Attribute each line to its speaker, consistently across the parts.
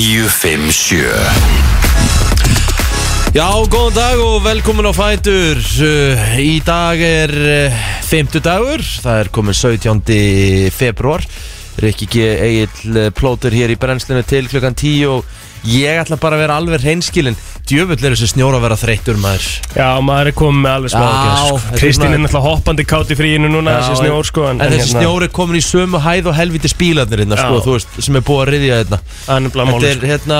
Speaker 1: 957
Speaker 2: Já, góðan dag og velkomin á Fætur Uh, Í dag er eh, fymtudagur, það er komin 17. februar Rikki G. Egil plótur hér í brennslinu til klukkan 10 og ég ætla bara að vera alveg reynskilin Djöfull er þessi snjóra að vera þreyttur maður
Speaker 3: Já, maður er komið með alveg smá
Speaker 2: Já,
Speaker 3: ekki
Speaker 2: þetta
Speaker 3: sko.
Speaker 2: er
Speaker 3: Kristín
Speaker 2: svona-
Speaker 3: er náttúrulega hoppandi kátt í fríinu núna
Speaker 2: Já,
Speaker 3: þessi snjór sko
Speaker 2: En, þessi snjór er komin í sömu hæð og helviti spílarnir hérna,
Speaker 3: Já.
Speaker 2: sko, þú veist, sem er búið að riðja hérna
Speaker 3: Hann er blá
Speaker 2: Þetta
Speaker 3: máli
Speaker 2: er, hérna,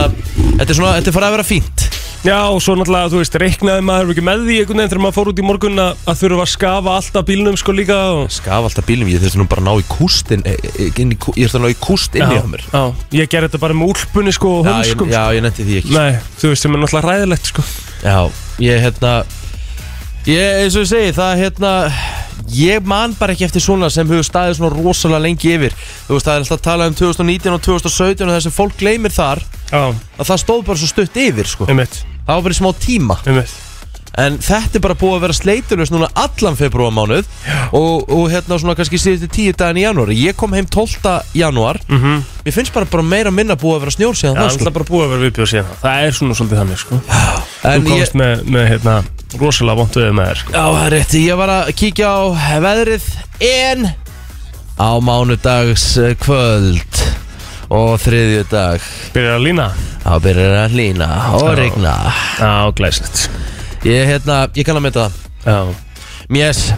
Speaker 2: þetta er svona, þetta er farið að vera fínt
Speaker 3: sko. Já, og svo náttúrulega, þú veist, reiknaði maður ekki með því einhvern veginn þegar maður fór út í morgun að að þurfa að skafa alltaf bílnum sko líka og...
Speaker 2: Skaf alltaf bílum, hérna ég þurfti nú bara að ná í kústin Ég þurfti að ná í kúst inni
Speaker 3: Já,
Speaker 2: á mér
Speaker 3: já, ég gerði þetta bara með úlpunni sko og
Speaker 2: Já, ég,
Speaker 3: hönskum
Speaker 2: já, ég nefndi því ekki
Speaker 3: Nei, þú veist, sem er náttúrulega ræðilegt sko
Speaker 2: Já, ég hérna Ég, eins og ég segi, það hérna Ég man bara ekki eftir svona sem hefur staðið svona rosalega lengi yfir Þú veist, það er alltaf að tala um 2019 og 2017 og það sem fólk gleymir þar
Speaker 3: Já,
Speaker 2: að það stóð bara svo stutt yfir, sko
Speaker 3: einmitt,
Speaker 2: Það var bara í smá tíma
Speaker 3: einmitt
Speaker 2: En þetta er bara búið að vera sleitulust núna allan februarmánuð og, og hérna svona kannski síðustu tíu daginn í janúar Ég kom heim 12. janúar
Speaker 3: mm -hmm.
Speaker 2: Mér finnst bara, bara meira minna búið að vera snjór síðan
Speaker 3: Það er
Speaker 2: það sko.
Speaker 3: alltaf bara búið að vera viðbjóð síðan þá. Það er svona svolítið þannig sko Þú
Speaker 2: En ég,
Speaker 3: komst með, með hérna, rosalega vont við með þér sko.
Speaker 2: Já, það er rétt, ég var að kíkja á veðrið en á mánudags eh, kvöld og þriðju dag
Speaker 3: Byrjar að lína?
Speaker 2: þá byrjar að hlýna og
Speaker 3: Já.
Speaker 2: regna
Speaker 3: Já, glæslegt
Speaker 2: Ég, hérna, ég kann að mynda það
Speaker 3: Já
Speaker 2: Mjess,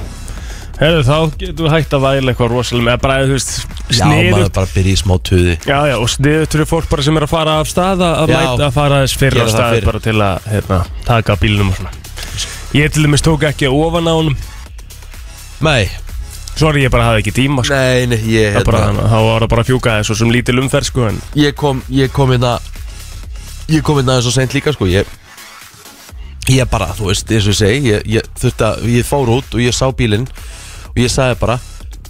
Speaker 3: Herðu, þá getur við hægt að væla eitthvað rosalega með bara, þú veist,
Speaker 2: já, maður
Speaker 3: sniðut
Speaker 2: bara byrja í smá tuði
Speaker 3: Já, já, og sniðut fyrir fólk bara sem er að fara af stað að að
Speaker 2: Já.
Speaker 3: mæta að fara þess fyrir
Speaker 2: Gera
Speaker 3: af
Speaker 2: það
Speaker 3: stað
Speaker 2: fyrr.
Speaker 3: bara til að hérna, taka bílnum og svona Ég til dæmis tók ekki ofan á honum
Speaker 2: Nei,
Speaker 3: Sorry, ég bara hafði ekki tíma sko.
Speaker 2: nei, nei, ég,
Speaker 3: Það bara,
Speaker 2: hérna,
Speaker 3: þá var það bara að fjúka þessu sem lítil umferð sko, en
Speaker 2: ég kom, ég kom hérna Ég kom hérna þess að seint líka, sko, ég Ég bara, þú veist, eins og ég segi Ég, ég þurfti að, ég fór út og ég sá bílinn og ég sagði bara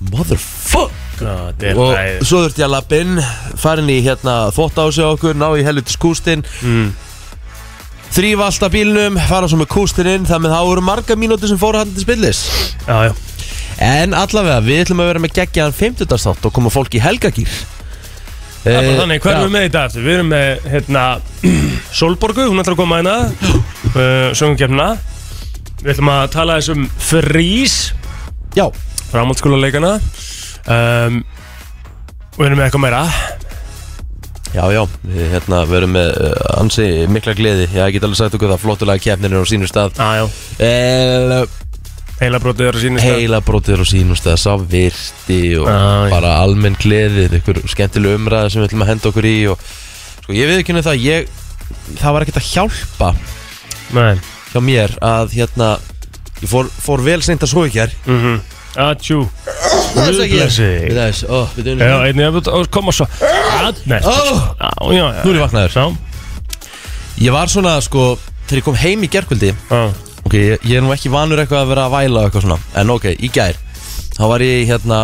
Speaker 2: Motherfuck
Speaker 3: það er
Speaker 2: og
Speaker 3: næðið
Speaker 2: svo þurfti ég að lappa inn farin í hérna þvótt á sig okkur ná í helvitis kústinn
Speaker 3: mm.
Speaker 2: þrýfa alltaf bílnum, fara svo með kústinn inn þannig að það voru marga mínúti sem fóru hann til spillis
Speaker 3: Já, já,
Speaker 2: en allavega, við ætlum að vera með geggjaðan 50. státt og koma fólk í helgagýr Eh,
Speaker 3: það er bara þannig, hvað erum við með í dag eftir? Við erum með, hérna, Solborgu, hún ætlar að koma hérna uh, Söngumkjöfna Við ætlum að tala þess um frís
Speaker 2: Já,
Speaker 3: framhaldsskóluleikana um, Við erum með eitthvað meira
Speaker 2: já, já, við hérna verum með uh, ansi mikla gleði Já, ég get alveg sagt okkur það, flottulega keppnin er á sínum stað
Speaker 3: Aðjá
Speaker 2: El,
Speaker 3: Heila brotið er að sýnist
Speaker 2: Heila brótið er á sínum stað, sá virti og
Speaker 3: Já, já.
Speaker 2: bara almenn gleði Ykkur skemmtileg umræða sem við ætlum að henda okkur í og, Sko, ég við ekki það, ég, það var ekkert að hjálpa
Speaker 3: Nei
Speaker 2: hjá mér Að hérna, ég fór, fór vel seint að svo ekki hér
Speaker 3: mm -hmm. Atjú Blessi
Speaker 2: Þess, ó, við döðum
Speaker 3: Já, einnig að og koma svo Að- Nei
Speaker 2: Ó,
Speaker 3: Já, já, já
Speaker 2: nú er ég vaknaður
Speaker 3: Já,
Speaker 2: Ég var svona, sko, þegar ég kom heim í gerkvöldi
Speaker 3: já
Speaker 2: Ok, ég, ég er nú ekki vanur eitthvað að vera að væla og eitthvað svona En ok, í gær Þá var ég hérna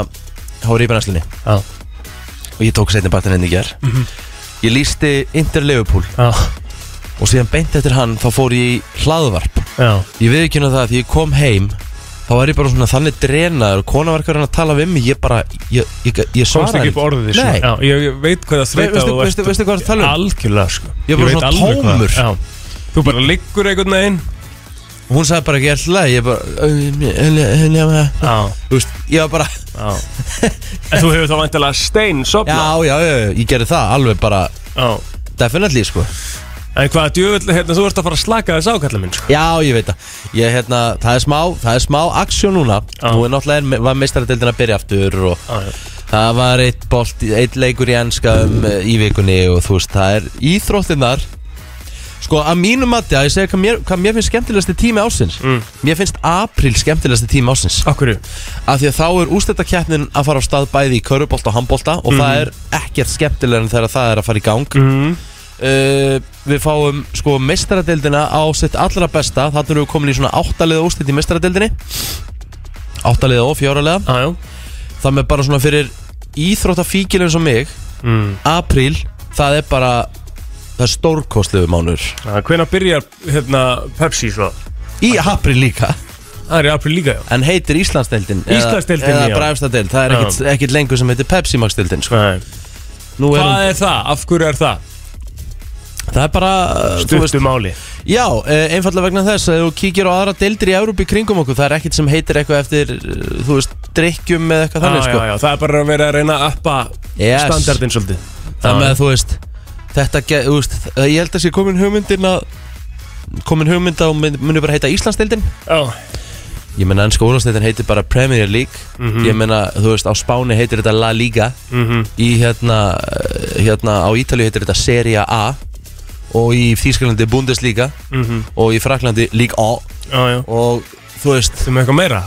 Speaker 2: Þá var ég í brennslinni
Speaker 3: Já,
Speaker 2: Og ég tók setni partin henni í gær Ég lísti Inter Liverpool
Speaker 3: já,
Speaker 2: Og síðan beint eftir hann Þá fór ég í hlaðvarp
Speaker 3: já
Speaker 2: Ég veið ekki hérna það að Því ég kom heim Þá var ég bara svona þannig drenaður og Kona var eitthvað að reyna að tala við mig Ég bara Ég, ég, ég, ég
Speaker 3: Komst
Speaker 2: svaraði
Speaker 3: ekki upp orðið því
Speaker 2: Nei.
Speaker 3: Já, ég ég veit hvað það
Speaker 2: Ve-
Speaker 3: þreita
Speaker 2: veistu- veistu- veistu hvað það er að tala um?
Speaker 3: Algjörlega, sko
Speaker 2: Ég er bara
Speaker 3: veit
Speaker 2: svona
Speaker 3: alveg hvað-
Speaker 2: tómur.
Speaker 3: Já Þú bara liggur einhvern veginn
Speaker 2: Hún sagði bara ekki alltaf Ég bara "Ö, ö, ö, ö, ö, ö, ö."
Speaker 3: Já,
Speaker 2: Þú veist, ég var bara
Speaker 3: já En þú hefur þá vantilega stein sopna
Speaker 2: Já, já, já, já, ég gerði það Alveg bara
Speaker 3: Já
Speaker 2: Definitely, sko
Speaker 3: En hvað djöfull, hérna, þú ert að fara að slaka þess ákalla minn, sko.
Speaker 2: Já, ég veit það. Ég, hérna, það er smá, það er smá aksjón núna.
Speaker 3: Já.
Speaker 2: Nú er náttúrulega, er- var meistaradeildin að byrja aftur og
Speaker 3: Já, já.
Speaker 2: það var eitt bolt, eitt leikur í ennska um, eh, í vikunni og þú veist, það er íþróttinnar. Sko, að mínu mati, að ég segja hvað mér, hvað mér finnst skemmtilegasti tími ásins.
Speaker 3: Mm.
Speaker 2: Mér finnst apríl skemmtilegasti tími ásins.
Speaker 3: Akkurju?
Speaker 2: Af því að þá er ústættakeppnin að fara á stað bæði í körubólta og handbólta og
Speaker 3: Mhm.
Speaker 2: það er ekkert skemmtilegur en þegar það er að fara í gang
Speaker 3: Mm.
Speaker 2: uh, Við fáum sko mestaradeildina á sitt allra besta Þannig erum við komin í svona áttaliða úrslit í mestaradeildinni Áttaliða og fjáraliða
Speaker 3: Ah, Já, já.
Speaker 2: Það með bara svona fyrir íþróttafíkil eins og mig
Speaker 3: Mm.
Speaker 2: Apríl, það er bara Það er stórkostlegu mánur
Speaker 3: Ah, Hvenær byrjar, hérna, Pepsi, svo?
Speaker 2: Í apríl líka
Speaker 3: Það er í april líka, já.
Speaker 2: En heitir Íslandsdeildin eða-
Speaker 3: Íslandsdeildin,
Speaker 2: Eða
Speaker 3: já.
Speaker 2: Bræfstadeild, það er
Speaker 3: Já.
Speaker 2: ekkit, ekkit lengur sem heitir Pepsi Max deildin sko.
Speaker 3: Nei.
Speaker 2: Nú er hún
Speaker 3: Hvað er það? Af hverju er það?
Speaker 2: Það er bara uh, þú veist-
Speaker 3: Stuttu máli
Speaker 2: Já, eh, einfallega vegna þess að ef þú kíkir á aðra deildir í Európi kringum okkur, það er ekkert sem heitir eitthvað eftir, eh, þú veist, drikkjum eða eitthvað þannig,
Speaker 3: Já,
Speaker 2: sko
Speaker 3: já, já, Það er bara að vera að reyna að appa
Speaker 2: Yes.
Speaker 3: standardin svolítið
Speaker 2: Það með að þú veist Þetta, ge- þú veist, eh, ég held að sé komin hugmyndin að komin hugmynd á, mun- muni bara heita Íslandsdeildin
Speaker 3: Já,
Speaker 2: Ég meina ennska úrvarsleitin heitir bara Premier League Ég meina, þú veist, á Spáni heitir þetta La Liga
Speaker 3: mhm
Speaker 2: Í hérna, eh, hérna á Ítalíu heitir þetta Serie A Og í Þýskalandi Bundesliga
Speaker 3: mhm,
Speaker 2: Og í Fraklandi Ligue A
Speaker 3: Já, já
Speaker 2: Og þú veist,
Speaker 3: Þú með eitthvað meira?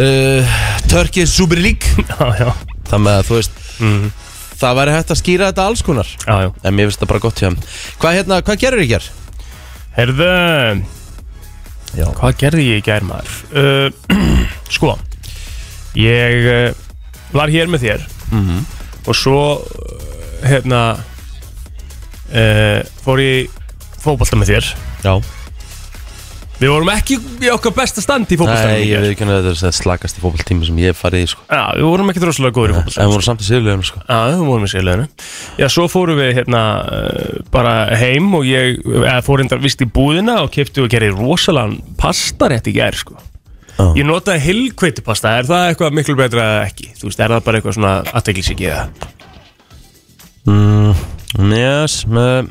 Speaker 2: uh, Turkey Super League
Speaker 3: Já, já
Speaker 2: Þannig að þú veist,
Speaker 3: Mhm.
Speaker 2: það væri hægt að skýra þetta alls konar
Speaker 3: Já, já
Speaker 2: En mér finnst það bara gott hjá þeim. Hvað hérna, hvað gerir ég hér?
Speaker 3: Herðu
Speaker 2: Já
Speaker 3: Hvað gerði ég í gær maður? Uh, sko Ég uh, var hér með þér
Speaker 2: Mhm.
Speaker 3: Og svo uh, Hérna uh, Fór ég í fótbolta með þér
Speaker 2: Já
Speaker 3: Við vorum ekki í okkar besta standi í fótbolta
Speaker 2: Nei, ég veit ekki að þetta er slagast í fótballtími sem ég hef farið í sko
Speaker 3: Já, við vorum ekki droslega góður í
Speaker 2: En
Speaker 3: fótbolta
Speaker 2: við vorum samt í sigurlegum sko
Speaker 3: Já, við vorum í sérleginu Já, svo fórum við hérna eh, bara heim og ég eða, fór hérna vist í búðina og kefti og gerði rosalega pasta rétt í gær sko.
Speaker 2: Já.
Speaker 3: Ég notaði heilkveitupasta, er það eitthvað miklu betra eða ekki? Þú veist, er það bara eitthvað svona aðteglisíki eða?
Speaker 2: Mm, yes, með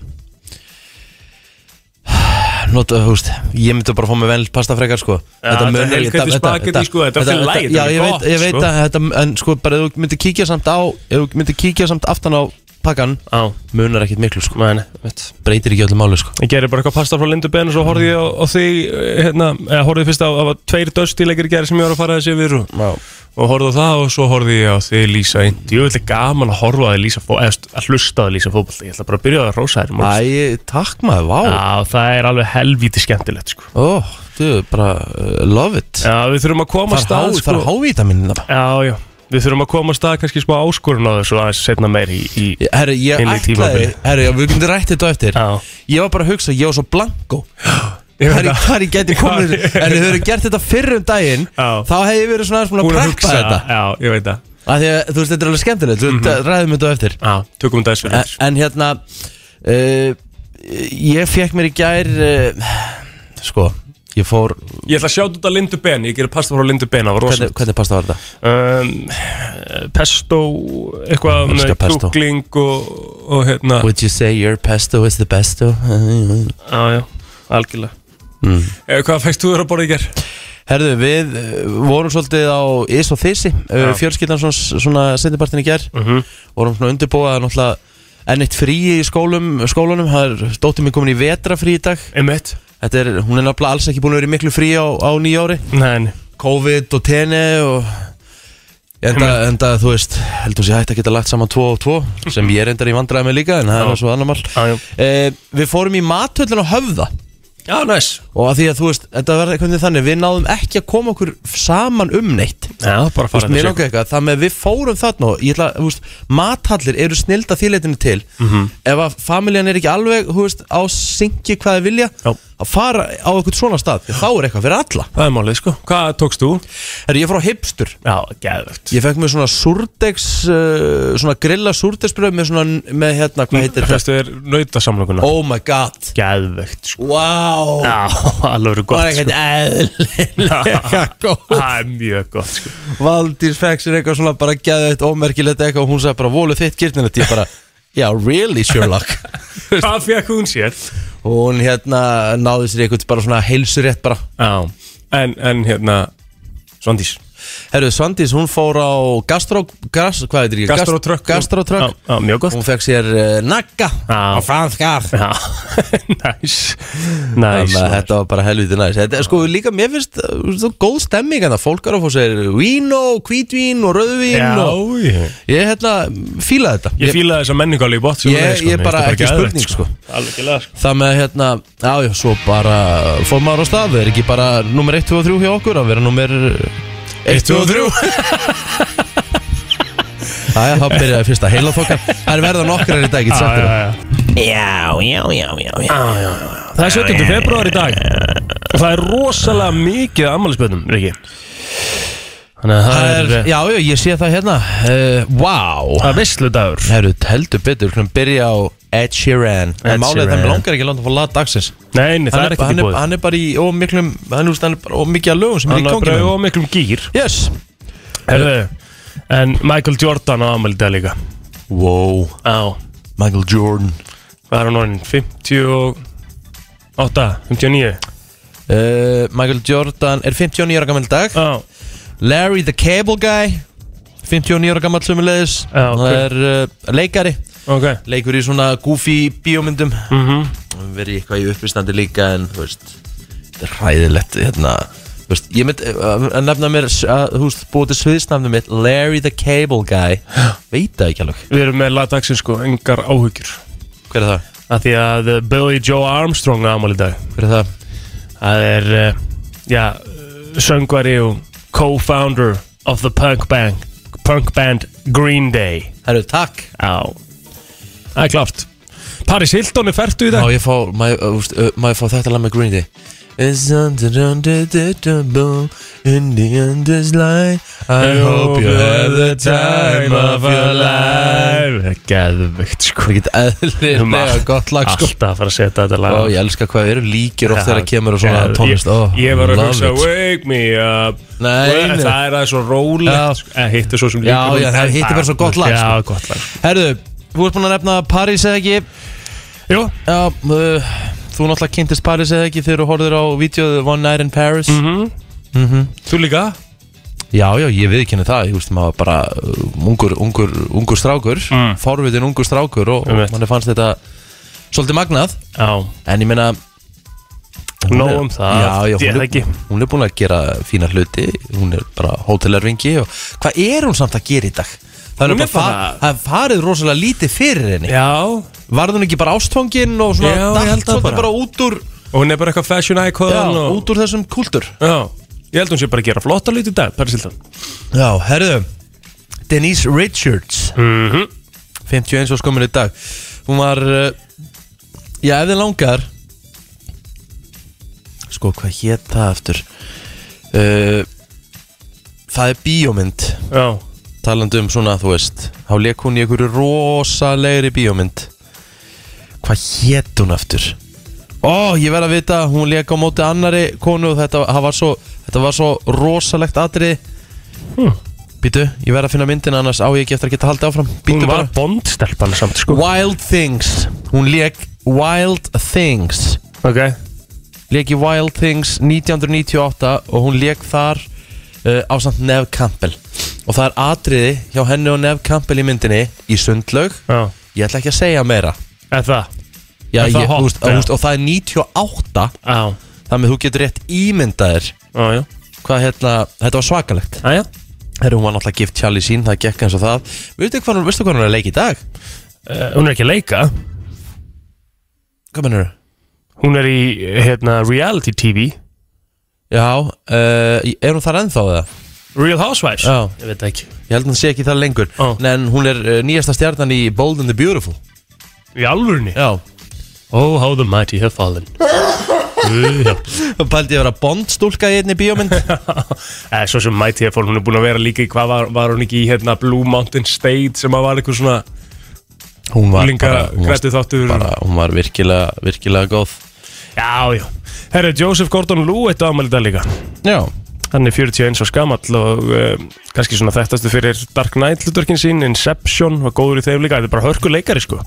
Speaker 2: Nota, þú veist, ég myndi bara að fá mig vel pasta frekar, sko
Speaker 3: þetta
Speaker 2: mun-
Speaker 3: er helgandi
Speaker 2: þetta-
Speaker 3: spagetti,
Speaker 2: þetta-
Speaker 3: sko, þetta er allt í lagi,
Speaker 2: Já,
Speaker 3: þetta er
Speaker 2: ég
Speaker 3: gott,
Speaker 2: veit, ég veit
Speaker 3: sko.
Speaker 2: að þetta, en sko, bara ef þú myndir kíkja samt á Ef þú myndir kíkja samt aftan á pakkan
Speaker 3: Á,
Speaker 2: Munar ekkit miklu, sko
Speaker 3: mæni, veit
Speaker 2: Breytir ekki öllu máli, sko
Speaker 3: Ég gerði bara eitthvað pasta frá Lindu Ben og svo horfði ég á, á því, eh, hérna, eða horfði fyrst á, á tveir döstilegir gerði sem ég var að fara þessi við og
Speaker 2: Já
Speaker 3: og horfði á það og svo horfði ég á því Lísa Indi, ég vildi gaman að horfa á því Lísa fó- eða st- að hlusta á því Lísa fótbolta ég ætla bara að byrja á að rosa þér í morgun.
Speaker 2: Æ, takk maður, vá
Speaker 3: Já, það er alveg helvíti skemmtilegt sko.
Speaker 2: Ó, þú, bara, uh, love it
Speaker 3: Já, við þurfum að koma að
Speaker 2: Það er
Speaker 3: stað
Speaker 2: há- það er hávítaminin það
Speaker 3: Já, já, við þurfum að koma að stað kannski smá áskorun á þessu aðeins setna meir í, í...
Speaker 2: Herri, ég
Speaker 3: Inn í
Speaker 2: ætlaði
Speaker 3: tímabilið.
Speaker 2: Herri, já, við myndum rætt þetta á eftir
Speaker 3: Já,
Speaker 2: Ég var bara að hugsa, ég var svo blanko
Speaker 3: ég
Speaker 2: Hvar
Speaker 3: veit
Speaker 2: ég,
Speaker 3: að
Speaker 2: hvar ég geti komið þessu En þau hefur gert þetta fyrr um daginn
Speaker 3: Já.
Speaker 2: Þá hef ég verið svona aðeins búin að
Speaker 3: Búin að
Speaker 2: preppa
Speaker 3: hugsa,
Speaker 2: þetta
Speaker 3: já, ég veit að
Speaker 2: Af því að þú veist, þetta er alveg skemmtilegt Þú veist, ræðum þetta á eftir
Speaker 3: Já, tökum þetta þessu
Speaker 2: En, en hérna uh, Ég fekk mér í gær uh, Sko, ég fór
Speaker 3: Ég ætla að sjá þetta Lindu Ben, ég gerði pasta frá Lindu Ben, það var rosa
Speaker 2: Hvernig, hvernig pasta var þetta?
Speaker 3: um, pesto eitthvað með
Speaker 2: Elskar pesto.
Speaker 3: kjúkling og, og hérna
Speaker 2: Would you say your pesto is the besto?
Speaker 3: já, já, algjörlega
Speaker 2: Mm.
Speaker 3: Eh, Hvað fækst þú þér að borða í gerð?
Speaker 2: Herðu, við uh, vorum svolítið á Ís og Þysi uh,
Speaker 3: Já.
Speaker 2: Fjölskyldan svona, svona sendipartin í gær
Speaker 3: Mhm.
Speaker 2: Vorum svona undirbúað náttúrulega enn eitt frí í skólum, skólunum Það er dóttir mér komin í vetrafrí í dag
Speaker 3: Emmett?
Speaker 2: Þetta er, hún er náttúrulega alls ekki búin að vera í miklu frí á, á nýjári
Speaker 3: Nei, nei.
Speaker 2: COVID og tenni og enda,
Speaker 3: Hm.
Speaker 2: enda þú veist heldur sér hægt að geta lagt saman 2 og 2 sem ég reyndar í vandræði með líka en það er
Speaker 3: Já.
Speaker 2: nú svo annar mál
Speaker 3: Já, já.
Speaker 2: eh, Við fórum í matöllin á höfða
Speaker 3: Já, næs
Speaker 2: og að því að þú veist, þetta verður eitthvað þannig við náðum ekki að koma okkur saman um neitt
Speaker 3: Já, bara
Speaker 2: Þú veist, mér
Speaker 3: þetta
Speaker 2: langar eitthvað, það með að við fórum þarna og ég ætla, þú veist, mathallir eru snilda þýleitinu til
Speaker 4: Mhm.
Speaker 2: ef að familjan er ekki alveg, þú veist, á syngi hvað þið vilja,
Speaker 3: Já.
Speaker 2: að fara á eitthvað svona stað, því þá er eitthvað fyrir alla
Speaker 3: Það er málið, sko Hvað tókst þú?
Speaker 2: Herri, ég fór á hipstur,
Speaker 3: Já, geðvögt
Speaker 2: ég fekk mér svona surdegs, uh, svona grilla surdegsbröð með svona, með hérna, hvað heitir þetta?
Speaker 3: Fæstu þér nautasamlokuna?
Speaker 2: Oh my god,
Speaker 3: Geðvögt, sko
Speaker 2: wow
Speaker 3: Já, alveg eru
Speaker 2: Það er
Speaker 3: gott, sko
Speaker 2: ekkert eðlilega góð
Speaker 3: Það er mjög gott, sko
Speaker 2: Valdís fekk sér eitthvað svona bara geðið eitt ómerkilegt eitthvað og hún sagði bara volu þitt gyrnilegt ég bara, já really Sherlock
Speaker 3: Hvað fekk hún sér?
Speaker 2: og hún hérna náði sér eitthvað bara svona heilsurétt bara
Speaker 3: Já En, en hérna Svandís
Speaker 2: Herru, Svandís hún fór á gastró, gas, hvað heitir ég?
Speaker 3: Gastrotrökk
Speaker 2: Gastrotrökk
Speaker 3: Já, já, mjög gott
Speaker 2: Hún fekk sér uh, nagga
Speaker 3: Já.
Speaker 2: á franskar
Speaker 3: Já, næs Næs
Speaker 2: Þannig að þetta var bara helviti næs Þetta er sko líka, mér finnst uh, svo góð stemming en það fólk er að fá sér vín og hvítvín og rauðvín
Speaker 3: Já,
Speaker 2: og
Speaker 3: ég
Speaker 2: ég hérna fíla þetta
Speaker 3: Ég fíla sko. þessa menningu alveg í bótt
Speaker 2: Ég- ég bara ekki spurning, sko.
Speaker 3: Alveg ekki lega sko
Speaker 2: Það með hérna, já, já, svo bara fór maður á stað, það er ekki bara nummer 1, 2 og 3 hjá okkur, að vera nummer 1, 2 og 3 Æja, þá byrjaði fyrsta heila þokkar Það er verða nokkrar í dag, ekki
Speaker 3: Já,
Speaker 2: sagt þér
Speaker 3: já, já. Það er 17. februar í dag og það er rosalega mikið af afmælisbönnum, Riki Þannig að það
Speaker 2: er,
Speaker 3: er, eh,
Speaker 2: já, já, ég sé það hérna uh, Wow
Speaker 3: það er veisludagur
Speaker 2: Það eru heldur betur, við skulum byrja á Ed Sheeran
Speaker 3: Ed
Speaker 2: En málið er að þeim
Speaker 3: Sheeran.
Speaker 2: langar ekki að láta að fá lag dagsins
Speaker 3: Nei, nei, það
Speaker 2: hann
Speaker 3: er
Speaker 2: er,
Speaker 3: ekkert í
Speaker 2: hann, er,
Speaker 3: bóði
Speaker 2: hann er bara í ómiklum Hann er, hann er bara ómikið að lögum sem er í
Speaker 3: Hann er
Speaker 2: gangi
Speaker 3: bara
Speaker 2: með honum.
Speaker 3: og miklum gýr
Speaker 2: Yes
Speaker 3: Herðu, en Michael Jordan á afmæli í dag líka
Speaker 2: Wow,
Speaker 3: Á,
Speaker 2: Michael Jordan
Speaker 3: hvað er hann orðin? 58, 59
Speaker 2: uh, Michael Jordan er 59 ára gammal dag
Speaker 3: Á,
Speaker 2: Larry the Cable Guy 59 ára gammal sumulegis
Speaker 3: Já,
Speaker 2: Það er uh, leikari
Speaker 3: ok
Speaker 2: Leikur í svona goofy bíómyndum
Speaker 3: mm
Speaker 2: Verið eitthvað í uppistandi líka En þú veist Þetta er hræðilegt hérna Þú veist, ég mynd að að nefna mér s- að, Þú veist, búið til sviðsnafnum mitt Larry the Cable Guy Veit það ekki alveg
Speaker 3: Við erum með lagdagsinn sko, engar áhyggjur
Speaker 2: Hver er það?
Speaker 3: Af því að uh, Billy Joe Armstrong á afmæli í dag
Speaker 2: Hver er það?
Speaker 3: Það er, uh, já, uh, söngvari og co-founder of the punk band, punk band Green Day.
Speaker 2: Herru, takk
Speaker 3: Já. Það er klart. Paris Hilton er færtu í
Speaker 2: Má
Speaker 3: dag.
Speaker 2: ég fá, má ég, úst, uh, má ég fá þetta lag með Green Day It's undeniable In the end is light I hope you have the time of your life
Speaker 3: Geðvikt, sko.
Speaker 2: Það get eðlilega gott lag sko
Speaker 3: Alltaf að fara að setja þetta lag.
Speaker 2: Ó, ég elska hvað við erum líkir oft þegar að kemur og svona
Speaker 3: Geð-
Speaker 2: tónlist Ó,
Speaker 3: Ég, ég var að
Speaker 2: love
Speaker 3: hugsa,
Speaker 2: it.
Speaker 3: wake me up.
Speaker 2: Nei,
Speaker 3: Wake-
Speaker 2: nei.
Speaker 3: Það er aðeins svo
Speaker 2: Já.
Speaker 3: rólegt. sko. Eh, Hitt er svo sem
Speaker 2: Já, já, það hitt er bara svo gott lag,
Speaker 3: Já,
Speaker 2: sko.
Speaker 3: gott lag.
Speaker 2: Herðu, þú ert búin að nefna París eða ekki
Speaker 3: Jú,
Speaker 2: Já, uh, þú náttúrulega kynntist París eða ekki þegar þú horfðir á vídeoðu One Night in Paris
Speaker 3: Mhm.
Speaker 2: Mhm.
Speaker 3: þú líka?
Speaker 2: Já, já, ég viðkynna það, ég veist, maður var bara uh, ungur, ungur, ungur strákur,
Speaker 3: Mm.
Speaker 2: forvitin ungur strákur og, og
Speaker 3: Einmitt.
Speaker 2: manni fannst þetta svolítið magnað,
Speaker 3: Já.
Speaker 2: en ég meina hún
Speaker 3: Nóg
Speaker 2: er-
Speaker 3: um það,
Speaker 2: Já, já,
Speaker 3: ég
Speaker 2: hún
Speaker 3: það ekki.
Speaker 2: er, hún er búin að gera fína hluti, hún er bara hótelarvingi og hvað er hún samt að gera í dag? Það er
Speaker 3: Hún er
Speaker 2: bara, far,
Speaker 3: bara-
Speaker 2: það er farið rosalega lítið fyrir henni
Speaker 3: Já,
Speaker 2: Varð hún ekki bara ástfangin og svona
Speaker 3: Já, ég
Speaker 2: datt
Speaker 3: held það
Speaker 2: svolítið
Speaker 3: bara.
Speaker 2: bara út úr,
Speaker 3: Og hún er bara eitthvað fashion icon
Speaker 2: já,
Speaker 3: og...
Speaker 2: út úr þessum kultur
Speaker 3: Já, ég held hún sé bara að gera flotta lítið í dag, Paris Hilton
Speaker 2: Já, herðu Denise Richards
Speaker 3: mm -hmm.
Speaker 2: 51 og skömmin í dag Hún var uh, Já, ef þið langar Sko, hvað hét það eftir uh, Það er bíómynd
Speaker 3: Já,
Speaker 2: Talandi um svona, þú veist Þá leik hún í einhverju rosalegri bíómynd Hvað hét hún eftir? Ó, ég verð að vita Hún leik á móti annari konu og Þetta það var svo, þetta var svo rosalegt atri
Speaker 3: Hmm.
Speaker 2: Býtu, ég verð að finna myndina annars á ég ekki eftir að geta haldið áfram
Speaker 3: hún
Speaker 2: Býtu
Speaker 3: var
Speaker 2: bara
Speaker 3: bondstelpan samt sko
Speaker 2: Wild Things Hún leik Wild Things
Speaker 3: Ok,
Speaker 2: Leik í Wild Things 1998 og hún leik þar uh, á samt Nev Campbell og það er atriði hjá henni og Nev Campbell í myndinni í sundlaug
Speaker 3: já,
Speaker 2: ég ætla ekki að segja meira
Speaker 3: eða það
Speaker 2: Já,
Speaker 3: Er
Speaker 2: ég,
Speaker 3: það hot,
Speaker 2: þú veist,
Speaker 3: eða?
Speaker 2: þú veist, og það er 98
Speaker 3: Já,
Speaker 2: þannig að þú getur rétt ímyndaðir
Speaker 3: já, já,
Speaker 2: hvað hérna, þetta var svakalegt
Speaker 3: já, já.
Speaker 2: Herru, hún var náttúrulega gift Charlie sín, það gekk eins og það Veistu hvað hún, veistu hvað hún er að leika í dag?
Speaker 3: Uh, Hún er ekki að leika
Speaker 2: Hvað mennur þú?
Speaker 3: Hún er í, hérna, reality TV
Speaker 2: Já, uh, er hún þar ennþá eða?
Speaker 3: Real Housewives
Speaker 2: Já.
Speaker 3: Ég veit það ekki
Speaker 2: Ég held að hann sé ekki það lengur
Speaker 3: Ó.
Speaker 2: En hún er uh, nýjasta stjarnan í Bold and the Beautiful
Speaker 3: Í alvörni
Speaker 2: Já
Speaker 3: Oh, how the mighty have fallen Guð hjálpi.
Speaker 2: Það pældi ég að vera bondstúlka í einni bíómynd
Speaker 3: Eh, Svo sem mighty have fallen Hún er búin að vera líka í, hvað var, var hún ekki í, hérna, Blue Mountain State Sem að var eitthvað svona
Speaker 2: Hún var
Speaker 3: Úlinga
Speaker 2: hún var,
Speaker 3: grætið þáttur
Speaker 2: bara, hún var virkilega, virkilega góð
Speaker 3: Já, já. Herru, Joseph Gordon-Lewitt ámæli dag líka.
Speaker 2: Já
Speaker 3: Hann er 41 og skamall og uh, kannski svona þettastu fyrir Dark Knight hlutverkin sín, Inception, var góður í þeim líka. Þetta er bara hörku leikari, sko.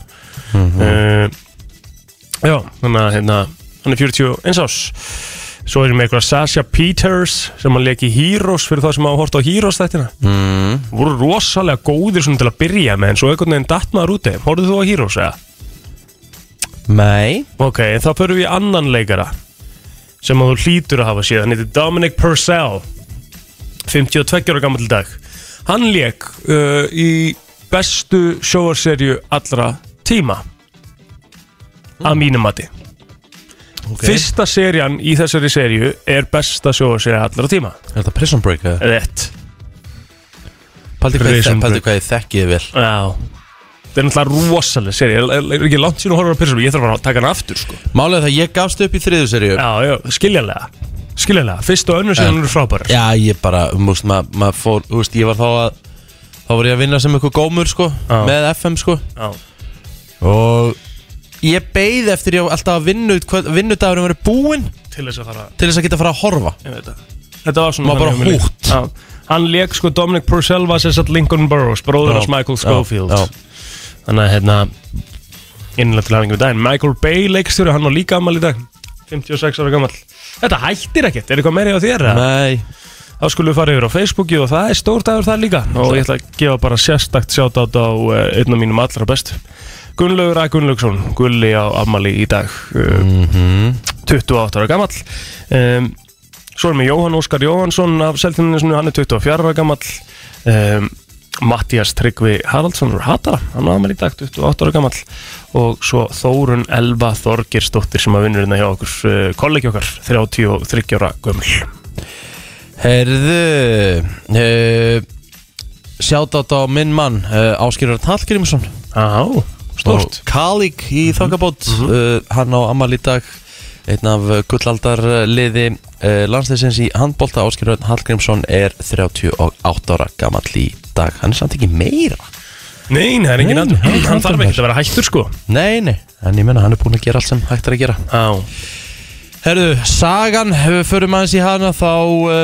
Speaker 5: Mhm.
Speaker 2: Eh,
Speaker 3: uh, Eh, já, þannig að hérna, hann er 41 ás. Svo erum við eitthvað Sasha Peters sem hann leik í Heroes fyrir þá sem hafa hort á Heroes þættina.
Speaker 2: mm,
Speaker 3: Voru rosalega góðir svona til að byrja með en svo einhvern veginn datt maður úti. Horfðu þú á Heroes, eða?
Speaker 2: Nei
Speaker 3: Ok, en þá förum við í annan leikara sem að þú hlýtur að hafa séð hann heitir Dominic Purcell 52 ára gammal dag hann leik uh, í bestu sjóarserju allra tíma að mínum mati
Speaker 2: okay.
Speaker 3: fyrsta serjan í þessari serju er besta sjóarserja allra tíma
Speaker 2: Er þetta Prison Break? eða?
Speaker 3: Rétt
Speaker 2: Pældi hvað, ég
Speaker 3: Prison
Speaker 2: þek- pældi
Speaker 3: Break.
Speaker 2: hvað ég þekki þið vel
Speaker 3: Já Það er náttúrulega rosalega serið, er, er, er ekki langt sín að horfa á Pyrrhus, ég þarf að fara að taka hann aftur sko.
Speaker 2: Málega það ég gafst upp í þriðu seríu
Speaker 3: Já, já, skiljanlega. skiljanlega, fyrst og önnur síðan eru frábærar
Speaker 2: Já, ég bara, múst, maður ma fór, þú veist, ég var þá að Þá var ég að vinna sem eitthvað gómur, sko
Speaker 3: Já.
Speaker 2: Með FM, sko
Speaker 3: Já.
Speaker 2: Og ég beið eftir ég alltaf að vinnu Vinnudagurinn verið um búinn
Speaker 3: til þess að fara
Speaker 2: Til þess að geta að fara að horfa
Speaker 3: ég veit það. þetta var svona
Speaker 2: Var bara
Speaker 3: þannig hjá mér líka.
Speaker 2: hútt.
Speaker 3: Já. hann leik sko Dominic Purcell var sér satt Lincoln Burroughs, bróður
Speaker 2: Já,
Speaker 3: hans Michael
Speaker 2: já,
Speaker 3: Schofield
Speaker 2: já.
Speaker 3: þannig að hérna innlega til hæfingi við daginn Michael Bay leikstjóri, hann var líka gammal í dag 56 ára gammal þetta hættir ekkert, er eitthvað meiri á þér? eða?
Speaker 2: Nei,
Speaker 3: þá skulum við fara yfir á Facebooki og það er stór dagur það líka og ég ætla að gefa bara sérstakt sjátátt á eh, einn af mínum allra bestu Gunnlaugur A. Gunnlaugsson, Gulli á Amali í dag mm
Speaker 6: Mhm.
Speaker 3: 28 ára gamall um, svo erum við Jóhann Óskar Jóhannsson af Seltjarnisnu, hann er 24 ára gamall um, Mattias Tryggvi Haraldsson úr Hatara, hann á Amali í dag 28 ára gamall og svo Þórun Elva Þorgirsdóttir sem að vinnur hérna hjá okkur uh, kollegi okkar, 33 ára gömul
Speaker 2: heyrðu uh, Sjátt á minn mann uh, Áskýrur Hallgrímsson
Speaker 3: Já,
Speaker 2: og
Speaker 3: stort
Speaker 2: Kalik í þokkabót uh, hann á Amal í dag einn af gullaldarliði uh, landsleisins í handbólta Áskirröðn Hallgrímsson er 38 ára gamall í dag, hann er samt ekki meira
Speaker 3: Nei, nei, það er engin
Speaker 2: Nei,
Speaker 3: andur
Speaker 2: nei,
Speaker 3: Hann
Speaker 2: aldrei
Speaker 3: þarf
Speaker 2: meir.
Speaker 3: ekkert að vera hættur sko
Speaker 2: nei, nei, en ég menna hann er búinn að gera allt sem hægt er að gera
Speaker 3: Já,
Speaker 2: Herðu, sagan, ef við förum aðeins í hana þá uh,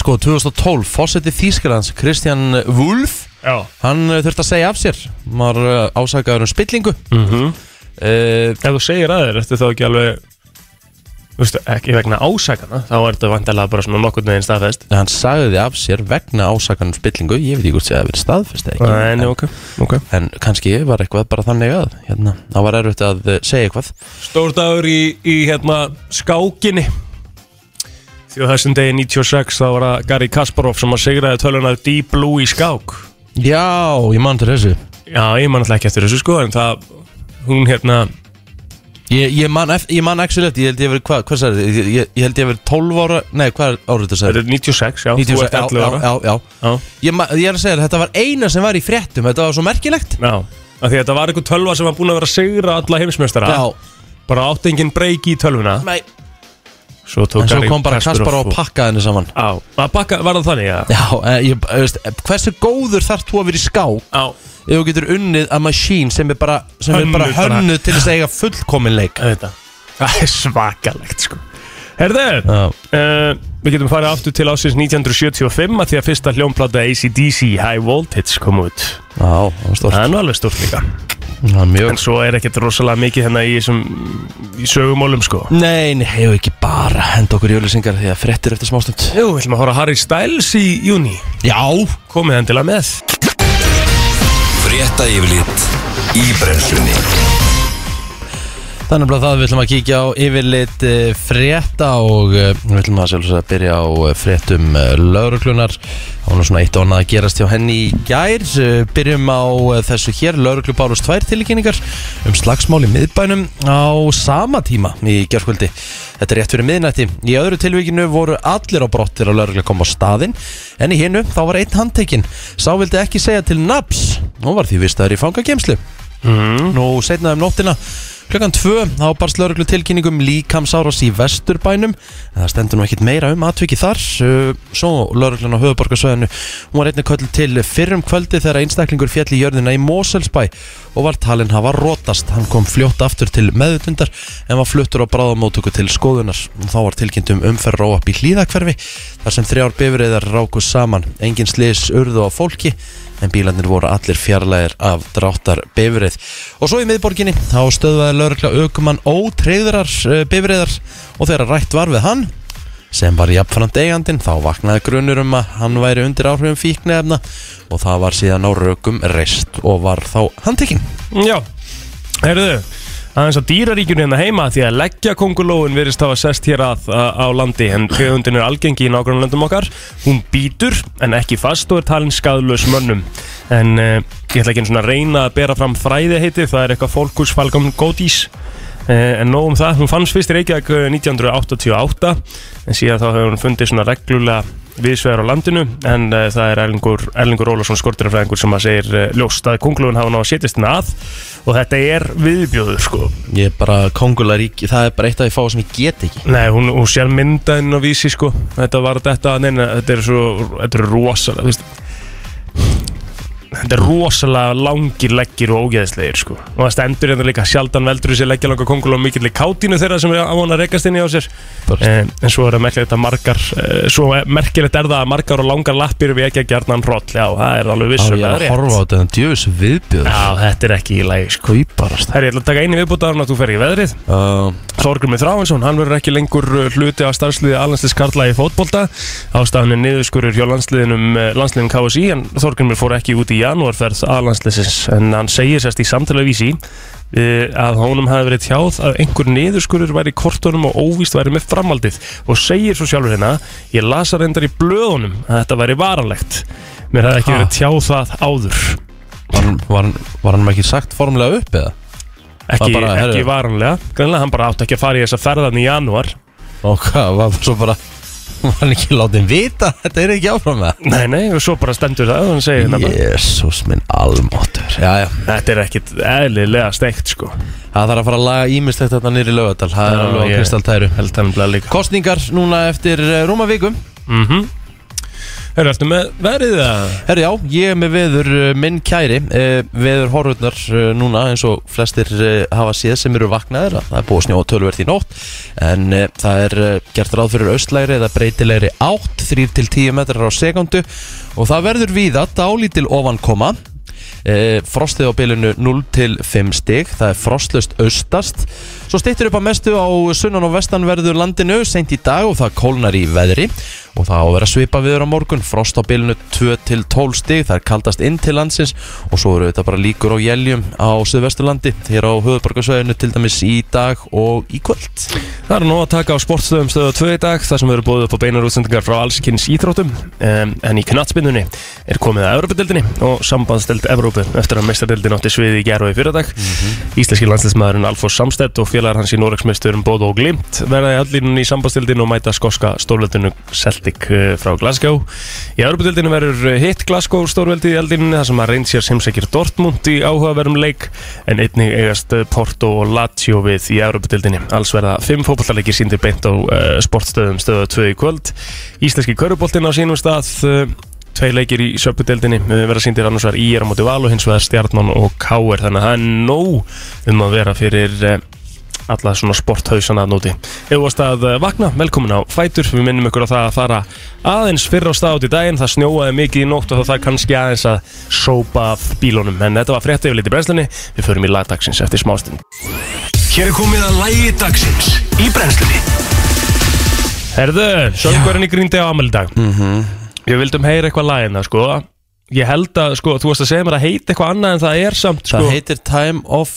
Speaker 2: sko, 2012, fósetti Þýskalands Kristján Wulff
Speaker 3: já
Speaker 2: hann uh, þurfti að segja af sér var uh, ásakaður um spillingu uh,
Speaker 3: Mhm. Ef þú segir að þér, ertu þá ekki alveg Þú veist, ekki vegna ásakana Þá er þetta vandalega bara svona nokkurn veginn staðfest
Speaker 2: Nei, hann sagði af sér vegna ásakanum spillingu ég veit ekki hvort sé að það verið staðfest eða ekki
Speaker 3: Nei, nei, ok, ok
Speaker 2: en kannski var eitthvað bara þannig að hérna, það var erfitt að eh, segja eitthvað
Speaker 3: Stór dagur í, í hérna skákinni Því á þessum degi 96 þá var það Gary Kasparov sem að sigraði tölunar Deep Blue í skák
Speaker 2: já, ég man til þessu
Speaker 3: Já, ég man alltaf ekki eftir þessu sko En það, hún hérna
Speaker 2: ég, ég man, eff- ég man actually eftir, ég held ég verið hvað, hvað sagði ég, ég, ég held ég verið 12 ára, nei hvað árið þetta
Speaker 3: Þetta
Speaker 2: sagði
Speaker 3: er 96, já, þú ert 11
Speaker 2: já,
Speaker 3: ára
Speaker 2: já, já,
Speaker 3: já.
Speaker 2: Ég, ma- ég er að segja þér, þetta var eina sem var í fréttum þetta var svo merkilegt
Speaker 3: Já, af því að þetta var einhver tölva sem var búin að vera að sigra alla heimsmeistara
Speaker 2: já,
Speaker 3: Bara átti enginn breyki í tölvuna
Speaker 2: nei,
Speaker 3: Svo tók
Speaker 2: en svo
Speaker 3: Gary
Speaker 2: kom bara Kaspar og pakkaði henni saman
Speaker 3: Já, að bakka, var það þannig, já
Speaker 2: já, eh, ég, eh, veist, eh, hversu góður þarf þú að vera í skák
Speaker 3: Já,
Speaker 2: ef þú getur unnið að machine sem er bara, sem er
Speaker 3: Hönnuð
Speaker 2: bara
Speaker 3: bara.
Speaker 2: hönnu til þess að eiga fullkomin leik
Speaker 3: þetta Það er svakalegt, sko Herðu,
Speaker 2: Já.
Speaker 3: uh, við getum farið aftur til ásins 1975 að Því að fyrsta hljómplata ACDC High Voltage kom út
Speaker 2: Já, það var stort
Speaker 3: Það er nú alveg stórt líka
Speaker 2: Það var
Speaker 3: En
Speaker 2: mjög
Speaker 3: svo er ekkert rosalega mikið hérna í, þessum, í sögumólum, sko
Speaker 2: Nei, nei, hefur ekki bara henda okkur jölusingar því að frettir eftir smástund
Speaker 3: Jú, við ætlum að horfa á Harry Styles í júni
Speaker 2: Já
Speaker 3: Komið endilega með
Speaker 1: Frétta yfirlit í brennslunni
Speaker 2: Þannig að það við ætlum að kíkja á yfirlit eh, frétta og eh, við ætlum að sjálfsögða að byrja á eh, fréttum lauruglunar Það var nú svona eitt og annað að gerast hjá henni í gær Eh, Byrjum á eh, þessu hér, lauruglu bárust tvær tilkynningar um slagsmál í miðbænum á sama tíma í gerðkvöldi Þetta er rétt fyrir miðnætti Í öðru tilvíkinu voru allir á brott til að laurugla kom á staðinn En í hinu þá var einn handtekinn Sá vildi ekki segja til naps Nú var því vistaður í fangagemslu Nú setnaði um nóttina Klokkan tvö þá barst lauruglu tilkynningum um líkamsárás í vesturbænum En það stendur nú ekkit meira um atviki þar Uh, Svo lauruglan á höfuborgarsvæðinu Hún var einnig köllu til fyrrum kvöldi þegar einstaklingur fjall í jörðina í Moselsbæ og var talin hafa rótast Hann kom fljótt aftur til meðutundar en var fluttur á bráðamótöku til skoðunar Og Þá var tilkynnt um umferð róap í hlýðakverfi þar sem þrjár bifriðar ráku saman Engin slis urðu á fólki en bílarnir voru allir fjarlægir af dráttar bifrið. Og svo í miðborginni þá stöðvaði laurugla aukumann ótreyðrar bifriðar eh, og þegar rætt var við hann sem var jafnframt eigandin þá vaknaði grunur um að hann væri undir áhrifum fíknefna og það var síðan á rökum reist og var þá handtekinn.
Speaker 3: Já, heyrðu aðeins á dýraríkjunni hérna heima því að leggja kongulóin virðist hafa sest hér að á á landi en tegundin er algengi í nágrannlöndum okkar hún býtur en ekki fast og er talin skadlös mönnum en uh, ég ætla ekki einu svona að reyna að bera fram fræði heitið, það er eitthvað fólkus falgum gódís Eh, En nóg um það, hún fannst fyrst í Reykjavík eh, 1988 en síðan þá hefur hún fundið svona reglulega viðsvegar á landinu en uh, það er Erlingur, Erlingur Ólason skortirafræðingur sem að segir uh, ljóst að konglun hafa náða setjast henni að og þetta er viðbjóður sko
Speaker 2: Ég er bara kongularíki, það er bara eitt af því fáa sem ég get ekki
Speaker 3: Nei, hún, hún sér mynda henni á vísi sko Þetta var þetta, neina, þetta er svo Þetta er rosalega, þú veist Þetta er rosalega langir leggir og ógeðslegir sko Og það stendur hérna líka sjaldan veldur þessi leggja langa kongul og mikill í kátínu þeirra sem er á hann að rekast inn í á sér
Speaker 2: Bara-
Speaker 3: en, en svo er það merkilegt að margar eh, Svo er- merkilegt er það að margar og langar lappir við ekki að gjarnan hroll Já, það er alveg
Speaker 2: Á ég
Speaker 3: vissulega
Speaker 2: að
Speaker 3: rétt.
Speaker 2: horfa á þetta en djöfis viðbjöður
Speaker 3: Já, þetta er ekki í lagi sko
Speaker 2: Kauparast
Speaker 3: Herri, ég ætla að taka einu viðbútt áður en að þú fer í veðrið
Speaker 2: uh,
Speaker 3: Þorgrumir Þráinsson, hann verður ekki lengur uh, hluti af starfsliði allandsliðs Karla í fótbolta ástafinu niðurskurur hjá landsliðinum eh, landsliðinu KSI en Þorgrumir fór ekki út í janúarferð allandsliðsins en hann segir sérst í samtala vísi eh, að honum hafi verið tjáð að einhver niðurskurur væri í kortunum og óvíst væri með framhaldið og segir svo sjálfur hérna ég lasa reyndar í blöðunum að þetta væri varalegt mér hafði ekki
Speaker 2: Ha?
Speaker 3: verið tjáð það áður
Speaker 2: var, hann- var, hann- var hann ekki sagt formulega upp eða?
Speaker 3: ekki,
Speaker 2: Það bara,
Speaker 3: ekki
Speaker 2: herru.
Speaker 3: varanlega grannlega hann bara átti ekki að fara í þessa ferðan í janúar
Speaker 2: Og hvað, var svo bara Var hann ekki látið vita að Þetta er ekki áfram með
Speaker 3: Nei, nei, og svo bara stendur það og hann segir yeah. bara,
Speaker 2: Jésús minn almáttur Jæja,
Speaker 3: Þetta er ekkit eðlilega steikt sko
Speaker 2: það þarf að fara að laga ímislegt þetta nýri lögadal Það er
Speaker 3: Já,
Speaker 2: alveg á
Speaker 3: ég-
Speaker 2: kristaltæru
Speaker 3: Held það nefnilega líka
Speaker 2: Kostningar núna eftir eh, rúma vikum
Speaker 3: mm -hmm. Hörru, ertu með verið það?
Speaker 2: Herri já, ég er með veður eh, minn kæri eh, Veður horfurnar eh, núna eins og flestir eh, hafa séð sem eru vaknaðir að Það er búið að snjóa tölvert í nótt En eh, það er eh, gert ráð fyrir austlægri eða breytilegri átt 3-10 metrar á sekundu Og það verður víða dálítil ofankoma Eh, Frostið á bilinu 0 til 5 stig Það er frostlust austast Svo stýttir upp að mestu á sunnan og vestanverður landinu Seint í dag og það kólnar í veðri Og það á að vera svipa viður á morgun Frost á bilinu 2 til 12 stig Það er kaldast inn til landsins Og svo eru þetta bara líkur á jæljum á Suðvesturlandi Hér á höfuborgarsvæðinu til dæmis í dag og í kvöld
Speaker 3: Það er nú að taka á sportstöðum stöðu 2 í dag þar sem eru búið upp á beinar útsendingar frá allskynns íþróttum um, en í knatsbyndunni er komið að Evrópadeildinni og sambandsdeild Evrópu eftir að mestardeildin átti sviði í gerð og í fyrradag Íslenski landsliðsmaðurinn Alfons Samstedt og félagar hans í Noregsmeisturum Bóð og Glimt verða í allínunni í sambandsdeildin og mæta skoska stórveldinu Celtic eh, frá Glasgow Í Evrópadeildinu verður eh, hitt Glasgow stórveldið í allínunni þar sem að reynsjör heimsækir Dortmund í áhugaverðum leik en einnig eigast eh, Porto og Lazio við í Európa-dildinni. Alls verða fimm fótballtarleikir síndir beint á uh, sportstöðum stöðu 2 í kvöld. Íslenski köruboltinn á sínum stað, uh, tvei leikir í söpudeldinni uh, verða síndir annars vegar IR á móti Val og hins vegar Stjarnan og Káer þannig að það er nóg um að vera fyrir uh, alla svona sporthausana að núti. Ef þú varst að eh, vakna, velkomin á Fætur, við minnum ykkur á það að fara aðeins fyrr á stað út í daginn, það snjóaði mikið í nótt og það er kannski aðeins að sópa af bílunum, en þetta var frétt yfirleitt í brennslunni, við förum í lagdagsins eftir smástund.
Speaker 1: Hér er komið að lægi dagsins í brennslunni
Speaker 3: Herðu, söngurinn í Gríndi á Amal í dag. Mm
Speaker 2: Mhm.
Speaker 3: Við vildum heyra eitthvað lagina, sko. Ég held að, sko, þú varst að segja mér að heita eitthvað annað en það er samt, sko,
Speaker 2: Það heitir Time of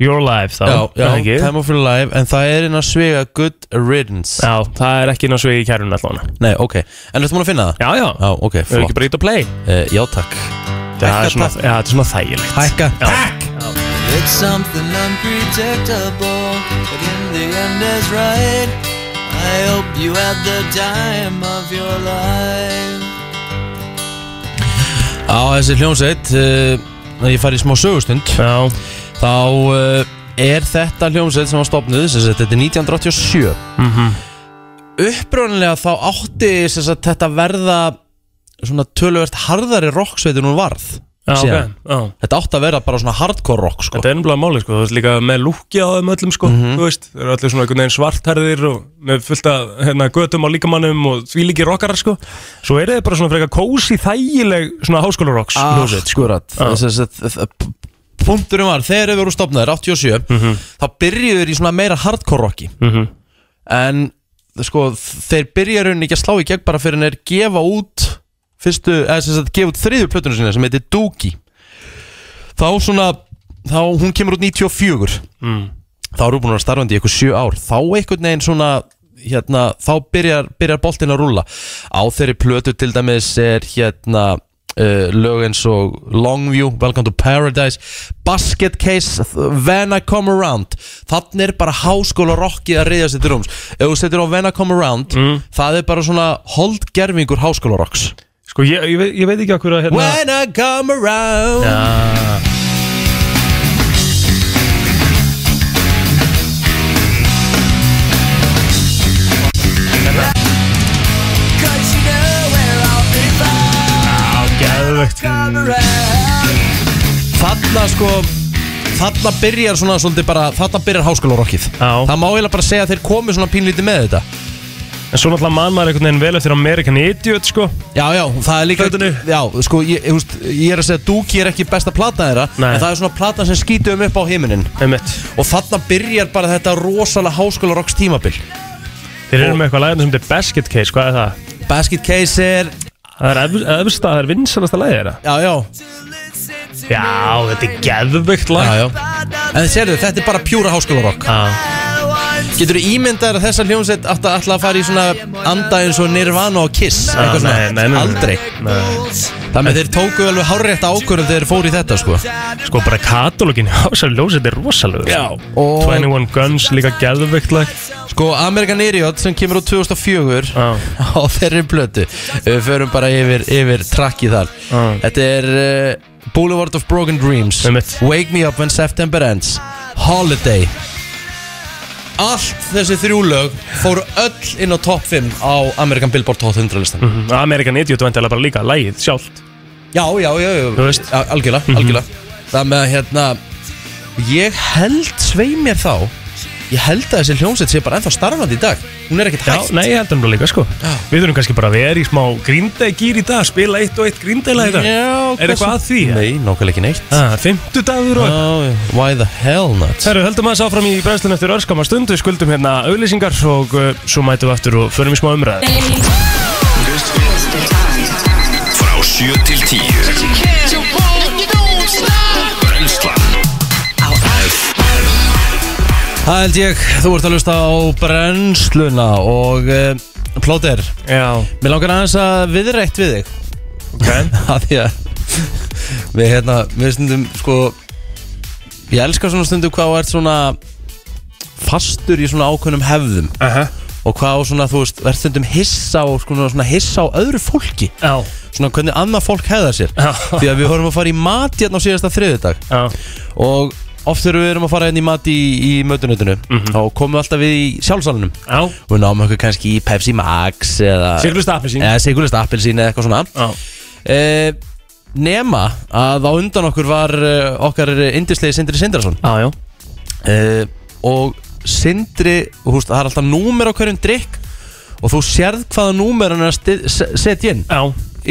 Speaker 3: Your Life þá,
Speaker 2: já, já,
Speaker 3: það ekki?
Speaker 2: Time of Your Life En það er inn að svega Good Riddance
Speaker 3: Já, það er ekki ná svegi í kærun allavega.
Speaker 2: Nei, ok, en ertu múin að finna það?
Speaker 3: Já, já,
Speaker 2: Já, ok,
Speaker 3: við erum ekki
Speaker 2: flott
Speaker 3: bara ít að play.
Speaker 2: uh, Já, takk
Speaker 3: Það er
Speaker 2: Hækka
Speaker 3: svona,
Speaker 2: takk.
Speaker 3: já, þetta er svona þægilegt.
Speaker 2: Hækka
Speaker 3: Já.
Speaker 5: It's something unpredictable, but in the end is right. I hope you had the time of your life.
Speaker 2: Á þessi hljómsveit uh, Ég fari í smá sögustund
Speaker 3: Já,
Speaker 2: Þá uh, er þetta hljómsveit sem var stopnuð sem sagt, Þetta er 1987
Speaker 3: mhm
Speaker 2: Upprónulega þá átti sem sagt, þetta verða Svona töluvert harðari rocksveit en hún varð
Speaker 3: Já, ok,
Speaker 2: síðan.
Speaker 3: já
Speaker 2: Þetta átti að vera bara svona hardcore rock sko. Mhm.
Speaker 3: Þetta er ennbláð máli, sko, þú veist líka með lúkja á þeim öllum, sko, þú veist, þeir eru allir svona einhvern veginn svartherðir og með fullt að, hérna, götum á líkamannum og því líki rockar, sko, svo eru þeir bara svona frekar kósi þægileg svona háskólarocks
Speaker 2: Ah.
Speaker 3: hljóðsveit, sko.
Speaker 2: Akkurat
Speaker 3: Já.
Speaker 2: Þess að- þ- þ- Punkturinn var, þegar við vorum stopnaðir 87 Þá byrjuðu þeir í svona meira hardcore rocki
Speaker 3: Mhm.
Speaker 2: En sko, þeir byrja í rauninni ekki að slá í gegn bara fyrir en þeir gefa út Fyrstu, eða sem sagt, gefa út þriðju plötunum sinni sem heitir Doogie Þá svona, þá hún kemur út 94
Speaker 3: Mm.
Speaker 2: Þá eru búin að vera starfandi í eitthvað sjö ár Þá einhvern veginn svona hérna, þá byrjar, byrjar boltinn að rúlla á þeirri plötu til dæmis er hérna uh, lög eins og Longview, Welcome to Paradise Basket Case, When I Come Around þannig er bara háskóla rockið að reyðast þetta rúms ef þú setur á When I Come Around
Speaker 3: Mm.
Speaker 2: það er bara svona holdgerfingur háskóla rocks
Speaker 3: Sko ég, ég, veit, ég veit ekki okkur að hérna
Speaker 2: When I Come Around
Speaker 5: Cause you know where I'll be found.
Speaker 3: Geðvegt
Speaker 5: Come around.
Speaker 2: Þarna sko Þarna byrjar svona svolítið bara Þarna byrjar háskólarokkið
Speaker 3: Já.
Speaker 2: Það má eiginlega bara segja að þeir komi svona pínlítið með þetta
Speaker 3: En svo náttúrulega mann maður einhvern veginn vel eftir American Idiot sko
Speaker 2: Já, já, það er líka
Speaker 3: Plötunni.
Speaker 2: Já, sko, ég, ég, veist, ég er að segja Dookie er ekki besta plata þeirra
Speaker 3: Nei.
Speaker 2: En það er svona plata sem skýtu um upp á himinin
Speaker 3: Einmitt.
Speaker 2: Og þarna byrjar bara þetta rosalega háskólarokks tímabil
Speaker 3: Þeir eru með eitthvað lagið sem þetta er Basket Case, hvað er það?
Speaker 2: Basket Case er
Speaker 3: Það er efst- efsta, það Ah, er vinsalasta lagið þeirra
Speaker 2: Já, já,
Speaker 3: Já, þetta er geðvegt lag
Speaker 2: já, já. En þið serðu, þetta er bara pjúra háskólarokk
Speaker 3: Já,
Speaker 2: Getur þú ímyndar að þessa hljómsveit átt að ætla að fara í svona anda eins og Nirvana og Kiss
Speaker 3: Ah,
Speaker 2: eitthvað
Speaker 3: nei, nei, nei, nei.
Speaker 2: svona, aldrei
Speaker 3: Nei.
Speaker 2: Þannig að þeir tóku alveg hárétt ákvörðum þegar þeir fóru í þetta sko
Speaker 3: sko bara katalógin Hásar ljósið er rosalegur
Speaker 2: Já.
Speaker 3: og...
Speaker 2: Og-
Speaker 3: 21 Guns, líka geðvegt lag
Speaker 2: Sko Amerikan Idiot sem kemur á 2004
Speaker 3: Já.
Speaker 2: á þeirri blötu Við förum bara yfir, yfir trakkið þar
Speaker 3: Já.
Speaker 2: Þetta er uh, Boulevard of Broken Dreams
Speaker 3: Einmitt.
Speaker 2: Wake Me Up When September Ends Holiday Allt þessi þrjú lög fóru öll inn á top 5 á Amerikan Billboard Top 100 listan
Speaker 3: Mhm. American Idiot vantilega bara líka lagið sjálft
Speaker 2: Já, já, já, já
Speaker 3: Þú veist. Mhm.
Speaker 2: Al- Algjörlega, algjörlega Það með að hérna Ég held svei mér þá Ég held að þessi hljómsveit sé bara ennþá starfandi í dag Hún er ekkert
Speaker 3: Já,
Speaker 2: hægt
Speaker 3: nei, ég heldur hann líka sko Við þurfum kannski bara að vera í smá gríndagýr í dag Spila eitt og eitt gríndaglæg í dag
Speaker 2: Já,
Speaker 3: Er eitthvað að því?
Speaker 2: Nei, nákvæmlega ekki neitt
Speaker 3: Ah, Fimmtu dagur og
Speaker 2: Já, já. Why the hell not
Speaker 3: Herru, höldum aðeins áfram í brennslun eftir örskama stund Við skuldum hérna auðlýsingar og uh, svo mætum við aftur og förum í smá umræði
Speaker 1: Frá 7 til 10 Brenslan
Speaker 2: Það held ég, þú ert að lusta á brennsluna Og uh, plóter
Speaker 3: Já,
Speaker 2: Mér langar aðeins að viðrætt við þig
Speaker 3: ok
Speaker 2: að því að við hérna, við stundum sko ég elskar svona stundum hvað þú ert svona fastur í svona ákveðnum hefðum
Speaker 3: Aha.
Speaker 2: og hvað á svona, þú veist, ert stundum hissa og sko svona hissa á öðru fólki
Speaker 3: Já,
Speaker 2: svona hvernig annað fólk hefða sér
Speaker 3: Já.
Speaker 2: því að við vorum að fara í mat hérna á síðasta þriðudag
Speaker 3: já,
Speaker 2: og oft þegar við erum að fara hérna í mat í, í mötunutinu þá komum við alltaf við í sjálfsalunum
Speaker 3: Mhm. já
Speaker 2: og við náum okkur kannski í Pepsi Max eða
Speaker 3: Sigurlust appelsín
Speaker 2: eða sigurlist appelsín eða eitthvað svona
Speaker 3: Já,
Speaker 2: Eh, nema að á undan okkur var eh, okkar indislegi Sindri Sindrason
Speaker 3: já, já
Speaker 2: uh, og Sindri, húst, það er alltaf númer á hverjum drikk og þú sérð hvaða númer hann er að sti- se- setja inn
Speaker 3: Já,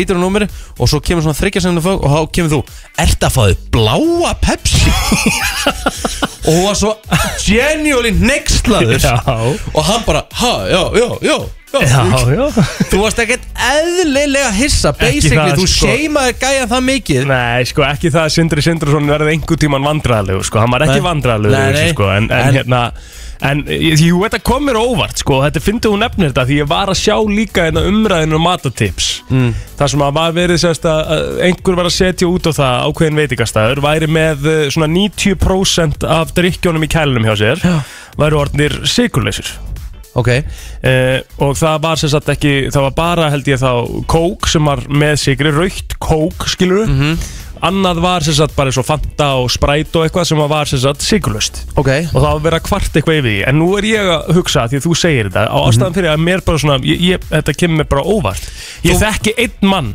Speaker 2: ítir á númeri og svo kemur svona þryggja sem og þá kemur þú, ert að fáðu bláa Pepsi og hún var svo genuinely nextlaður
Speaker 3: já,
Speaker 2: og hann bara, ha, já, já, já, já,
Speaker 3: já, já.
Speaker 2: Þú varst ekkert eðlilega hissa
Speaker 3: Ekki
Speaker 2: Basically,
Speaker 3: það,
Speaker 2: þú
Speaker 3: sko.
Speaker 2: seimaði gæja það mikið
Speaker 3: Nei, sko, ekki það að Sindri Sindrason verði einhver tíman vandræðalegu, sko, hann var ekki
Speaker 2: Nei.
Speaker 3: vandræðalegu
Speaker 2: Nei, nei.
Speaker 3: sko, en, en,
Speaker 2: En-
Speaker 3: hérna En eh, jú, þetta kom mér á óvart, sko, þetta fyndi hún nefnir þetta því ég var að sjá líka hérna umræðinu um matatips mm. þar sem að var verið sérst að að einhver var að setja út á það ákveðin veitingastæður væri með eh, svona 90% af drikkjónum í kælunum hjá sér
Speaker 2: Já.
Speaker 3: væru orðnir sigurleysir
Speaker 2: Ok,
Speaker 3: Uh, og það var sem sagt ekki það var bara held ég þá kók sem var með sigri, raukt kók skilur
Speaker 2: Mhm.
Speaker 3: annað var sem sagt bara svo fanta og spræt og eitthvað sem var sem sagt sigurlust
Speaker 2: ok
Speaker 3: og það var verið að kvart eitthvað yfir því en nú er ég að hugsa því að þú segir þetta á
Speaker 2: Mhm.
Speaker 3: ástæðan fyrir að mér bara svona ég, ég, þetta kemur mér bara óvart ég
Speaker 2: Þú-
Speaker 3: þekki einn mann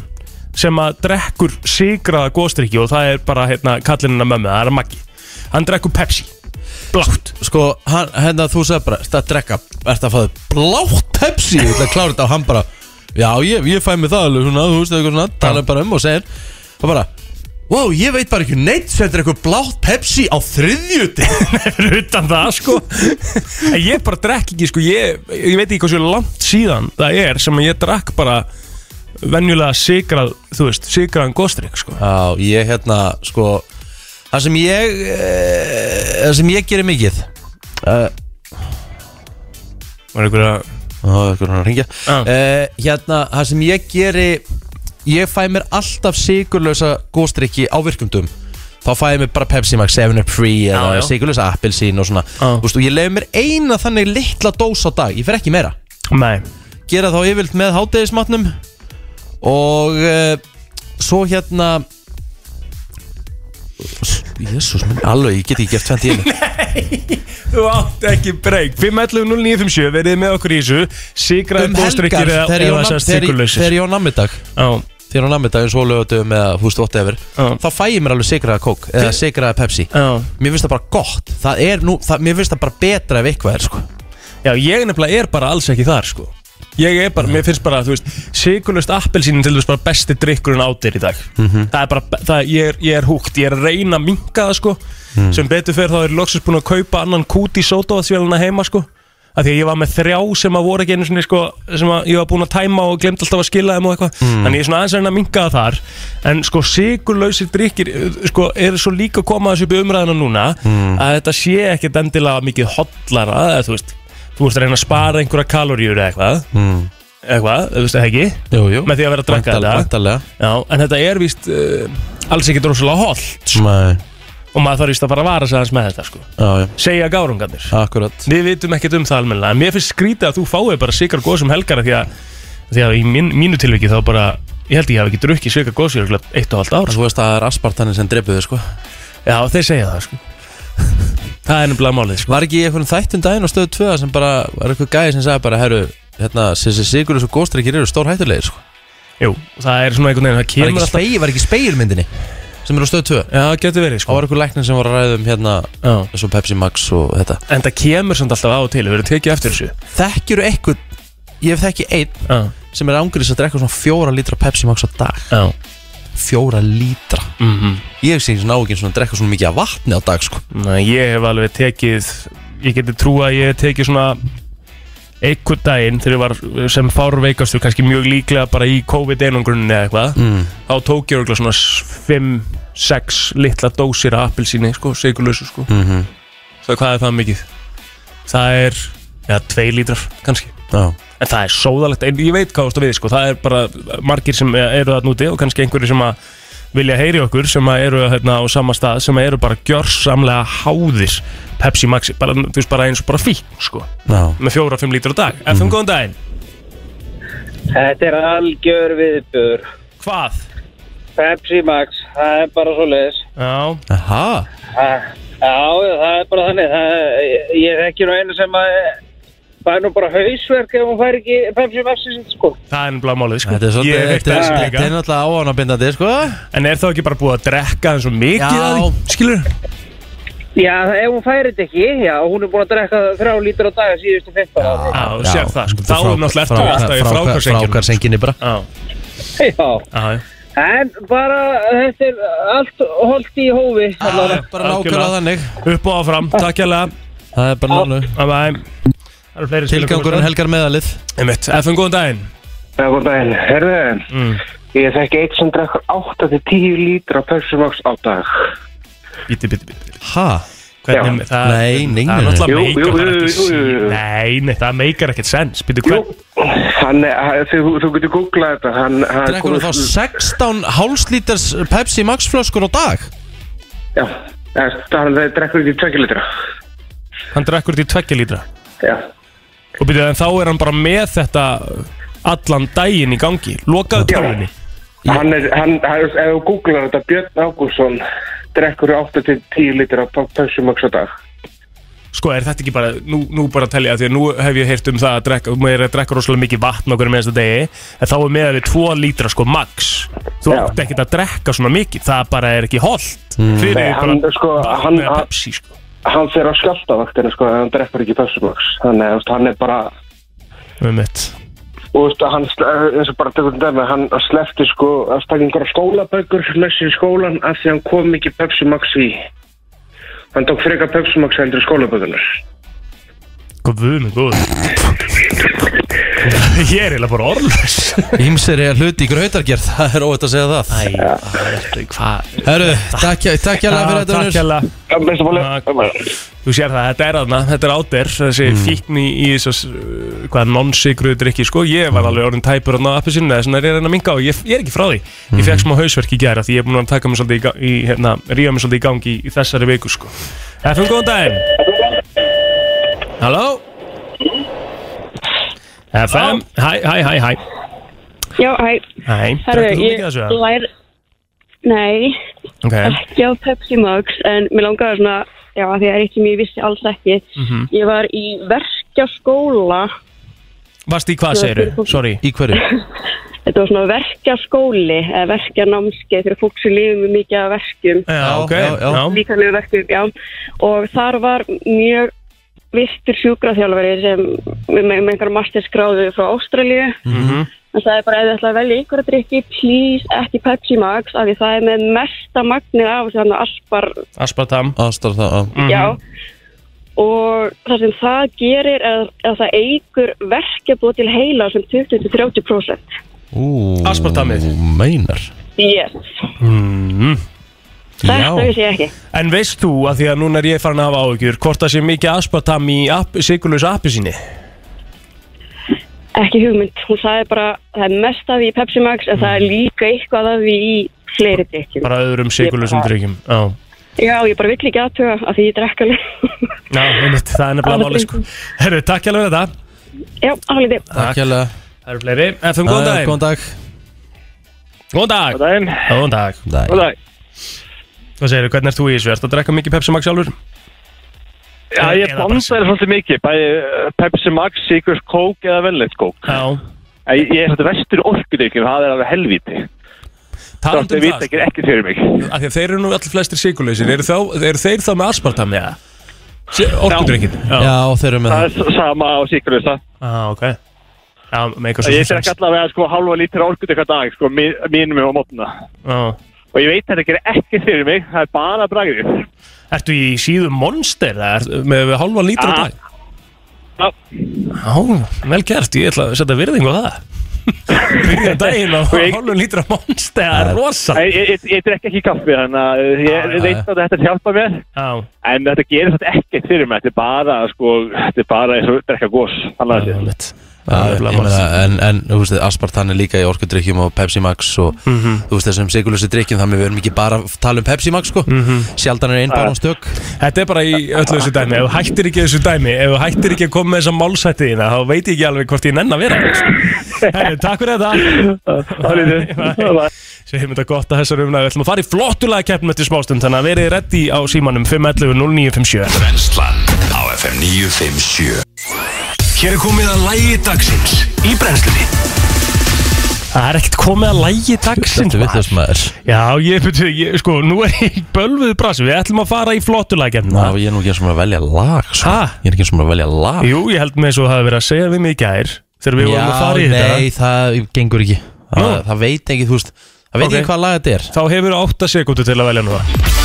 Speaker 3: sem að drekkur sigraða góðstrykki og það er bara hérna kallinina mömmu, það er Maggi hann drekkur Pepsi, blátt
Speaker 2: Sko, hann, hérna þú sagði bara Það drekka, ert að fáðu blátt Pepsi Ég ætla að klára þetta og hann bara Já, ég, ég fæ mig það alveg svona, þú veist eitthvað svona Talar bara um og segir Og bara, wow, ég veit bara ekki neitt Sem þetta er eitthvað blátt Pepsi á þriðjuti
Speaker 3: fyrir utan það sko en ég bara drekk ekki sko ég, ég veit ekki hversu langt síðan það er sem að ég drakk bara venjulega sigrað, þú veist, sigraðan góðstrykk sko.
Speaker 2: Já, ég hérna, sko Það sem ég eh, Það sem ég gerir mikið uh,
Speaker 3: var einhverja
Speaker 2: Það er eitthvað hann að Eh, ringja
Speaker 3: Já.
Speaker 2: uh, Hérna, það sem ég geri ég fæ mér alltaf sigurlösa góstrykki á virkundum þá fæ ég mér bara Pepsi Max 7up Free
Speaker 3: Já, já.
Speaker 2: eða sigurlösa appelsín og svona
Speaker 3: Já.
Speaker 2: Þú veist, og ég leif mér eina þannig litla dós á dag, ég fer ekki meira
Speaker 3: Nei,
Speaker 2: gera þá yfirlt með hátegismatnum og uh, svo hérna Jésús minn, alveg, ég get ekki gert 20 einu
Speaker 3: þú átt ekki breyk 5.11.09.57 verið með okkur í þessu Sigraði
Speaker 2: Um helgar,
Speaker 3: bóstrykkir eða
Speaker 2: þegar ég á
Speaker 3: eða
Speaker 2: nam-
Speaker 3: sérst
Speaker 2: þegar ég-
Speaker 3: sigurlausir
Speaker 2: þegar ég á nammidag
Speaker 3: Já,
Speaker 2: Þegar ég á nammidag eins og lögutum eða húst vott efir
Speaker 3: Já.
Speaker 2: Þá fæ ég mér alveg sigraða kók eða sigraða pepsi
Speaker 3: já
Speaker 2: Mér finnst það bara gott Það er nú, það, mér finnst það bara betra ef eitthvað er sko
Speaker 3: Já, ég nefnilega er bara alls ekki þar sko Ég er bara, mér finnst bara, þú veist Sigurlust appelsínin til þess bara besti drikkurinn átir í dag
Speaker 6: Mhm.
Speaker 3: Það er bara, það, er- ég, er, ég er húgt Ég er að reyna að minka það sko Sem betur fer þá er ég loksins búin að kaupa annan kút í sótáðsvélina heima sko Af því að ég var með þrjá sem að voru ekki einu sinni sko Sem að ég var búin að tæma og glemt alltaf að skila þeim og eitthvað Þannig ég er svona aðeins að reyna að minka það þar En sko sigurlausir drikkir uh, Sko er svo líka að koma þessu upp í umræðina núna Að þetta sé ekkert endilega mikið hotlara eða, Þú veist, þú veist að reyna að spara einhverja kaloríur eða eitthvað mm.
Speaker 2: Hmm.
Speaker 3: eitthvað, þú veist það ekki
Speaker 2: Jú, jú
Speaker 3: með því að vera að drakka þetta
Speaker 2: Vantarlega
Speaker 3: Já, en þetta er víst uh, alls ekki drosalega holt
Speaker 2: Nei,
Speaker 3: og maður þarf víst að fara að vara sig aðeins með þetta sko.
Speaker 2: já, já,
Speaker 3: segja gárungarnir
Speaker 2: akkurat
Speaker 3: við vitum ekkert um það almennilega en mér finnst skrítið að þú fáið bara sikar góðsum helgar af því að, af því að í mín, mínu tilviki þá bara ég held ég hafi ekki drukkið sikar góðs í örugglega eitt og halvt ár sko.
Speaker 2: Þú veist að það er aspartanin sem dreipuðu sko
Speaker 3: Já, þeir segja það sko. það er nefnilega málið sko.
Speaker 2: Var ekki í einhvern þættum daginn á stöðu 2 sem bara var einhver gæði sem sagði bara herru, hérna, þessi sigurlösa góstrykkir eru stór hættulegir sko
Speaker 3: Jú, það er svona einhvern veginn það
Speaker 2: Var
Speaker 3: kemur
Speaker 2: ekki,
Speaker 3: alltaf
Speaker 2: spegil, var ekki spegilmyndinni sem er á stöðu 2
Speaker 3: Já, það getur verið
Speaker 2: Þá
Speaker 3: sko.
Speaker 2: var einhver læknir sem var að ræða um hérna
Speaker 3: Já.
Speaker 2: eins og Pepsi Max og þetta
Speaker 3: en það kemur samt alltaf á og til við erum tekið eftir þessu
Speaker 2: Þekkjur eitthvað, ég hef þekki einn
Speaker 3: Já,
Speaker 2: sem er ángurðis að drekka svona fjóra lítra Pepsi Max á dag
Speaker 3: já
Speaker 2: Fjóra lítra
Speaker 3: Mhm.
Speaker 2: Ég sé ekki svona áginn svona að drekka svona mikið af vatni á dag sko
Speaker 3: Nei, ég hef alveg tekið Ég geti trú að ég hef tekið svona einhvern daginn þegar ég var sem fárveikastur kannski mjög líklega bara í COVID-einangrunni eða eitthvað mm. þá tók ég örgulega svona 5-6 litla dósir af appelsíni sko, sigurlausu sko mm
Speaker 2: Mhm.
Speaker 3: -hmm. svo hvað er það mikið? það er, já, 2 lítrar kannski
Speaker 2: Já,
Speaker 3: en það er sóðalegt, en ég veit hvað ástu við sko, það er bara margir sem eru þarna úti og kannski einhverju sem að vilja heyri okkur sem að eru hérna á sama stað sem að eru bara gjörsamlega háðir Pepsi Maxi, bara, þú veist bara eins og bara fín sko,
Speaker 2: já, Mhm.
Speaker 3: með fjóra, fimm lítur á dag FM, góðan daginn,
Speaker 7: Þetta er algjör viðbjör.
Speaker 3: hvað?
Speaker 7: Pepsi Max, það er bara svo leiðis.
Speaker 3: Já,
Speaker 2: aha
Speaker 7: Já, það er bara þannig. Það, ég, ég þekki nú einu sem að það er nú bara hausverk ef hún fær ekki Pepsi Maxi sitt sko.
Speaker 3: það er ennblá málið sko
Speaker 2: Þetta er
Speaker 3: Ég
Speaker 2: svolítið,
Speaker 3: hef heyrt
Speaker 2: þetta er-
Speaker 3: þessu
Speaker 2: þetta er
Speaker 3: líka.
Speaker 2: náttúrulega áanabindandi sko
Speaker 3: En er þá ekki bara búið að drekka eins og mikið
Speaker 2: Já.
Speaker 3: að því, skilur?
Speaker 7: Já, ef hún fær þetta ekki, já, hún er búin að drekka þrjá lítur á daga síðustu 15 ári.
Speaker 3: Já, þú sér það sko, þá er náttúrulega ertu alltaf í frákarsengjum
Speaker 2: frákarsenginni bara
Speaker 3: Já,
Speaker 7: Já,
Speaker 3: já, já
Speaker 7: en bara þetta er allt holdt í hófi. allavega.
Speaker 2: Bara nákvæmlega þannig
Speaker 3: Upp og áfram, takk hérlega
Speaker 2: Það er bara nánu
Speaker 3: Bye bye Það eru fleiri
Speaker 2: Tilgangurinn helgar meðalið
Speaker 3: Emitt, FN góðan daginn
Speaker 6: Já, góð Mhm. daginn. Herðu,
Speaker 3: Mm.
Speaker 6: ég þekki eitt sem drekkur 8-10 lítra Pepsi Max á dag.
Speaker 3: Bíti, bíti, bíti
Speaker 2: Ha?
Speaker 3: Hvernig, það,
Speaker 2: Nei, nei,
Speaker 3: það er
Speaker 6: Jú,
Speaker 2: nei.
Speaker 3: náttúrulega
Speaker 6: jú, jú,
Speaker 3: meikar það ekki
Speaker 6: jú, jú, jú,
Speaker 3: sí-
Speaker 6: jú.
Speaker 3: Nei, nei, það meikar ekkert sens Býtu
Speaker 6: Jú,
Speaker 3: hvern
Speaker 6: hann er, hann- þú, þú getur googlað þetta. Hann, hann
Speaker 2: Drekkur þú þá 16 hálslítars Pepsi Max flöskur á dag?
Speaker 6: Já, það, hann drekkur ekki 2 lítra.
Speaker 3: Hann drekkur þetta í tveggja lítra
Speaker 6: Já,
Speaker 3: Og býtu, en þá er hann bara með þetta Allan daginn í gangi Lokaðu
Speaker 6: Já.
Speaker 3: tölunni
Speaker 6: hann er, hann, hann, ef þú googlar þetta, Björn Ágússon drekkur 8-10 lítra Pepsi Max á dag.
Speaker 3: Sko, er þetta ekki bara, nú, nú bara að telja Því að nú hef ég heyrt um það að drekka Mér er að drekka rosalega mikið vatn okkur með þessa degi En þá er meðan við tvo lítra, sko, max Þú
Speaker 6: Já.
Speaker 3: átt ekkert að drekka svona mikið Það bara er ekki holdt
Speaker 2: Mm.
Speaker 3: Mm. Fyrir
Speaker 6: Nei,
Speaker 3: bara
Speaker 6: hann, sko,
Speaker 3: vatn
Speaker 6: hann-
Speaker 3: eða
Speaker 6: hann-
Speaker 3: Pepsi, sko
Speaker 6: Hann fer á skjáltavaktinu, sko, ef hann drekkur ekki Pepsi Max. Þannig, þú veist, hann er bara...
Speaker 3: Einmitt.
Speaker 6: og veist, hann, sle- eh, eins og bara tökum dæmi, hann slefti sko að stakka einhverja skólaböggur, lesið í skólan af því hann kom ekki Pepsi Max í. Hann tók freka Pepsi Max heldur í skólaböggunar.
Speaker 3: Guð minn góður Ég er eiginlega bara orðlös
Speaker 2: Ímsir er hluti í grautargerð, það er óvægt að segja það
Speaker 8: Æ, hvað
Speaker 2: Herru, takk, takk hérlega fyrir þetta
Speaker 3: Takk
Speaker 2: Unnur.
Speaker 3: hella
Speaker 6: Besta fólk
Speaker 3: Takk. Þú sér það, þetta er aðna, þetta er átber þessi mm. fíkni í þess að hvaða non-sigruðu drikki, sko, ég
Speaker 2: Mm.
Speaker 3: var alveg orðin tæpur aðna á appi sinni, þess vegna er ég að reyna að minga og ég, ég er ekki frá því, ég
Speaker 2: Mm.
Speaker 3: fekk smá hausverk í gæra því ég er búin að taka mig svolítið í, ga- í hérna, ríða mig svolítið í gangi í, í þessari viku, sko FM, góðan daginn Halló FM, hæ, hæ, hæ, hæ
Speaker 9: Já, hæ,
Speaker 3: Hæ,
Speaker 9: herru,
Speaker 3: drekkur þú
Speaker 9: ég
Speaker 3: mikið af þessu?
Speaker 9: lær Nei,
Speaker 3: eða? Ok,
Speaker 9: ekki á Pepsi Max En mér langaði svona, já, af því það er eitt sem ég vissi alls ekki
Speaker 3: Mhm.
Speaker 9: Ég var í verkjaskóla
Speaker 3: varst í hvað segir Sorry
Speaker 2: Í hverju?
Speaker 9: Þetta var svona verkjaskóli Eða verkjanámskeið fyrir fólk sem lifið með mikið af verkjum
Speaker 3: Já, ok,
Speaker 2: já, já.
Speaker 3: já.
Speaker 9: Líkanlegu verkjum, já Og þar var mjög virtur sjúkraþjálfari sem með, með einhverjum masterskráðu frá Ástralíu
Speaker 3: Mhm.
Speaker 9: en það er bara ef þið ætlaði að velja ykkur að drikki please ekki Pepsi Max af því það er með mesta magnið af þessu hann aspar
Speaker 3: Aspartam Mhm.
Speaker 2: Aðstar það, á.
Speaker 9: Já, og það sem það gerir er að það eigur verkefni til heila sem 20-30%.
Speaker 2: Ú,
Speaker 3: Aspartamið.
Speaker 2: Meinar
Speaker 9: Yes,
Speaker 3: mm.
Speaker 9: þetta veist ég ekki.
Speaker 3: En veist þú að því að núna er ég farin að hafa áhugjur hvort það sé mikið aspartam í app, sigurlaus appi sinni?
Speaker 9: Ekki hugmynd, hún sagði bara það er mest af því í Pepsi Max en það er líka eitthvað af því í fleiri drikkjum.
Speaker 3: Bara öðrum
Speaker 9: Ég
Speaker 3: sigurlausum
Speaker 9: bara-
Speaker 3: drikkjum Já,
Speaker 9: Já, ég bara vill ekki aðtuga af því ég drekka alveg.
Speaker 3: Já einmitt, það er nefnilega
Speaker 9: Alveg
Speaker 3: máli sko Herru, takk hjálpa fyrir þetta
Speaker 9: Já, álítið.
Speaker 2: Takk hérlega
Speaker 3: Það eru fleiri, FM um, góðan
Speaker 2: Jæja,
Speaker 3: dag
Speaker 2: Góðan dag
Speaker 3: Góðan dag
Speaker 6: Daginn
Speaker 3: Góðan dag
Speaker 2: Dag.
Speaker 6: dag
Speaker 3: Hvað segir hvernig ert þú í þessu? Ertu að drekka mikið Pepsi Max sjálfur?
Speaker 6: Já, ég
Speaker 3: Eða bara-
Speaker 6: blanda þér svolítið mikið Bæði eh, Pepsi Max, Seekers Coke eða Velvet Coke
Speaker 3: Já
Speaker 6: En Ég ég er svolítið vestur orkudrykjum Það er alveg helvíti Það
Speaker 3: Talandi um
Speaker 6: vita
Speaker 3: það
Speaker 6: ekki ekki fyrir mig
Speaker 3: Af því að þeir eru nú allir flestir sigurlausir Eru, þá- eru þeir þá með aspartam eða? Orkudrykkin Já,
Speaker 2: Já, þeir eru með
Speaker 6: Það
Speaker 2: það
Speaker 6: er s- sama á Seekers Ég
Speaker 3: Já, ok Já, með eitthvað svo
Speaker 6: drekk allavega sko halva lítra orkudrykk að dag Sko mi- mínum á mótna
Speaker 3: Já
Speaker 6: Og ég veit þetta gerir ekki fyrir mig Það er bara bragðið
Speaker 3: Ertu í síðu monster eða ertu með halvan lítra á
Speaker 6: Já.
Speaker 3: dag? Já, vel gert, ég ætla að setja virðingu á það Byrja daginn á
Speaker 6: ég-
Speaker 3: halvan lítra monster, það er rosa
Speaker 6: Eh, Ég, ég, ég, ég drekk ekki kaffi Þannig að eh,
Speaker 3: Já,
Speaker 6: ég
Speaker 3: já,
Speaker 6: ég veit að þetta hjálpa mér
Speaker 3: Já,
Speaker 6: En þetta gerir þetta ekkert fyrir mig Þetta er bara, sko, þetta er bara eins og drekka gós Þannig að
Speaker 3: það er
Speaker 6: þetta
Speaker 3: mitt
Speaker 2: Já, ég meina, En, en þú veist, aspartan er líka í orkudrykkjum og Pepsi Max og
Speaker 3: Mhm.
Speaker 2: þú veist þessum sigurlösi drykkjum þannig við erum ekki bara að tala um Pepsi Max sko
Speaker 3: Mhm.
Speaker 2: sjaldan er einn bara um stök
Speaker 3: Þetta er bara í öllu þessu dæmi Ef þú hættir ekki þessu dæmi, ef þú hættir ekki að koma með þessa málsætti þína þá veit ég ekki alveg hvort ég nenn að vera sko. Herri, takk fyrir þetta
Speaker 6: Það er þetta
Speaker 3: Segjum þetta gott að þessar umlega Við ætlum að fara í flottulega keppnum eftir smástund Þannig að verið reddi á símanum 511 0957
Speaker 1: Brennslan á FM 957 Hér er komið að lægi dagsins í brennslunni
Speaker 3: Það er ekkert komið að lægi dagsins
Speaker 2: Þetta við þess maður
Speaker 3: Já, ég betur, ég, sko, nú er ég í bölvuðu brasi Við ætlum að fara í flottulækjarna
Speaker 2: Ná, ég er nú ekki eins og maður að velja lag sko.
Speaker 3: Ha?
Speaker 2: Ég er ekki eins og maður að velja lag
Speaker 3: Jú, ég held með svo að það hafi verið að segja við mig í gær Þegar við vorum að
Speaker 2: Já,
Speaker 3: fara í
Speaker 2: nei, það gengur ekki það, það veit ekki, þú veist Það veit
Speaker 3: Ok.
Speaker 2: ekki hvað lag þetta er
Speaker 3: þetta Þá hefur 8 sekundu til að velja núna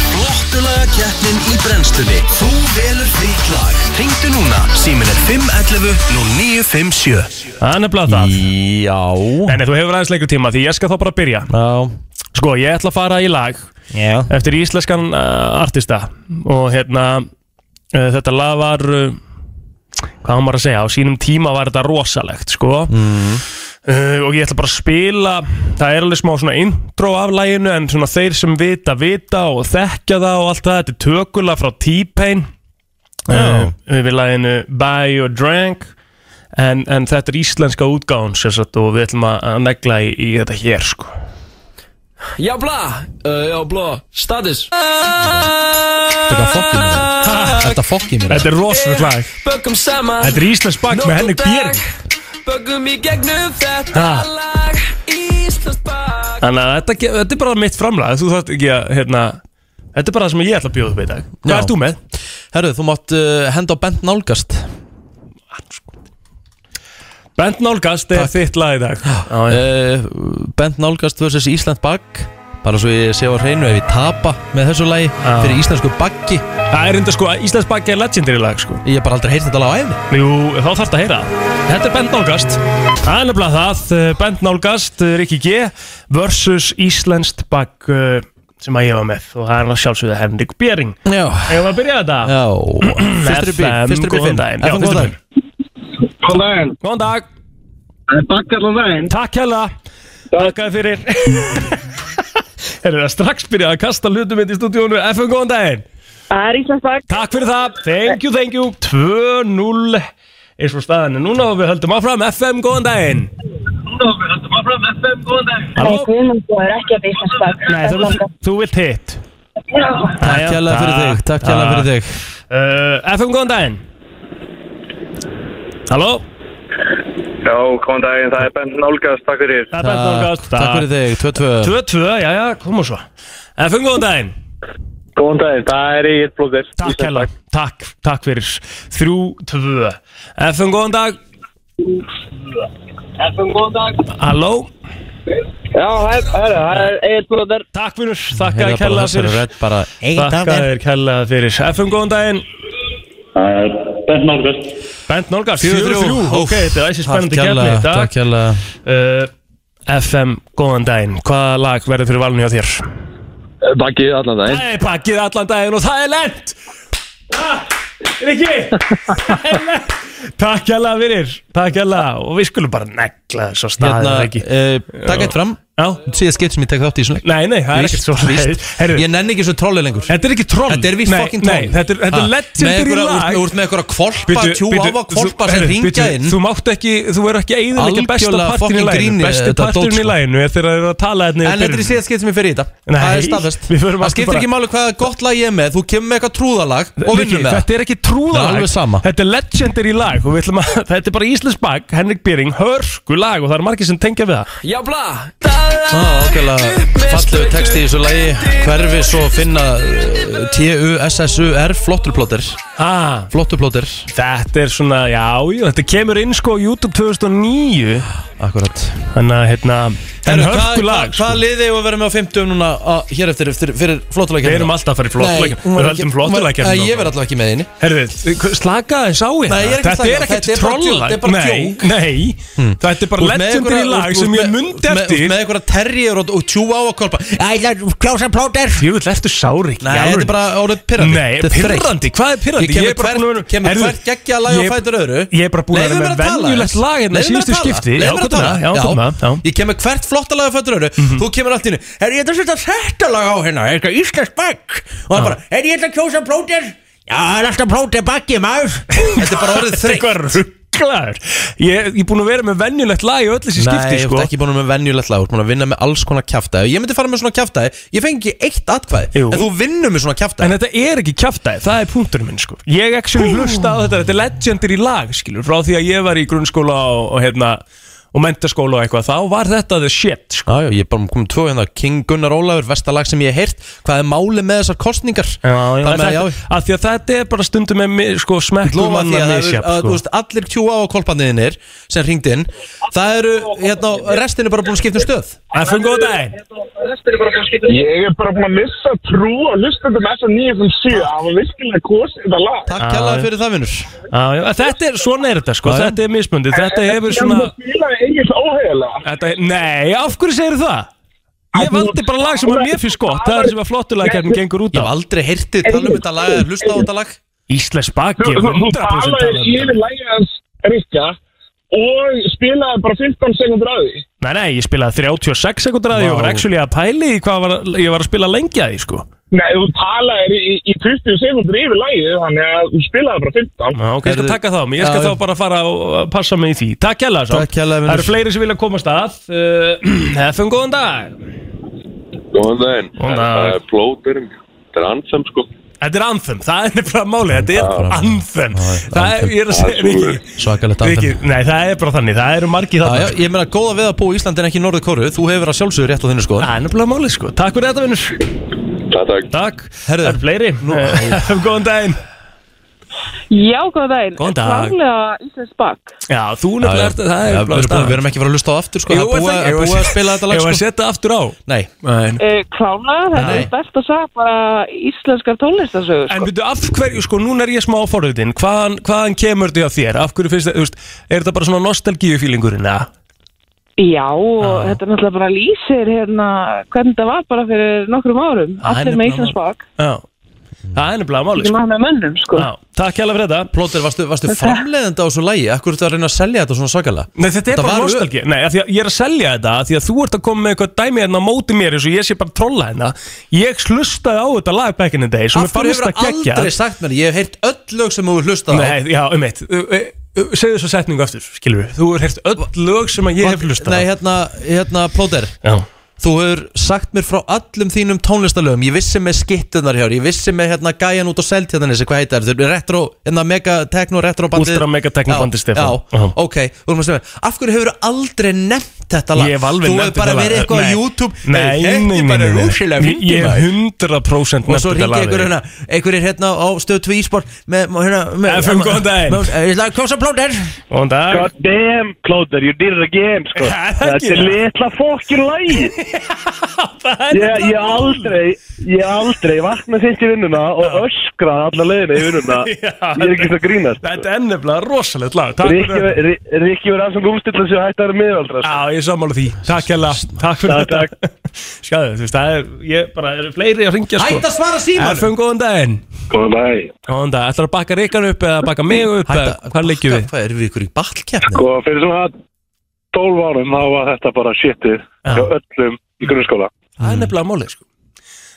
Speaker 1: Flottulega keppnin í brennslunni Þú velur þitt lag Ringdu núna, símin er 511 0957
Speaker 3: Það er nefnilega það
Speaker 2: Já
Speaker 3: Nei, nei, þú hefur aðeins lengri tíma því ég skal þá bara byrja
Speaker 2: Já
Speaker 3: Sko, ég ætla að fara í lag
Speaker 2: Já
Speaker 3: eftir íslenskan uh, artista og hérna uh, þetta lag var uh, hvað á maður að segja, á sínum tíma var þetta rosalegt sko
Speaker 2: Mm.
Speaker 3: uh, og ég ætla bara að spila það er alveg smá svona intro af laginu en svona þeir sem vita, vita og þekkja það og allt það, þetta er tökulega frá T-Pain uh, við laginu Buy Your Drink en, en þetta er íslenska útgáðun sérsagt og við ætlum að- að negla í, í þetta hér sko
Speaker 10: Já blá, uh, já blá, status
Speaker 2: Þetta fokkið mér Þetta fokkið mér
Speaker 3: Þetta er rosalegt lag,
Speaker 10: Bökum saman
Speaker 3: þetta er íslensk bak með Henrik Björg
Speaker 10: Bökum í gegnum þetta
Speaker 3: Ha.
Speaker 10: lag Íslands bak
Speaker 3: Þannig að þetta, ge- þetta er bara mitt framlag Þú þarft ekki að, hérna Þetta er bara það sem ég ætla að bjóða upp í dag Hvað
Speaker 2: Já.
Speaker 3: ert þú með?
Speaker 2: Herru, þú mátt uh, henda á bent nálgast
Speaker 3: Bent nálgast er þitt lag í dag Já,
Speaker 2: eh, uh, Bent nálgast versus Ísland Bag bara svo ég sé á hreinu ef ég tapa með þessu lagi fyrir íslensku baggi
Speaker 3: Það er enda sko, Íslands baggi er legendary lag sko
Speaker 2: Ég hef bara aldrei heyrt þetta lag á æfni
Speaker 3: Jú, þá þarf að heyra það. Þetta er Bent Nálgast Það er nefnilega það, eh, Bent Nálgast, eh, Rikki G versus Íslenskt bagg eh, sem að ég var með og það er að sjálfsögða Henrik Bering
Speaker 2: Já,
Speaker 3: Ég var að byrja þetta
Speaker 2: já Fyrstur upp í
Speaker 3: FM,
Speaker 2: fyrstur upp í
Speaker 3: góðan
Speaker 2: fimm
Speaker 3: daginn.
Speaker 2: FM,
Speaker 3: Já,
Speaker 2: góðan
Speaker 3: fyrstur upp í
Speaker 2: daginn.
Speaker 6: Góðan daginn.
Speaker 3: Góðan dag,
Speaker 6: Það er bakk allan daginn.
Speaker 3: takk hella Takkaði fyrir Erum það strax byrjað að kasta hlutum mitt í stúdíónu FM, góðan daginn
Speaker 9: Það er Íslandsbakk
Speaker 3: Takk fyrir það, thank you, thank you 2-0 eins og staðan er núna og við höldum áfram FM, góðan daginn Halló?
Speaker 9: Guðmundur er ekki að byrja Íslandsbakk
Speaker 3: Nei, þú, vilt- þú vilt hitt
Speaker 2: Takk
Speaker 3: Jæja,
Speaker 2: kjærlega fyrir þig, takk kjærlega fyrir þig
Speaker 3: uh, FM, góðan daginn Halló,
Speaker 6: Já, góðan daginn. Það er Bent Nálgast. Takk fyrir.
Speaker 3: það er Bent
Speaker 2: Takk,
Speaker 3: Nálgast
Speaker 2: takk fyrir þig, 2-2
Speaker 3: 2-2, já, já, koma svo FM, góðan daginn
Speaker 6: Góðan daginn. Það er Egil Blóðir.
Speaker 3: Takk hella, takk, takk fyrir 3-2 FM, góðan dag
Speaker 7: FM, góðan dag.
Speaker 3: Halló,
Speaker 7: Já, hæ- herru, það er Egil Blóður.
Speaker 3: takk fyrir, þakka
Speaker 2: Heyrðu
Speaker 3: þér
Speaker 2: bara
Speaker 3: kella
Speaker 2: þessari
Speaker 3: fyrir
Speaker 2: rödd bara
Speaker 3: Þakka þér kella fyrir FM, góðan daginn
Speaker 11: Bent Nálgast
Speaker 3: Bent Nálgast,
Speaker 2: 4-3.
Speaker 3: 4-3, ok, þetta er æsir spennandi kefni
Speaker 2: kjærlega, Takk kjærlega
Speaker 3: uh, FM, góðan daginn Hvaða lag verður fyrir valinu hjá þér?
Speaker 6: Bakkið allan daginn.
Speaker 3: Það er bakið allan daginn og það er lent ah, Rikki Það er lent. Takk hella fyrir Takk hella og við skulum bara negla þess að staðið
Speaker 2: Hérna,
Speaker 3: Rikki
Speaker 2: eh, takk eitt fram
Speaker 3: Já,
Speaker 2: Síðan skipt sem ég tek þátt í svona leik.
Speaker 3: nei, nei, það er
Speaker 2: Víst,
Speaker 3: ekkert svo
Speaker 2: víst.
Speaker 3: Herru,
Speaker 2: Ég nenni ekki svo trolli lengur
Speaker 3: Þetta er ekki troll
Speaker 2: Þetta er víst
Speaker 3: Nei,
Speaker 2: fucking troll
Speaker 3: Nei, þetta er, þetta
Speaker 2: Ha,
Speaker 3: er
Speaker 2: með
Speaker 3: legendary
Speaker 2: einhverja-
Speaker 3: lag
Speaker 2: Þú ert með einhverja kvolpa,
Speaker 3: Bíddu,
Speaker 2: tjú
Speaker 3: bíddu,
Speaker 2: áfa
Speaker 3: þú-
Speaker 2: kvolpa sem
Speaker 3: heyrðu,
Speaker 2: ringja
Speaker 3: bíddu,
Speaker 2: inn
Speaker 3: Þú mátt ekki, þú verður ekki að eyðilegja besta
Speaker 2: Algjörlega
Speaker 3: partin í
Speaker 2: fucking
Speaker 3: læginu
Speaker 2: gríni,
Speaker 3: Besti
Speaker 2: þetta dót,
Speaker 3: partin í
Speaker 2: sko.
Speaker 3: læginu er þegar það eru að tala þetta
Speaker 2: En þetta er í síðan skipt sem ég fer í þetta
Speaker 3: Nei,
Speaker 2: Það er staðfest
Speaker 3: við förum
Speaker 2: Það
Speaker 3: aftur
Speaker 2: skiptir
Speaker 3: bara-
Speaker 2: ekki máli hvaða gott lag ég er með Þú kemur með eitthvað trúðalag og vinnum með það
Speaker 3: Þetta er ekki trúðalag
Speaker 2: Það er alveg sama.
Speaker 3: Þetta er legendary lag og við ætlum að Þetta er bara Íslands bag, Henrik Bering, hörku lag og það er margir sem tengja við það
Speaker 10: Já, bla
Speaker 2: Ah, ákveðlega fallegu texti í þessu lagi Hverfi svo finna eh, T-U-S-S-U-R Flottur plóter
Speaker 3: ah,
Speaker 2: Flottur plóter
Speaker 3: Þetta er svona, já, já, þetta kemur inn sko á YouTube 2009
Speaker 2: Akkurat
Speaker 3: Þannig að hérna Þetta er hörku lag sko.
Speaker 2: Hvað liði og verðum við á 50 núna á- hér eftir eftir- fyrir flottulag
Speaker 3: Við erum alltaf að fara í flottuleikja Við höldum flottuleikja
Speaker 2: Eh, Ég verð alltaf ekki með henni
Speaker 3: Herðu, slaka þess á hérna
Speaker 2: Nei, ég er ekki að
Speaker 3: Þetta
Speaker 2: slaka á,
Speaker 3: er
Speaker 2: þetta
Speaker 3: ekkert
Speaker 2: er bara djók,
Speaker 3: trollag
Speaker 2: þetta er bara
Speaker 3: Nei,
Speaker 2: djók.
Speaker 3: nei Þetta er bara
Speaker 2: Þú ert með
Speaker 3: legendary
Speaker 2: einhverja-
Speaker 3: lag
Speaker 2: þú-
Speaker 3: sem
Speaker 2: þú-
Speaker 3: ég
Speaker 2: með-
Speaker 3: mundi
Speaker 2: þú- með- þú-
Speaker 3: eftir
Speaker 2: Með einhverja terrier og, og tjú á að kolpa Æ, klása plóter
Speaker 3: Ég vil eftir sári
Speaker 2: Nei, þetta er bara orðið pirrandi
Speaker 3: Nei,
Speaker 2: Þetta er þreytt.
Speaker 3: pirrandi, hvað er pirrandi?
Speaker 2: Ég kemur
Speaker 3: er bara
Speaker 2: hvert-
Speaker 3: búinn að vera-
Speaker 2: kemur
Speaker 3: Herðu,
Speaker 2: hvert geggjað lag á
Speaker 3: ég-
Speaker 2: fætur öðru.
Speaker 3: Ég er bara búin að
Speaker 2: Leyfðu
Speaker 3: vera
Speaker 2: mér
Speaker 3: með
Speaker 2: tala
Speaker 3: venjulegt
Speaker 2: aðeins.
Speaker 3: lag hérna
Speaker 2: Leyfðu mér
Speaker 3: síðustu
Speaker 2: að tala.
Speaker 3: skipti
Speaker 2: Leyfðu
Speaker 3: Já, komdu með
Speaker 2: mér að tala.
Speaker 3: það, já, komdu með það, já. Mhm.
Speaker 2: Ég kem með hvert flotta lag á fætur öru Þú kemur allt í hennu Herri, ég ætla að setja þetta lag á hérna Er þetta Íslands bakk Og það bara Herri, ég ætla að kjósa plóter Já, það er alltaf plóter bakki, maður Þetta er bara orðið þreytt
Speaker 3: Eitthvað rugglaður Ég ég er búin að vera með venjulegt lag í öll þessi skipti
Speaker 2: Nei, þú
Speaker 3: sko.
Speaker 2: ert ekki búin að vera með venjulegt lag Þú ert búin að vinna með alls konar kjaftaði Ég myndi fara með svona kjaftaði Ég fengi ekki eitt atkvæði
Speaker 3: Jú.
Speaker 2: En þú vinnur með svona
Speaker 3: En
Speaker 2: kjaftaði
Speaker 3: þetta er ekki kjaftaði, það er punkturinn minn sko. Ég actually hlusta á þetta, þetta er legendir í lag skilur, frá því að ég var í grunnskóla og, og, hérna, og mentaskóla og eitthvað þá var þetta the shit sko.
Speaker 2: Já, já, ég er bara komið tvö hérna King Gunnar Ólafur, vestalag sem ég hef heyrt Hvað er málið með þessar kostningar?
Speaker 3: Já, já,
Speaker 2: Þar með að
Speaker 3: þetta,
Speaker 2: já,
Speaker 3: að því að þetta er bara stundum með mi- sko, smekkum
Speaker 2: lofa því
Speaker 3: manna
Speaker 2: að, það eru-
Speaker 3: misjafn,
Speaker 2: að
Speaker 3: sko.
Speaker 2: þú veist, allir QA á kolpanniðinir sem ringdi inn það eru, hérna, restin er bara búin að skipta um stöð
Speaker 3: FN góð daginn
Speaker 6: Ég er bara búin að missa trú á hlustundum S957. Það var virkilega kosið þetta lag.
Speaker 2: Takk kjallaði fyrir það vinnur
Speaker 3: Já, já, Þetta er, svona er þetta sko,
Speaker 2: Já, já.
Speaker 3: þetta er mismundi Þetta hefur svona
Speaker 6: Ég spilaði Egil óhegilega.
Speaker 3: þetta, Nei, af hverju segir það? Ég valdi bara lag sem að mér finnst gott Það er sem að flottulega kærnum gengur út
Speaker 2: Ég hef
Speaker 3: á
Speaker 2: aldrei heyrtið tala um þetta lag eða hlusta á þetta lag
Speaker 3: Íslensk baki,
Speaker 6: Þú- Þú
Speaker 3: 100%
Speaker 6: talaði
Speaker 3: talar um
Speaker 6: yfir
Speaker 3: þetta.
Speaker 6: lægið hans Rikka og spilaði bara 15 sekundur að því.
Speaker 3: Nei, nei, ég spilaði 36 sekundur að því og var actually að pæli í hvað var, ég var að spila lengi að því sko
Speaker 6: Nei, þú talaði í, í 20 sekundur yfir lægið, þannig að þú spilaði bara 15.
Speaker 3: Já, ok, ég skal
Speaker 2: Heyrðu-
Speaker 3: taka þá, ég skal
Speaker 2: Já, já.
Speaker 3: þá bara fara og uh, passa mig í því Takk hella svo
Speaker 2: Takk hérlega, vinur.
Speaker 3: Það eru fleiri sem vilja komast að uh, FM, góðan dag
Speaker 11: Góðan daginn
Speaker 3: Góðan dag.
Speaker 11: Það er plóterinn Þetta er ansam sko
Speaker 3: Þetta er anthem, það er nefnilega málið, þetta er anthem Það er, ég er að segja, Riki
Speaker 2: Svakalegt
Speaker 3: Riki,
Speaker 2: anthem
Speaker 3: nei það er bara þannig, það eru margi
Speaker 2: Já, já,
Speaker 3: þannig
Speaker 2: Ég meina, góða við að búa í Íslandi en ekki í Norður Kóru Þú hefur að sjálfsögur rétt á þinni sko
Speaker 3: Það er nefnilega málið sko, takk fyrir þetta vinnur
Speaker 11: Takk, takk
Speaker 3: Takk,
Speaker 2: Herðu.
Speaker 3: það eru fleiri, FM, góðan daginn
Speaker 12: Já, góðan daginn.
Speaker 3: Góðan dag.
Speaker 12: Klárlega Íslands Bakk.
Speaker 3: Já, þú
Speaker 2: Já, já.
Speaker 3: nefnilega ert það er nefnilega
Speaker 2: Já, við erum búin-
Speaker 3: staðan.
Speaker 2: við erum ekki fara að hlusta á aftur sko,
Speaker 3: Jú,
Speaker 2: það
Speaker 3: er
Speaker 2: er búið-
Speaker 3: það
Speaker 2: það
Speaker 3: ekki?
Speaker 2: er búið að spila þetta lag
Speaker 3: Ef að
Speaker 2: sko.
Speaker 3: setja aftur á
Speaker 2: Nei
Speaker 12: Uh, klárlega, þetta
Speaker 3: Nei.
Speaker 12: er best að sagja bara íslenskar tónlistarsögur.
Speaker 3: En byrju, af hverju, sko, núna er ég smá forðutinn hvaðan, hvaðan kemur þetta hjá þér? Af hverju finnst þetta, þú veist, er þetta bara svona nostalgíufílingurinn, eða?
Speaker 12: Já, og þetta er náttúrulega bara lýsir hérna hvernig þetta var bara fyrir nokkrum árum.
Speaker 3: Það er
Speaker 12: Allir með
Speaker 3: nefnilega
Speaker 12: Íslands Bakk.
Speaker 3: Já, það er nefnilega máli
Speaker 12: Ég maður með mönnum, sko.
Speaker 3: Já, takk hérlega fyrir þetta
Speaker 2: Plóter, varstu, varstu
Speaker 12: Þetta-
Speaker 2: framleiðandi á þessu lagi? Akkur ertu að reyna að selja þetta svona svakalega?
Speaker 3: Nei, þetta er
Speaker 2: Þetta
Speaker 3: bara
Speaker 2: var-
Speaker 3: nostalgí Nei, af því að ég er að selja þetta af Því að þú ert að koma með eitthvað dæmi hérna á móti mér eins og ég sé bara að trolla hérna Ég slustaði á þetta lag back in the day sem mér
Speaker 2: Af hverju
Speaker 3: fannst
Speaker 2: hefur
Speaker 3: það geggja
Speaker 2: aldrei sagt mér? Ég hef heyrt öll lög sem þú hlustað á
Speaker 3: Nei, já, um eitt Segðu þessu setningu aftur, skilur við Þú hefur heyrt öll lög sem að ég hef hlustað
Speaker 2: Nei, hérna, hérna Plóter
Speaker 3: Já.
Speaker 2: Þú hefur sagt mér frá öllum þínum tónlistalögum Ég vissi með skittunar hjá þér, Ég vissi með hérna gæjan út á seltjarnanis Hvað heitir það? Retro, hérna mega techno retro bandið
Speaker 3: Ultra Mega Techno
Speaker 2: Já,
Speaker 3: bandið, Stefán.
Speaker 2: Já,
Speaker 3: Já.
Speaker 2: ok Þú erum að segja mér, Af hverju hefur aldrei nefnt þetta lag?
Speaker 3: Ég hef alveg
Speaker 2: Þú
Speaker 3: nefnt
Speaker 2: hefur bara
Speaker 3: þetta lag.
Speaker 2: verið eitthvað á
Speaker 3: Nei.
Speaker 2: YouTube
Speaker 3: Nei,
Speaker 2: þetta er
Speaker 3: nei, nei,
Speaker 2: bara
Speaker 3: nei, nei.
Speaker 2: rosalega
Speaker 3: Ég-
Speaker 2: fyndið,
Speaker 3: ég
Speaker 2: maður.
Speaker 3: 100%
Speaker 2: Og svo
Speaker 3: nefnt þetta
Speaker 2: ringi
Speaker 3: lag
Speaker 2: einhver
Speaker 3: við.
Speaker 2: hérna Einhver er hérna á stöð 2 ísport Með, hérna með-
Speaker 3: FM, góðan daginn.
Speaker 2: Ég ætla að kosa plóter
Speaker 3: Góðan dag
Speaker 13: God damn, Plóter, you did it again, sko Þetta er litla fokkin lægi Ég ég aldrei, ég aldrei vakna fyrst í vinnuna og öskra alla leiðina í vinnuna hérna. Ég er ekki svo grínast
Speaker 3: Þetta er nefnilega rosalegt lag Takk fyrir þetta.
Speaker 13: Rikki verið aðsum umstilla sig að hætta að vera miðaldra sko.
Speaker 3: Já, ég er sammála því Takk hella, takk fyrir
Speaker 13: Takk,
Speaker 3: þetta Sjáðu, þú veist, það er, ég bara, eru fleiri að ringja sko
Speaker 2: Hætt að svara símanum.
Speaker 3: Erfum, góðan daginn
Speaker 11: Góðan daginn
Speaker 3: Góðan dag, ætlar að bakka Ríkan upp eða bakka mig upp eða hvað leggjum við?
Speaker 2: Hvað, erum við ykkur í ballkeppni?
Speaker 11: Sko, fyrir svona 12 árum þá var þetta bara shitið hjá öllum í grunnskóla
Speaker 3: Það
Speaker 2: Mm.
Speaker 3: er nefnilega málið, sko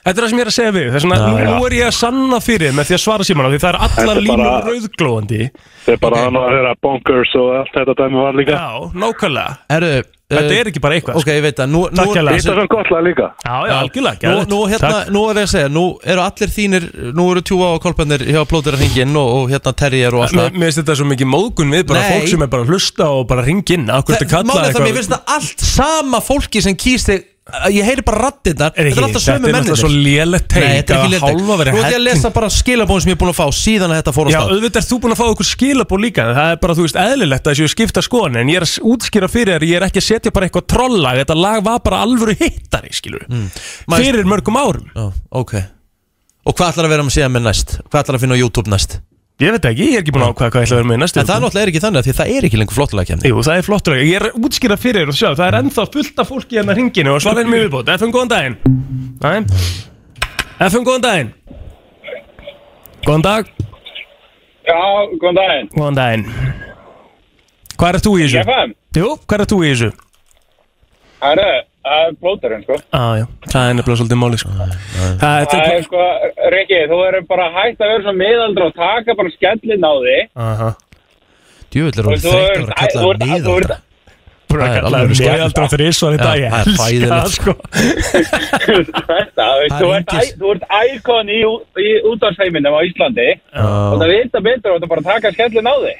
Speaker 3: Þetta er það sem ég er að segja við, þess vegna,
Speaker 11: Já,
Speaker 3: nú
Speaker 11: já.
Speaker 3: er ég að sanna fyrir þér með því að svara síman því það er
Speaker 11: Þetta
Speaker 3: allar
Speaker 11: er
Speaker 3: línur
Speaker 11: bara-
Speaker 3: rauðglóðandi
Speaker 11: Þeir bara okay. annað að vera bonkers og allt þetta dæmi var líka
Speaker 3: Já, nákvæmlega
Speaker 2: Herru,
Speaker 3: Þetta
Speaker 2: eh,
Speaker 3: er ekki bara eitthvað sko.
Speaker 2: Ok, ég veit það nú, nú,
Speaker 3: Takk hérlega. Þetta er
Speaker 11: svona gott lag líka
Speaker 3: Já, já, algjörlega,
Speaker 2: Nú,
Speaker 3: geðveikt.
Speaker 2: nú, hérna,
Speaker 3: Takk.
Speaker 2: nú er ég að segja, nú eru allir þínir Nú eru tjúa á kolpennir hjá plótir að ringin og, og hérna terrier og allt
Speaker 3: Mér
Speaker 2: það
Speaker 3: mér finnst þetta svo mikið móðgun við bara
Speaker 2: Nei.
Speaker 3: fólk sem er bara að hlusta og bara ringa inn Akkur þetta kalla
Speaker 2: Málið það, mér finnst það allt sama fólki sem kýst þig Ég heyri bara rattinnar Þetta er alltaf sömu
Speaker 3: Þetta er
Speaker 2: mennir
Speaker 3: náttúrulega svo lélegt teik
Speaker 2: Nei, þetta er
Speaker 3: að
Speaker 2: ekki léleg
Speaker 3: hálfa verið
Speaker 2: Nú ætlum ég að
Speaker 3: helling.
Speaker 2: lesa bara skilabóðin sem ég er búin að fá síðan að þetta fór á
Speaker 3: Já,
Speaker 2: stað
Speaker 3: auðvitað ert þú búin að fá okkur skilabó líka en Það er bara, þú veist, eðlilegt að þessu skipta skoðan En ég er að útskýra fyrir þér, ég er ekki að setja bara eitthvað trolla Þetta lag var bara alvöru hittari, skilur mm. Fyrir mörgum árum
Speaker 2: Já, ok Og hvað ætlar að vera með síðan með næst? Hvað ætlar að finna á YouTube næst?
Speaker 3: Ég veit ekki, ég er ekki búin að ákvæða hvað ég ætla að vera með næstu
Speaker 2: En það náttúrulega er ekki þannig af því að það er ekki lengur flottulega kemni
Speaker 3: Jú, það er flottur Ég er að útskýra fyrir þér og sjá, það er ennþá fullt af fólki hérna hringinu Og svara henni mjög viðbót, FM góðan daginn Nei FM góðan daginn Góðan dag,
Speaker 14: Já, góðan daginn.
Speaker 3: góðan daginn Hvað er þú í þessu?
Speaker 14: FM?
Speaker 3: Jú, hvað er þú í þessu?
Speaker 14: Herru, það er blóturinn, sko.
Speaker 3: Já, já, það er nefnilega svolítið máli sko. Það
Speaker 14: Það er, sko, Rikki, þú erum bara hægt að vera svo miðaldra og taka bara skellin á því.
Speaker 2: Djúvill er hún
Speaker 14: Og
Speaker 2: þreytt
Speaker 14: þú
Speaker 2: að
Speaker 14: ert-
Speaker 2: vera að kalla það
Speaker 14: þú ert- þú
Speaker 2: miðaldra
Speaker 3: Búin að
Speaker 2: Það er
Speaker 3: kalla
Speaker 2: alveg
Speaker 3: það
Speaker 2: skemmt.
Speaker 3: miðaldra þrísvar í dag,
Speaker 2: Já,
Speaker 3: ég
Speaker 2: það er
Speaker 3: elska það
Speaker 2: hræðilegt.
Speaker 3: sko.
Speaker 14: Þetta, þú veist,
Speaker 2: Það
Speaker 14: þú
Speaker 2: er
Speaker 14: ert, æ- þú ert íkon í, ú- í útvarsheiminum á Íslandi og það vita betur og það bara taka skellin á því.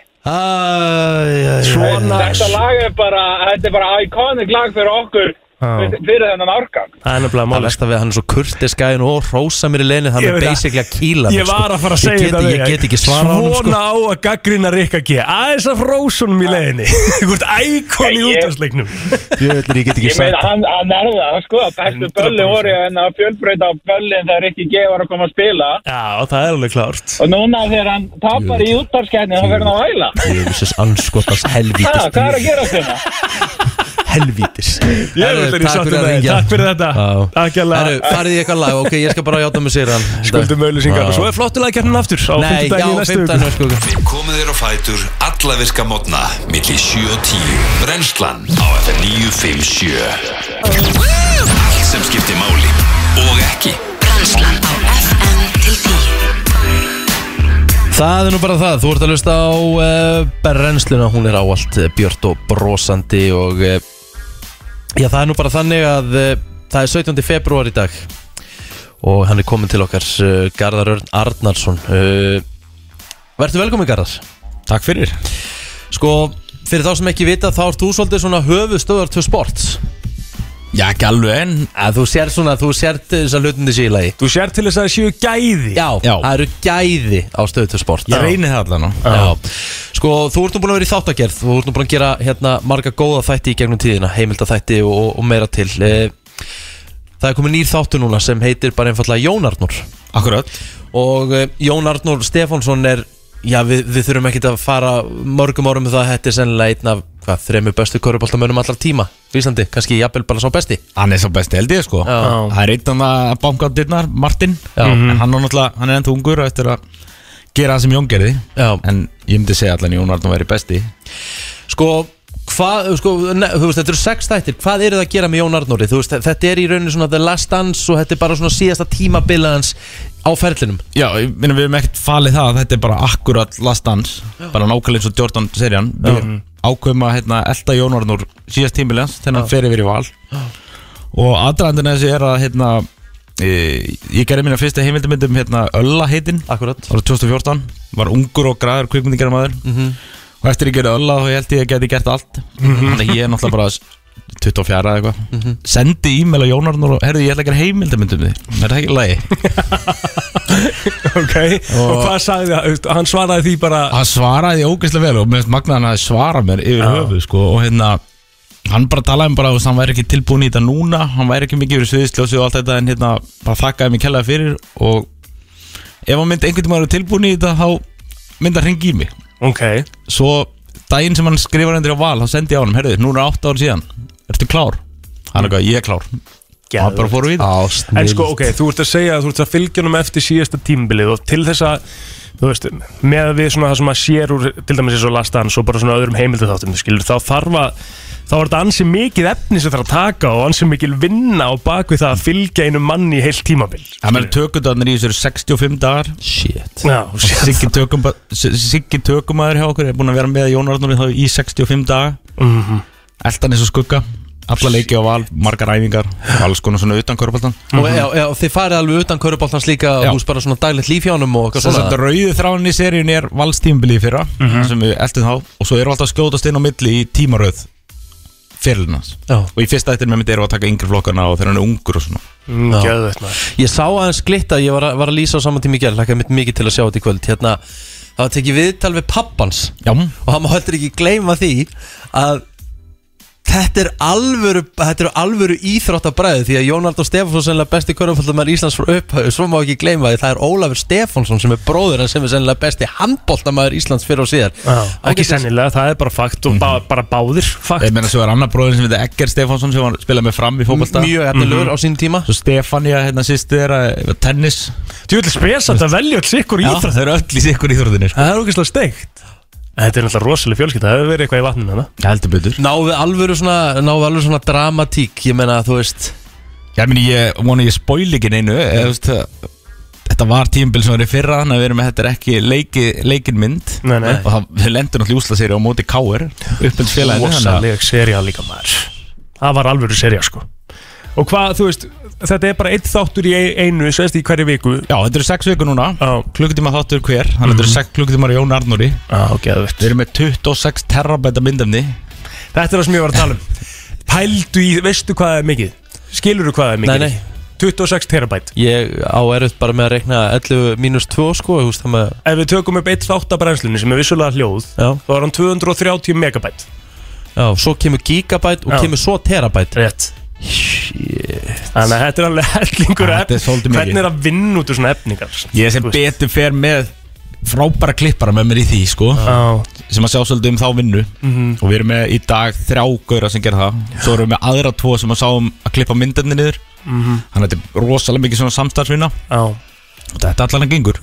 Speaker 2: Svona
Speaker 14: Þetta lag er bara, þetta er bara íkonic lag fyrir okkur
Speaker 2: Já.
Speaker 14: fyrir- fyrir þennan árgang.
Speaker 3: Það er nefnilega
Speaker 2: máli Það við hann er svo kurtiskæðin og rósa mér í leinu Það
Speaker 3: Ég
Speaker 2: er
Speaker 3: veit það.
Speaker 2: basically að kýla mig,
Speaker 3: Ég var
Speaker 2: sko.
Speaker 3: að fara að segja
Speaker 2: Ég get-
Speaker 3: þetta
Speaker 2: Ég get ekki svara á hann sko
Speaker 3: Svona á að gaggrina Rikka G Aðeins af rósunum í leiðinni Þú ert ækon í útvarsleiknum
Speaker 2: Djöfullir, ég get
Speaker 14: Ég meina, hann, hann er það, sko, bestu
Speaker 3: 100%.
Speaker 14: bölli voru en að fjölbreyta á böllin þegar ekki gefur að koma að spila
Speaker 3: Já, það er alveg klárt
Speaker 14: og núna þegar hann tapar í úttarskenni þá fer hann að væla.
Speaker 2: Djöfullis anskotast
Speaker 14: Ha,
Speaker 2: helvítis
Speaker 14: hvað er að hérna? gera þetta?
Speaker 2: Helvítis
Speaker 3: Ég er alveg sáttur með þig. Takk fyrir þetta Takk hérlega.
Speaker 2: Herru, farið í eitthvað lag, ok, ég skal bara játa með sér hann
Speaker 3: Skuldum auðlýsingar Og svo er flottulega kjarnin aftur Á
Speaker 2: Nei, já,
Speaker 3: fimmtudaginn í næstu viku.
Speaker 2: fimmtudaginn, sko
Speaker 1: Við komum þér á fætur alla virka mótna milli 7 og 10 Brennslan á FM 957 Allt sem skiptir máli og ekki
Speaker 15: Brennslan á FM til 10
Speaker 2: Það er nú bara það, þú ert að lusta á uh, brennsluna, hún er áallt uh, björt og brosandi og uh, já það er nú bara þannig að uh, það er 17. februar í dag og hann er komin til okkar uh, Garðar Örn Arnarsson uh, Vertu velkomin Garðar
Speaker 16: Takk fyrir
Speaker 2: Sko, fyrir þá sem ekki vita þá ert þú svolítið svona höfuðstöðar til sports Já, ekki alveg en að Þú sér svona, þú sér til þess að hlutinu sé í lagi
Speaker 3: Þú sér til þess að það séu gæði
Speaker 2: Já, það eru gæði á stöðu til sport
Speaker 16: Ég reyni það allan á.
Speaker 2: Já. Sko, þú ert nú búin að vera í þáttagerð Þú ert nú búin að gera hérna, marga góða þætti í gegnum tíðina Heimildaþætti og, og, og meira til Eh, Það er komið nýr þáttu núna sem heitir bara einfallega Jón Arnór Akkurat Og eh, Jón Arnór Stefánsson er Já, við, við þurfum ekkert að fara mörgum árum með það að Þetta er sennilega einn af hvað, þremur bestu köruboltamönnum allar tíma Í Íslandi, kannski jafnvel bara sá besti
Speaker 16: Hann er sá besti held ég sko
Speaker 2: Já.
Speaker 16: Það er einn að banka á dyrnar, Martin
Speaker 2: Já.
Speaker 3: Mhm.
Speaker 16: En hann er náttúrulega, hann er ennþá ungur og eftir að gera það sem Jón gerði
Speaker 2: Já.
Speaker 16: En ég myndi segja allan Jón Arnum væri besti
Speaker 2: Sko, hvað, sko, ne, þú veist, þetta eru sex þættir Hvað eru það að gera með Jón Arnóri? Þú veist, þetta er í rauninu svona The Last Dance og þetta er bara svona síðasta tímabilið hans á ferlinum
Speaker 16: Já, ég minna við hefum ekkert falið það að Þetta er bara akkurat last dance Bara nákvæmlega eins og Jordan serían Við
Speaker 2: Já. Mm.
Speaker 16: ákveðum að hérna, elda Jón Arnur síðast tímilegans Þegar hann
Speaker 2: Já.
Speaker 16: fer yfir í val
Speaker 2: Já.
Speaker 16: Og aðdraðandina þessi er að hérna, e, Ég gerði mína fyrsta heimildamindum hérna, Ölla heitin
Speaker 2: Akkurat
Speaker 16: Ára 2014 Var ungur og græður kvikmyndigerðamaður
Speaker 2: Mhm.
Speaker 16: Og eftir ég gerði Ölla þá held ég að geti gert allt
Speaker 2: Mhm.
Speaker 16: Þannig að ég er náttúrulega bara 24 eða eitthvað
Speaker 2: Mhm.
Speaker 16: Sendi e-mail á Jón Arnur og herði ég ætla að gera heimildamindum þið Er það ekki í lagi?
Speaker 3: Ok, og,
Speaker 16: Og-
Speaker 3: hvað sagði það? Veist, Hann svaraði því bara
Speaker 16: hann svaraði ógeðslega vel og mér finnst magnaðan að svara mér yfir
Speaker 3: Já.
Speaker 16: höfuð sko, og hérna hann bara talaði um bara að hann væri ekki tilbúin í þetta núna hann væri ekki mikið yfir sviðisljósi og allt þetta en hérna bara þakkaði mér kellaði fyrir og ef hann myndi einhvern tímann vera tilbúin í þetta þá myndi hann ringi í mig
Speaker 3: okay.
Speaker 16: svo daginn sem hann skrifar hendur á val þá sendi ég á hann, herðu, núna átt ára síðan ertu klár? hann er eitthvað, ég er klár og hann bara fór við
Speaker 3: En sko, ok, þú ert að segja að þú ert að fylgja honum eftir síðasta tímbilið og til þess að þú veist, með við svona það sem að sér úr til dæmis eins og lastans og bara svona öðrum heimildatháttum, skilur, þá þarf að þá er þetta ansi mikið efni sem þarf að taka og ansi mikil vinna á bakvið það að fylgja einu manni í heilt tímabil
Speaker 16: Það með tökundarnir í þessu eru 65 dagar
Speaker 2: Shit
Speaker 3: Já,
Speaker 16: Og Siggi, tökum, Siggi tökumæður hjá okkur er búin að vera með Jón Arnóri þá í 65 daga
Speaker 3: Mhm.
Speaker 16: Eldan eins og skugga Alla leiki á val, margar æfingar Alls konar svona utan körpaltan
Speaker 3: Mhm.
Speaker 2: Og já, já, og þið farið alveg utan köruboltans líka og þú veist bara svona daglegt líf hjá honum og eitthvað
Speaker 16: Svo þetta
Speaker 2: svona
Speaker 16: rauðu þráin í seríun er valstímbili í fyrra
Speaker 2: Mhm.
Speaker 16: sem við eldum þá og svo erum við alltaf að skjótast inn á milli í tímaröð fyrirlinnans
Speaker 2: Já.
Speaker 16: og í fyrsta eftir með mitt erum við að taka yngri flokkana og þegar hann er ungur og svona
Speaker 3: Mm,
Speaker 2: Já.
Speaker 3: geðveikt, maður.
Speaker 2: Ég sá aðeins glitta, ég var að, var að lýsa á saman tími í gerð Lækkaði mitt mikið til að sjá þetta í kvöld Hérna, það var tekið viðtal við pappans
Speaker 16: Já
Speaker 2: Og hann má heldur ekki gleyma því Að þetta er alvöru Þetta eru alvöru íþróttabræði Því að Jónald og Stefánsson sennilega besti körnumfaldamæður Íslands frá upphæðu Svo má ekki gleyma því það er Ólafur Stefánsson Sem er bróður en sem er sennilega besti handbóltamæður Íslands fyrir og síðar
Speaker 3: Já, ekki sennilega, það er bara fakt og bara, bara báðir fakt
Speaker 16: Mhm. Ég meina svo er annar bróðin sem heitir Egger Stefánsson sem var spilað með fram í Mhm. fókbalta
Speaker 2: M- mjög efnilegur
Speaker 3: Mhm.
Speaker 2: á sínum tíma
Speaker 16: Svo Stefania, hérna sýstu þeirra, tennis
Speaker 3: Þú vil spesa þetta velja alls ykkur
Speaker 16: Já,
Speaker 3: íþrótt
Speaker 16: þau eru öll í sikkur íþróttinni sko.
Speaker 3: Það er ógeðslega steikt Þetta er náttúrulega rosalega fjölskylda, það hefur verið eitthvað í vatninu hana
Speaker 16: Heldur betur
Speaker 2: Náðu alvöru svona, náðu alvöru svona dramatík Ég meina þú veist
Speaker 16: Já, meni, ég vona ég spoil ekki neinu eða, þú veist, það- Þetta var tímbil sem var í fyrra Þannig að við erum með þetta er ekki leiki, leikin mynd
Speaker 3: Nei, nei.
Speaker 16: Og það, við lendur náttúrulega úsla séri á móti K.R. Uppins félaginu
Speaker 3: Rosaleg seria líka maður Það var alvöru seria sko Og hvað, þú veist, þetta er bara eitt þáttur í einu, sveist í hverju viku
Speaker 16: Já, þetta eru sex viku núna
Speaker 3: Já.
Speaker 16: Klukkutíma þáttur hver Þannig að þetta eru
Speaker 3: Mhm.
Speaker 16: sex klukkutímar í Jón Arnóri
Speaker 3: Já, geðvett
Speaker 16: Við erum með 26 terabæta myndefni
Speaker 3: Þetta er það sem ég var að tala um Pældu í, veistu hvað er mikið? Skilurðu hvað er mikið?
Speaker 2: Nei, nei.
Speaker 3: 26 terabæt
Speaker 2: Ég á erut bara með að rekna 11 mínus 2 sko þú veist, það með,
Speaker 3: Ef við tökum upp eitt þátt af brennslunni sem er vissulega hljóð
Speaker 2: Já.
Speaker 3: Þá er hann 230 megabæt
Speaker 2: Já, svo kemur gigabæt og
Speaker 3: Já.
Speaker 2: kemur svo terabæt
Speaker 3: Rétt
Speaker 2: Shit
Speaker 3: Þannig að þetta er alveg hellingur
Speaker 16: Þetta er
Speaker 3: efni
Speaker 16: svolítið mikið.
Speaker 3: Hvernig er að vinna út úr svona efningar?
Speaker 16: Ég sem betur fer með frábæra klippara með mér í því sko
Speaker 3: Já.
Speaker 16: sem að sjá svolítið um þá vinnu
Speaker 3: Mhm.
Speaker 16: og við erum með í dag þrjá gauðra sem gera það svo erum við með aðra tvo sem að sáum að klippa myndinni niður
Speaker 3: Mhm.
Speaker 16: þannig að þetta er rosalega mikið svona samstarfsvinna
Speaker 3: Já.
Speaker 16: og þetta allan að gengur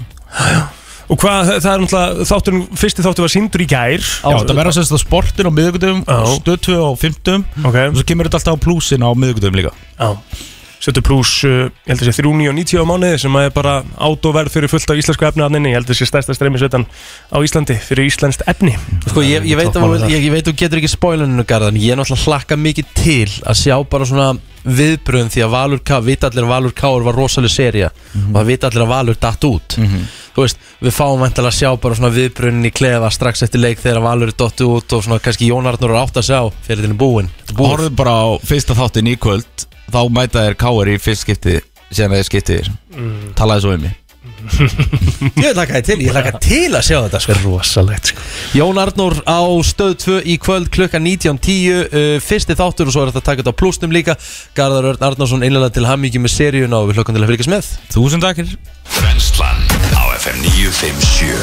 Speaker 3: Og hvað, það er náttúrulega, þátturinn, fyrsti þáttur var síndur í gær
Speaker 16: Já, þetta verður semst á sportin á miðugudum stötu á fimmtum
Speaker 3: okay.
Speaker 16: og svo kemur þetta alltaf á plusin á miðugudum líka
Speaker 3: Já Setur pluss, uh, ég held að sé 3,990 á mánuði sem að er bara átóverð fyrir fullt af íslensku efni að nynni, ég held að sé stærsta streymisveitan á Íslandi fyrir íslenskt efni
Speaker 2: Sko ég, ég, veit að, ég, ég veit að þú getur ekki spoiluninu garðan Ég er náttúrulega hlakka mikið til að sjá bara svona viðbröðum því að Valur K, vita allir að Valur K var rosalega seria
Speaker 16: Mhm.
Speaker 2: og það vita allir að Valur datt út þú veist, við fáum vantilega að sjá bara svona viðbröðin í klefa strax eftir leik þegar Valur er dottu út og svona kannski Jón Arnur er átt að sjá fyrir þinn búin
Speaker 16: Horfðu bara á fyrsta þáttin í kvöld Þá mæta þér káar í fyrst skipti Síðan að þér skipti þér
Speaker 2: Mm.
Speaker 16: Talaði svo um mig
Speaker 2: Ég vil lakaði til, ég lakaði til að sjá þetta sko Rosalegt sko Jón Arnór á stöð 2 í kvöld klukkan 19.10 uh, Fyrsti þáttur og svo er þetta að taka þetta á plusnum líka Garðar Örn Arnársson innlega til hammyggjum með seríuna og við hlokkum til að fylgjast með
Speaker 16: Þúsund takkir
Speaker 1: Brennslan á FM 957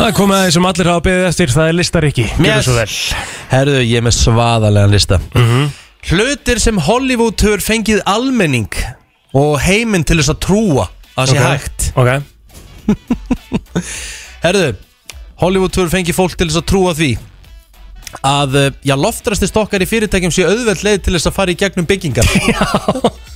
Speaker 3: Það er komið að því sem allir hafa beðið eftir Það er listariki
Speaker 2: Yes. Herðu, ég er með svaðalega lista Hlutir sem Hollywood hefur fengið almenning og heiminn til þess að trúa að sé
Speaker 3: Ok.
Speaker 2: hægt okay. Herðu, Hollywood hefur fengið fólk til þess að trúa því að eh, já, loftrasti stokkar í fyrirtækjum sé auðveld leið til þess að fara í gegnum byggingar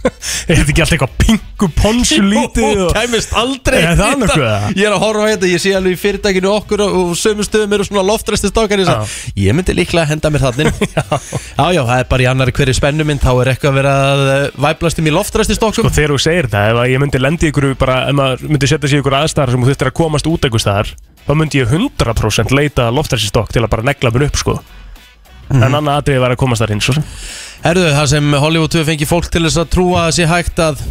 Speaker 3: Er þetta ekki alltaf eitthvað pingu ponsu lítið og...
Speaker 2: kæmist aldrei
Speaker 3: Er það
Speaker 2: í
Speaker 3: annað hvað?
Speaker 2: þetta. Ég er að horfa á þetta, ég sé alveg í fyrirtækinu okkur og, og sömu stöðum eru svona loftræsti stókar ég, sagði, ég myndi líklega að henda mér þannig já. já, já, það er bara í annari hverju spennumind þá er eitthvað að vera að eh, væblast um í loftræsti stókum
Speaker 3: Sko þegar þú segir það, ef að ég myndi lendi ykkur bara, ef maður myndi setja sig ykkur aðstæðar sem þú þurftir að komast út ykkur staðar þá myndi ég 100% leita loftræsistokk til að bara negla mér upp sko
Speaker 2: Mhm.
Speaker 3: en annað atriði var að komast þar inn svo sem
Speaker 2: Herðu, það sem Hollywood 2 fengi fólk til þess að trúa að sé hægt að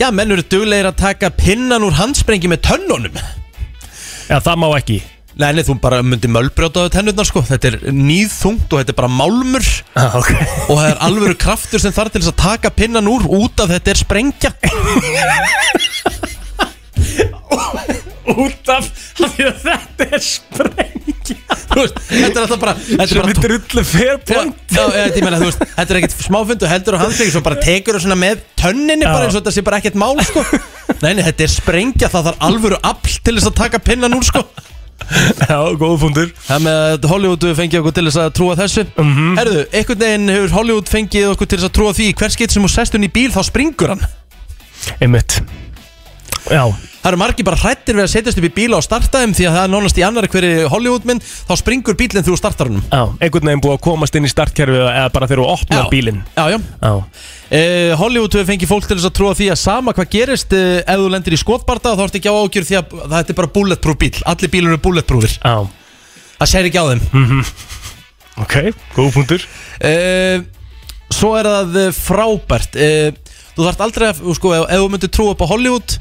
Speaker 2: Já, menn eru duglegir að taka pinnan úr handsprengi með tönnunum
Speaker 3: Já, það má ekki
Speaker 2: Nei, nei, þú bara myndir mölbrjótaðu tennurnar sko Þetta er nýðþungt og þetta er bara málmur
Speaker 3: ah, okay.
Speaker 2: Og það er alvöru kraftur sem þarf til þess að taka pinnan úr út af þetta er sprengja
Speaker 3: Út af, af því að þetta er sprengja
Speaker 2: Þetta er alltaf bara Þetta er bara
Speaker 3: drullu fair point
Speaker 2: Já, já, ég meina, þú veist, þetta er ekkert smáfund og heldur á handlegin Svo bara tekur þú svona með tönninni bara eins og þetta sé bara ekkert mál sko Nei, nei, þetta er sprengja, það þarf alvöru afl til þess að taka pinnan úr sko
Speaker 3: Já, góð fundur
Speaker 2: Það með að Hollywood fengið okkur til þess að trúa þessu -hmm. Herðu, einhvern veginn hefur Hollywood fengið okkur til þess að trúa því Hver skeitt sem þú sest hún í bíl þá springur hann
Speaker 3: Einmitt Já
Speaker 2: Það eru margir bara hrættir við að setjast upp í bíla og starta þeim Því að það er nánast í annar hverju Hollywoodmynd Þá springur bílinn þegar þú startar hann
Speaker 3: Já, einhvern veginn búið að komast inn í startkerfið eða bara þegar þú opnar bílinn
Speaker 2: Já, já,
Speaker 3: Já.
Speaker 2: Eh, Hollywood hefur fengið fólk til þess að trúa því að sama hvað gerist uh, Ef þú lendir í skotbarta þá ertu ekki á ágjör því að þetta er bara bulletproof bíl Allir bílar eru bulletproofir
Speaker 3: Já Mhm.
Speaker 2: Það sér ekki á þeim mm -hmm.
Speaker 3: Ok, góð punktur
Speaker 2: Eh, Svo er það eh, frábært uh, Þú þarft aldrei að, sko, ef, ef þú myndir trúa upp á Hollywood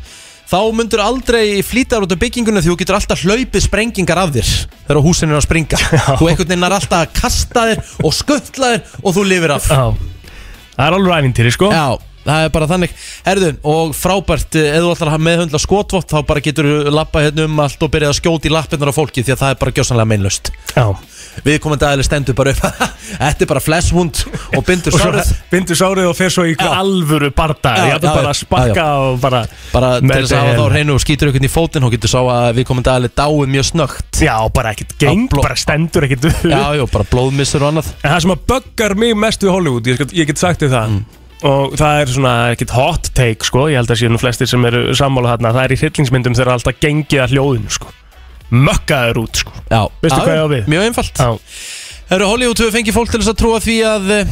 Speaker 2: Þá myndir aldrei flýta þér út af byggingunni því þú getur alltaf hlaupið sprengingar af þér Þegar húsin er að springa Þú einhvern veginn er alltaf að kasta þér og skuttla þér og þú lifir af
Speaker 3: Já Það er alveg æfintýri sko
Speaker 2: Já, það er bara þannig Herðu, og frábært, eh, ef þú ætlar að meðhundla skotvott þá bara getur þú lappa hérna um allt og byrja að skjóta í lappirnar á fólki því að það er bara gjössanlega meinlaust
Speaker 3: Já
Speaker 2: Við komandi aðeins stendur bara upp Þetta er bara fleshund og bindur
Speaker 3: Og svo
Speaker 2: sárið
Speaker 3: bindur sárið og fer svo í alvöru barda
Speaker 2: Já,
Speaker 3: Ég ætla
Speaker 2: já,
Speaker 3: bara
Speaker 2: já,
Speaker 3: að sparka
Speaker 2: já,
Speaker 3: og bara
Speaker 2: bara til
Speaker 3: Með
Speaker 2: þess að hafa
Speaker 3: þeim.
Speaker 2: þá á hreinu og skýtur einhvern í fótinn og getur sá að við komum dæli dáið mjög snögt
Speaker 3: Já, bara ekkert geng, bara stendur ekkert upp.
Speaker 2: Já, já, bara blóðmissur og annað
Speaker 3: En það sem að böggar mig mest við Hollywood Ég, skal- ég get sagt þér það
Speaker 2: Mm.
Speaker 3: Og það er svona ekkert hot take sko Ég held að séu nú flestir sem eru sammála þarna Það er í hryllingsmyndum þegar alltaf gengið að hljóðinu sko Mökkaður út sko
Speaker 2: Já
Speaker 3: Veistu
Speaker 2: Já,
Speaker 3: hvað ég á við?
Speaker 2: Mjög einfalt
Speaker 3: Já
Speaker 2: Herru Hollywood hefur fengið fólk til þess að trúa því að eh,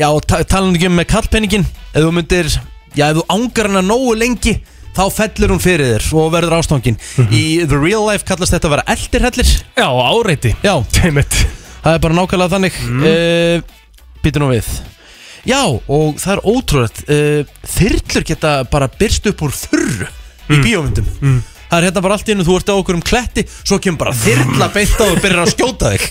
Speaker 2: Já, og ta- talan ekki um með kallpenningin Ef þú myndir, já, ef þú ángar hana nógu lengi Þá fellur hún fyrir þér og verður ástangin Í the real life kallast þetta að vera eldirhellir
Speaker 3: Mhm. Já, áreiti Mhm.
Speaker 2: Já
Speaker 3: Teimitt
Speaker 2: Það er bara nákvæmlega þannig mm. uh, Býtu nú við Já, og það er ótrúlegt uh, Þyrlur geta bara byrst upp úr þurru
Speaker 3: Mhm.
Speaker 2: Í bíómyndum Það er hérna bara allt í einu, þú ert á okkur um kletti Svo kemur bara þyrla beint á og byrjar að skjóta þig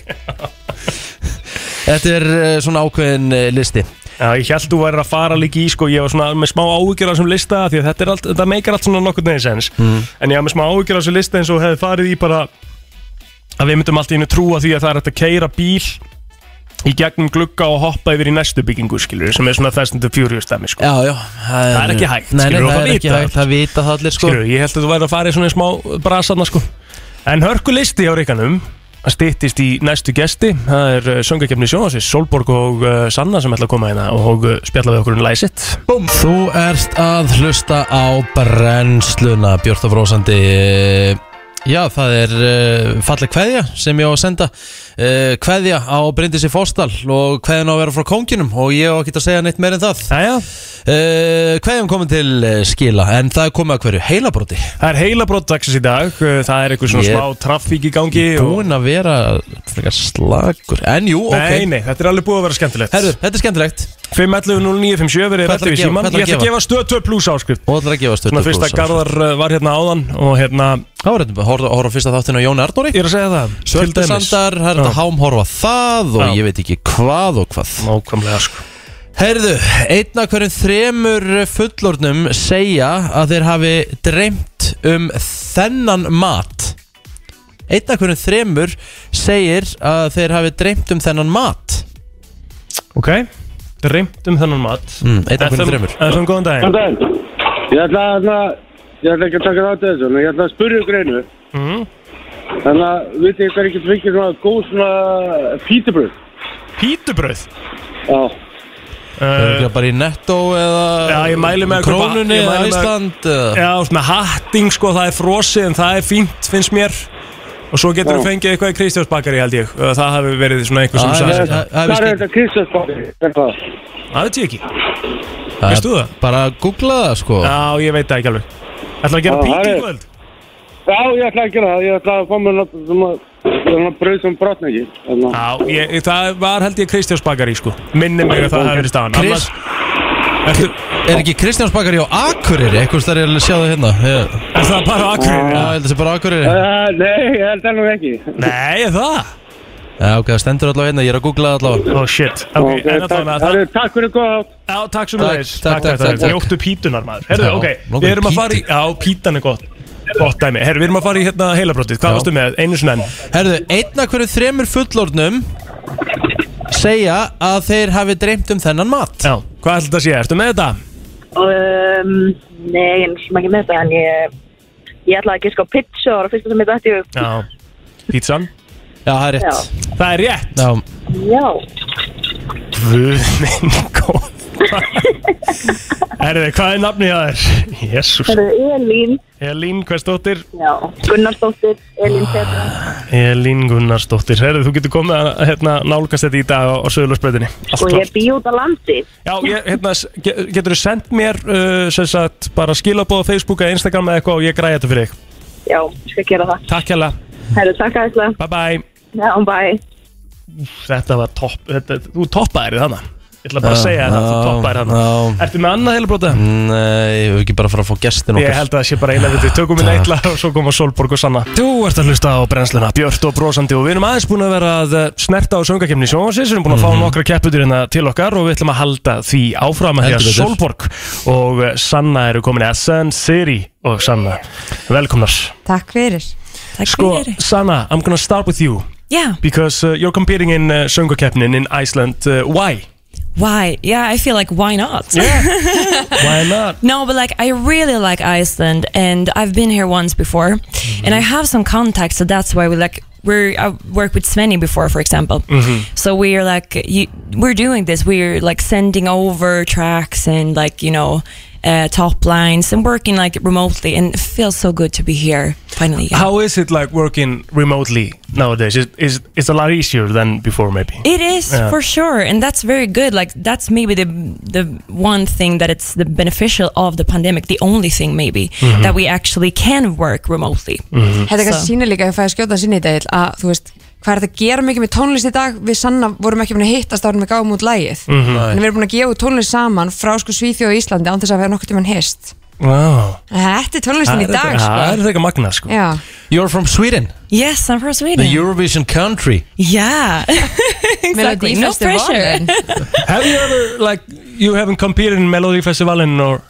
Speaker 2: Þetta er uh, svona ákveðin uh, listi
Speaker 3: Já, ég held þú væri að fara líka í, sko, ég var svona með smá áhyggjur af þessum lista af því að þetta, er allt, þetta meikar allt svona nokkur neðins ens
Speaker 2: Mm.
Speaker 3: en ég var með smá áhyggjur af þessum lista eins og hefði farið í bara að við myndum allt í einu trúa því að það er hægt að keira bíl í gegnum glugga og hoppa yfir í næstu byggingu, skilur sem er svona Fast and the Furious dæmi, sko
Speaker 2: Já, já Það
Speaker 3: er ekki hægt,
Speaker 2: Nei, nei,
Speaker 3: skilur, og
Speaker 2: það er ekki
Speaker 3: vita
Speaker 2: hægt, það vita það allir sko
Speaker 3: Skilur, ég held að þú væri að fara í svona smá brasana sko En hörku listi á reikanum að stýttist í næstu gesti Það er uh, söngakefni sjónasins, Solborg og uh, Sanna sem ætla að koma hérna og uh, spjalla við okkur um læsitt
Speaker 2: Búm. Þú ert að hlusta á brennsluna Björn Þóf Rósandi eh, Já, það er uh, falleg kveðja sem ég á að senda uh, Kveðja á Bryndisi Fóstal og kveðjan á að vera frá kónginum og ég á ekki að segja neitt meir en það
Speaker 3: Jæja
Speaker 2: uh, Kveðjan komin til uh, skila en það er komið að hverju heilabróti
Speaker 3: Það er heilabrótt dagsins í dag, uh, það er eitthvað svona
Speaker 2: Ég-
Speaker 3: smá trafík í gangi
Speaker 2: Búin að vera frekar slagur En jú, ok
Speaker 3: Nei, nei, þetta er alveg búið að vera skemmtilegt
Speaker 2: Herru, þetta er skemmtilegt
Speaker 3: 5.11.09.57 verið rættið
Speaker 2: Hvað ætlarðu að
Speaker 3: við
Speaker 2: gefa-
Speaker 3: síman
Speaker 2: hvað ætlarðu
Speaker 3: Ég ætla að
Speaker 2: að gefa?
Speaker 3: gefa stöð 2 pluss áskrift
Speaker 2: Og það er að gefa stöð
Speaker 3: Svona
Speaker 2: 2
Speaker 3: fyrsta
Speaker 2: plús
Speaker 3: Garðar uh, var hérna áðan og hérna
Speaker 2: Það var hérna, horfa horf fyrsta þáttin á Jóni Arnóri
Speaker 3: Ég er að segja það til
Speaker 2: Svölda
Speaker 3: dæmis.
Speaker 2: Sandar, það er þetta
Speaker 3: Já.
Speaker 2: hámhorfa það og
Speaker 3: Já.
Speaker 2: ég veit ekki hvað og hvað
Speaker 3: Nákvæmlega sko
Speaker 2: Herðu, einn af hverjum þremur fullornum segja að þeir hafi dreymt um þennan mat Einn af hverjum þremur segir að þeir hafi dreymt um þennan mat
Speaker 3: Ok, reymt um þennan mat
Speaker 2: mm, Einn af hverjum þremur
Speaker 3: FM, góðan daginn
Speaker 6: Góðan daginn Ég ætla að Ég ætla ekki að taka þátt í þessu En ég ætla að spyrja ykkur einu
Speaker 3: Mm.
Speaker 6: Þannig að Vitið þið hvað er ekki fengið svona góð svona Pítubröð
Speaker 3: Pítubröð?
Speaker 6: Já
Speaker 2: Örugglega bara í netto eða
Speaker 3: Eh, Já, ég mæli með að kaupa-
Speaker 2: Krónunni eh.
Speaker 3: ég
Speaker 2: eða
Speaker 3: mæli með-
Speaker 2: Ísland eða-
Speaker 3: Já, svona hatting sko, það er frosið en það er fínt, finnst mér Og svo getur þú
Speaker 6: Já.
Speaker 3: fengið eitthvað í Kristjánsbakari held ég Uh, Það hafi verið svona eitthvað sem
Speaker 6: Það
Speaker 3: sagði
Speaker 6: er það er þetta kristjansbakari Það
Speaker 3: Það veit ég ekki Veistu það?
Speaker 2: Bara að googla það sko
Speaker 3: Já, ég veit það ekki alveg Ætlar að gera
Speaker 6: Já, það
Speaker 3: píti
Speaker 6: er-
Speaker 3: í kvöld?
Speaker 6: Já, ég ætla að gera það Ég ætla að fá mér nokkuð svona- svona Bröð sem brotna ekki Þannig
Speaker 3: að- Já, ég, það var held ég Kristjánsbakari sko Minni mig að það hafi verið staðan
Speaker 2: Kris-
Speaker 3: Ertu,
Speaker 2: Er ekki Kristjánsbakari á Akureyri? Ekkert þar er að sjá það hérna ég...
Speaker 3: Er það bara á Akureyri?
Speaker 2: Já, ég held að það sé bara á Akureyri
Speaker 6: Ah. Eh, Nei, ég held það nú ekki
Speaker 3: Nei, er það?
Speaker 2: Já, ok, það stendur allavega hérna, ég er að googla það allavega
Speaker 3: Oh shit, ok,
Speaker 6: Ok,
Speaker 3: en
Speaker 6: takk-
Speaker 3: allavega
Speaker 6: herru, Takk fyrir góða átt
Speaker 3: Já, takk sem það er
Speaker 2: takk, takk, takk, takk.
Speaker 3: Njóttu pítunar maður Herðu,
Speaker 2: Já,
Speaker 3: ok,
Speaker 2: langar
Speaker 3: við erum að
Speaker 2: pítu.
Speaker 3: fara í Já, pítan er gott Gott dæmi Herru, við erum að fara í hérna heilabrótið Hvað varstu með? Einu sinna enn
Speaker 2: Herðu, einn af hverju þremur fullornum segja að þeir hafi dreymt um þennan mat
Speaker 3: Já, hvað ætlum þetta að sé? Ertu með þetta?
Speaker 17: um, Nei, ég er náttúrulega ekki með þetta En ég, ég ætlaði ekki sko pizza Það var að fyrsta sem ég dætti upp
Speaker 3: Já, pítsan
Speaker 2: Já, það er
Speaker 17: rétt.
Speaker 3: Það er rétt
Speaker 2: Já
Speaker 17: Já,
Speaker 3: Guð minn góð Herðu, hvað er nafnið það er? Jésús
Speaker 17: það er Elín
Speaker 3: Elín, Ah, hvers dóttir?
Speaker 17: Já, Gunnarsdóttir, Elín Petra
Speaker 3: Elín Gunnarsdóttir Herðu, þú getur komið að hérna, nálgast þetta í dag á, á Söðurlöfsbreytinni
Speaker 17: Sko, ég bý út á landi
Speaker 3: Já, ég, hérna, s- ge- geturðu sendt mér uh, sem sagt, bara skilaboð á Facebook eða Instagram eða eitthvað og ég græði þetta fyrir þig
Speaker 17: Já, ég skal gera það
Speaker 3: Takk hella,
Speaker 17: Herru, takk aðeinslega
Speaker 3: bye bye
Speaker 17: Já, bye
Speaker 3: þetta var topp, þetta, þú toppaðir þarna Ég ætla bara að
Speaker 2: Já,
Speaker 3: segja þetta, þú
Speaker 2: já,
Speaker 3: toppaðir þarna
Speaker 2: já.
Speaker 3: Ertu með annað heilabróta?
Speaker 2: Nei, ég hef ekki bara að fara að fá gestin okkar
Speaker 3: Ég held að það sé bara eina við þau, tökum við neitla og svo koma Solborg og Sanna Þú ert að hlusta á brennsluna, Björt og brosandi og við erum aðeins búin að vera að eh, snerta á söngakefni sjónsins Við erum búin að fá nokkra kepputur hérna til okkar og við ætlum að halda því áfram að því að
Speaker 2: Heldur betur.
Speaker 3: Solborg og eh, Sanna eru komin að Sun City og Sanna, velkomnar
Speaker 18: Takk fyrir Takk
Speaker 3: Sko,
Speaker 18: fyrir
Speaker 3: Sanna, I'm gonna start with you
Speaker 18: Yeah,
Speaker 3: because uh, you're competing in uh, söngakefnin in Iceland, uh, why?
Speaker 18: why? Yeah, I feel like why not?
Speaker 3: Why not?
Speaker 18: no, but like I really like Iceland and I've been here once before
Speaker 3: Mm-hmm.
Speaker 18: and I have some contacts so that's why we like we're I worked with Svenny before for example.
Speaker 19: Mhm.
Speaker 3: Mm-hmm.
Speaker 18: So we're like you, we're doing this we're like sending over tracks and like you know uh, top lines and working like remotely and it feels so good to be here finally.
Speaker 3: How is it like working remotely nowadays? Is, is it's a lot easier than before maybe?
Speaker 18: It is
Speaker 3: Yeah.
Speaker 18: for sure, and that's very good. Like that's maybe the the one thing that it's the beneficial of the pandemic. The only thing maybe
Speaker 19: Mhm.
Speaker 18: that we actually can work remotely.
Speaker 19: Þetta kannski
Speaker 18: So-
Speaker 19: sýnir líka ef að skjóta sinni í dagil að þú veist hvað er þetta að gera mikið með tónlist í dag við Sanna vorum ekki búin að hittast árum við gáum út lægið
Speaker 3: Mhm.
Speaker 19: en við erum búin að gefa út tónlist saman frá sko Svíþjóð og Íslandi án þess að vera nokkuð tímann hist
Speaker 3: Wow.
Speaker 19: Þetta er tónlistin í dag
Speaker 3: Það er
Speaker 19: sko.
Speaker 3: þegar magna sko
Speaker 19: Já.
Speaker 2: You're from Sweden
Speaker 18: Yes, I'm from Sweden
Speaker 2: The Eurovision country
Speaker 18: Yeah, exactly.
Speaker 19: Melody
Speaker 18: No
Speaker 19: Festival,
Speaker 18: pressure.
Speaker 19: then.
Speaker 3: Have you ever like you haven't competed in Melody Festivalen or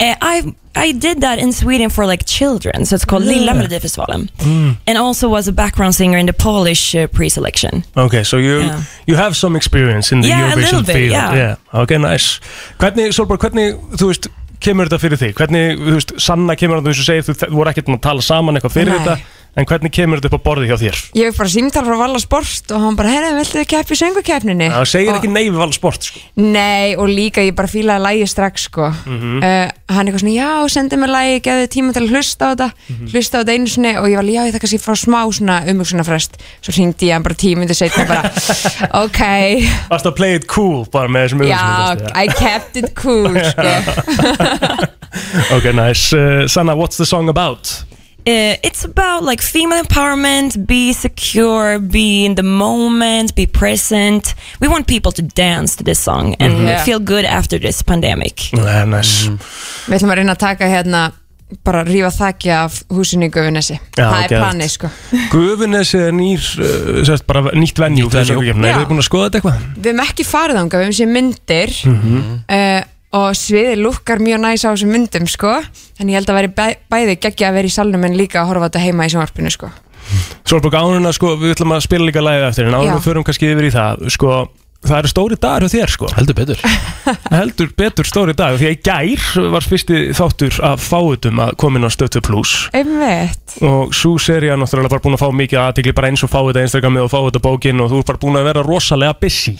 Speaker 18: Uh, I I did that in Sweden for like children, so it's called
Speaker 3: Yeah.
Speaker 18: Lilla Melodifestivalen,
Speaker 3: Mm. Hmm.
Speaker 18: and also was a background singer in the Polish uh, pre-selection.
Speaker 3: Okay, so you
Speaker 18: Yeah.
Speaker 3: you have some experience in the
Speaker 18: Yeah, a
Speaker 3: Eurovision
Speaker 18: little bit,
Speaker 3: field.
Speaker 18: yeah.
Speaker 3: Okay, nice. Hvernig Solborg, hvernig þú veist kemur þetta fyrir þig? Hvernig, þú veist, Sanna kemur þetta eins og segir þú, þú voru ekkert búin að tala saman eitthvað fyrir
Speaker 19: Nei.
Speaker 3: þetta En hvernig kemur þetta upp á borði hjá þér?
Speaker 19: Ég hef bara símtal frá Vala Sport og hann bara, herri, viltu þið keppi í söngvakeppninni?
Speaker 3: Það segir
Speaker 19: Og-
Speaker 3: ekki nei við valda sport sko.
Speaker 19: Nei, og líka ég bara fílaði lægi strax sko.
Speaker 3: Mhm.
Speaker 19: uh, hann eitthvað svona, já, sendi mér lægi gefði tíma til að hlusta á þetta
Speaker 3: Mhm.
Speaker 19: hlusta á þetta einu sinni og ég var, alveg, já, ég þakka sér frá smá svona umhugsunarfrest, svo hringdi ég hann bara tímundi setna bara, ok
Speaker 3: Varst að play it cool bara með þessum
Speaker 19: já,
Speaker 3: auglýsingum,
Speaker 19: I kept it cool sko.
Speaker 3: veistu það? Ok, nice uh, Sanna, what's the song about?
Speaker 18: Uh, it's about like female empowerment, be secure, be in the moment, be present. We want people to dance to this song and
Speaker 3: Mhm. Yeah.
Speaker 18: feel good after this pandemic.
Speaker 3: Nei, nice
Speaker 19: við ætlum að reyna að taka hérna bara rífa þakja af húsinu í Guðunessi
Speaker 3: Já,
Speaker 19: það er
Speaker 3: geðvægt.
Speaker 19: planið sko
Speaker 3: Guðunes er nýr, uh, sérst bara nýtt venjú Nýtt venjú Er
Speaker 19: Já.
Speaker 3: þið búin að skoða þetta eitthvað?
Speaker 19: við hefum ekki farið ánga, við hefum séð myndir
Speaker 3: Mhm.
Speaker 19: uh, og sviðið lukkar mjög næs á þessum myndum sko þannig ég held að veri bæ, bæði geggja að vera í salnum en líka að horfa á þetta heima í sjónvarpinu sko
Speaker 3: Svo er bara ánuna, sko, við ætlum að spila líka lagið eftir En
Speaker 19: Já.
Speaker 3: ánum förum kannski yfir í það Sko, það eru stóri dagar hjá þér, sko Heldur betur Heldur betur stóri dagar Því að í gær var fyrsti þáttur af fáutum að koma inn á Stötu Plus
Speaker 19: einmitt
Speaker 3: og svo serið er náttúrulega bara búin að fá mikið aðtikli bara eins og fá þetta einstakami og fá þetta bókin og þú ert bara búin að vera rosalega busy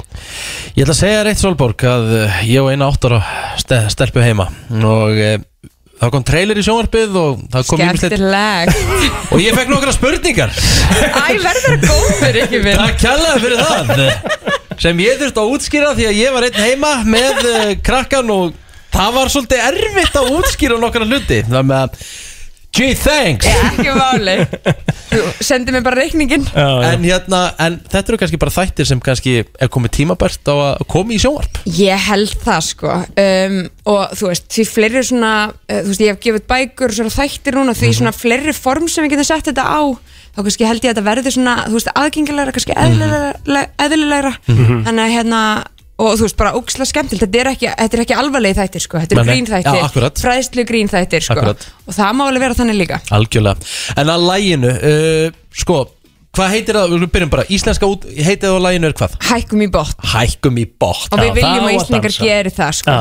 Speaker 2: Ég ætla að segja reitt Solborg að eh, ég og eina áttara ste stelpu heima og e, það kom trailer í sjónvarpið og það kom ýmislegt-
Speaker 19: skemmtileg
Speaker 2: og ég fekk nokkra spurningar
Speaker 19: Æ, verður góður ekki minn
Speaker 2: Takk kjallaði fyrir það sem ég þurfti að útskýra því að ég var einn heima með eh, krakkan og það var svolítið erfitt að útskýra nokkra hluti þannig að gee thanks
Speaker 19: ekki máli Þú sendir mér bara reikningin
Speaker 2: En, hérna, en þetta eru kannski bara þættir sem kannski er komið tímabært á að koma í sjónvarp
Speaker 19: Ég held það sko um, og þú veist, því fleiri svona uh, þú veist, ég hef gefið út bækur og svona þættir núna því svona fleiri form sem við getum sett þetta á þá kannski held ég að þetta verði svona þú veist, aðgengilegra, kannski eðlilegra, eðlilegra.
Speaker 2: Mhm.
Speaker 19: þannig að hérna og þú veist, bara ógislega skemmtilt, þetta er ekki, þetta er ekki alvarlegi þættir sko, þetta er
Speaker 2: Nei, nei. Já,
Speaker 19: grínþættir
Speaker 2: akkurat.
Speaker 19: fræðslu grínþættir sko
Speaker 2: Akkurat.
Speaker 19: og það má alveg vera þannig líka
Speaker 2: Algjörlega En að læginu, uh, sko Hvað heitir það, við byrjum bara, íslenska út, heitið á læginu er hvað?
Speaker 19: Hækkum í bótt
Speaker 2: Hækkum í bótt
Speaker 19: og við viljum að Íslingar geri það sko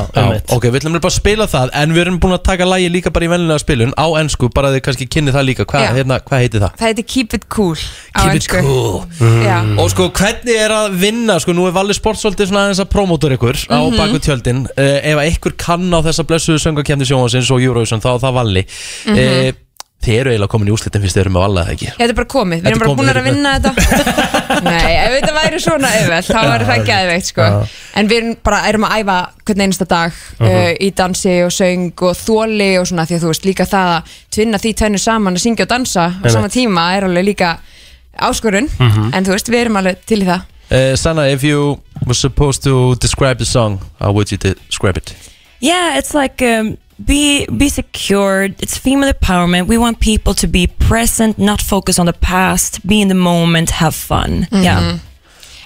Speaker 2: Ok, við ætlum bara að spila það En við erum búin að taka lægi líka bara í venlega spilun Á ennsku, bara að þið kannski kynni það líka Hva,
Speaker 19: Já.
Speaker 2: hérna, Hvað heitir það?
Speaker 19: Það heiti Keep It Cool á
Speaker 2: Keep it
Speaker 19: ensku.
Speaker 2: cool
Speaker 19: Já.
Speaker 2: Og sko, hvernig er að vinna? Sko, nú er Valli Sport svolítið svona aðeins að promótur ykkur Á
Speaker 19: Mhm.
Speaker 2: baku tjöldin uh, Ef að ykkur kann á þessa blessuðu söngakefni sjónvansins og Eurovision Þá er það Valli mm
Speaker 19: Mhm.
Speaker 2: Þið eru eiginlega komin í úslitin fyrst þið eru með Valla eða ekki
Speaker 19: Já, Þetta er bara komið, við
Speaker 2: Þetta
Speaker 19: erum bara
Speaker 2: er
Speaker 19: búin
Speaker 2: komið,
Speaker 19: að vinna þetta Nei, ef þetta væri svona auðvelt þá væri það geðveikt sko
Speaker 2: Já.
Speaker 19: En við erum bara erum að æfa hvern einasta dag uh,
Speaker 2: Mhm.
Speaker 19: í dansi og söng og þóli og svona því að þú veist líka það að tvinna því tvennu saman að syngja og dansa á
Speaker 2: Einmitt.
Speaker 19: sama tíma er alveg líka áskorun
Speaker 2: Mhm.
Speaker 19: en þú veist, við erum alveg til í það
Speaker 2: Uh, Sanna, if you were supposed to describe the song, how would you describe it?
Speaker 18: Yeah, it's like um, be be secured. It's female empowerment. We want people to be present, not focus on the past, be in the moment, have fun. Yeah.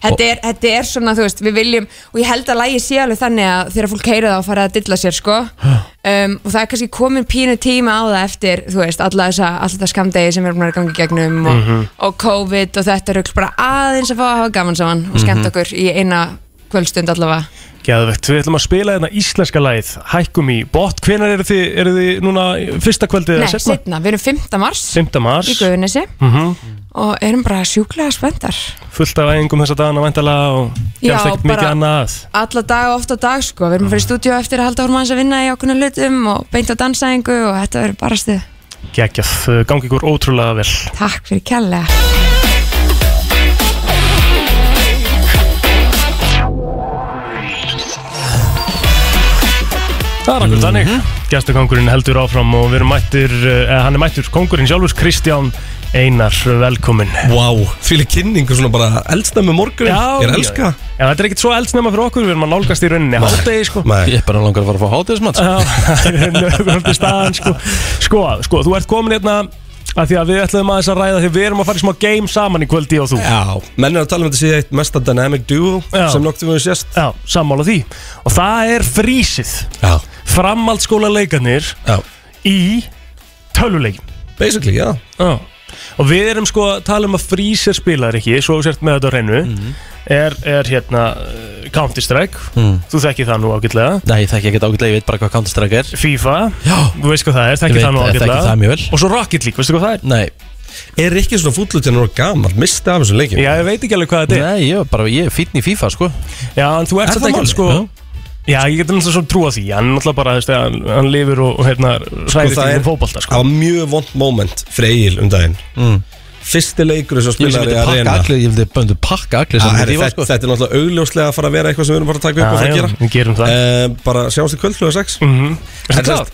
Speaker 19: Þetta er, þetta er svona, þú veist, við viljum og ég held að lægi sé alveg þannig að þegar fólk heyra það og fara að dilla sér, sko um, og það er kannski komin pínu tíma á það eftir, þú veist, alla þessa, alla þessa skamdegi sem við erum að gangi gegnum og,
Speaker 2: Mhm.
Speaker 19: og COVID og þetta rugl bara aðeins að fá að hafa gaman saman og skemmt
Speaker 3: Mhm.
Speaker 19: okkur í eina kvöldstund allavega
Speaker 3: Geðvegt, við ætlum að spila hérna íslenska lagið Hækkum í bótt, hvenær eru þið, eru þið núna fyrsta kvöldið
Speaker 19: Nei, setna, við erum 5. mars
Speaker 3: 5. mars
Speaker 19: í Guðunissi
Speaker 3: mm
Speaker 19: og erum bara sjúklega spenntar
Speaker 3: Fullt af æfingum þessa dagana væntalega og
Speaker 19: Já,
Speaker 3: gefst ekkert mikið
Speaker 19: bara-
Speaker 3: annað
Speaker 19: alla dag og oft á dag, sko, við erum að fara í stúdíu eftir að halda orma að vinna í okkurna hlutum og beint á dansæðingu og þetta verður bara stuð
Speaker 3: Gekkjað, gangi ykkur ótrúlega vel
Speaker 19: Takk fyrir kærlega
Speaker 3: Það er akkur þannig
Speaker 4: Mhm.
Speaker 3: Gestukongurinn heldur áfram og við erum mættir eh, Hann er mættur kongurinn sjálfur, Kristján Einar, velkomin
Speaker 4: Vá, wow, þvíli kynningu svona bara eldsnæmi morgunin
Speaker 3: Já,
Speaker 4: Ég er að elska það.
Speaker 3: Já, þetta er ekkert svo eldsnæma fyrir okkur Við erum að nálgast í rauninni hádegi sko
Speaker 2: Ég er bara langar að fara að fá hátegismat
Speaker 4: sko.
Speaker 3: Já, það er nöfnvöldi staðan sko. sko, sko, þú ert komin hérna að Því að við ætlum aðeins að ræða Því við erum að fara í smá game saman í kvöldi og þú
Speaker 4: Já, menn er að tala um þetta sé eitt mesta dynamic duo sem nokt við höfum sést
Speaker 3: Já, sammála því Og það er frísið
Speaker 4: Já.
Speaker 3: Framhaldsskóla leikarnir
Speaker 4: Já.
Speaker 3: Í töluleikin
Speaker 4: Basically, já
Speaker 3: Já Og við erum sko að tala um að frísir spilaðar ekki Svo þú sért með þetta á reynu
Speaker 2: Mhm.
Speaker 3: er, er hérna uh, Counter Strike
Speaker 2: Mm.
Speaker 3: Þú þekkir það nú ágætlega
Speaker 2: Nei, það er ekki ágætlega, ég veit bara hvað Counter-Strike er
Speaker 3: FIFA, Já. þú veist hvað það er,
Speaker 2: Ég
Speaker 3: þekkir
Speaker 2: veit
Speaker 3: það nú
Speaker 2: það, þekki
Speaker 3: ágætlega
Speaker 2: það mjög vel
Speaker 3: Og svo Rocket League, veistu hvað það er?
Speaker 2: Nei
Speaker 4: Er ekki svona fúllut en hann var gammal, misti af þessum leikjum
Speaker 3: Já, ég veit ekki alveg hvað þetta
Speaker 2: er Nei, ég, bara, ég er fítn í FIFA, sko
Speaker 3: Já, en þú ert
Speaker 4: Er
Speaker 3: þetta
Speaker 4: það
Speaker 3: ekki
Speaker 4: málið?
Speaker 3: sko
Speaker 4: Já.
Speaker 3: Já, ég get náttúrulega svona trúa því Hann náttúrulega bara, þú veist, hann, hann lifir og, og hérna
Speaker 2: Sko,
Speaker 3: Ræðist
Speaker 4: það
Speaker 3: ekki
Speaker 4: er-
Speaker 3: um fótbolta, sko
Speaker 4: Það var mjög vond moment fyrir Egil um daginn Fyrsti leikur sem
Speaker 2: Mm. Ég vildi
Speaker 4: spilaði í
Speaker 2: pakka
Speaker 4: arena
Speaker 2: allir- ég vildi böndu pakka allir
Speaker 4: Já,
Speaker 2: saman í
Speaker 4: herri,
Speaker 2: FIFA,
Speaker 4: þetta, þetta er náttúrulega augljóslega að fara að vera eitthvað sem við erum bara að taka upp
Speaker 3: Já,
Speaker 4: og fara
Speaker 3: já,
Speaker 4: að gera
Speaker 3: Við gerum það
Speaker 2: Eh,
Speaker 4: uh, Bara sjáumst í kvöld hljóða 6 mm
Speaker 2: Mhm.
Speaker 4: -hmm.
Speaker 3: Ertu klár?
Speaker 2: Nei.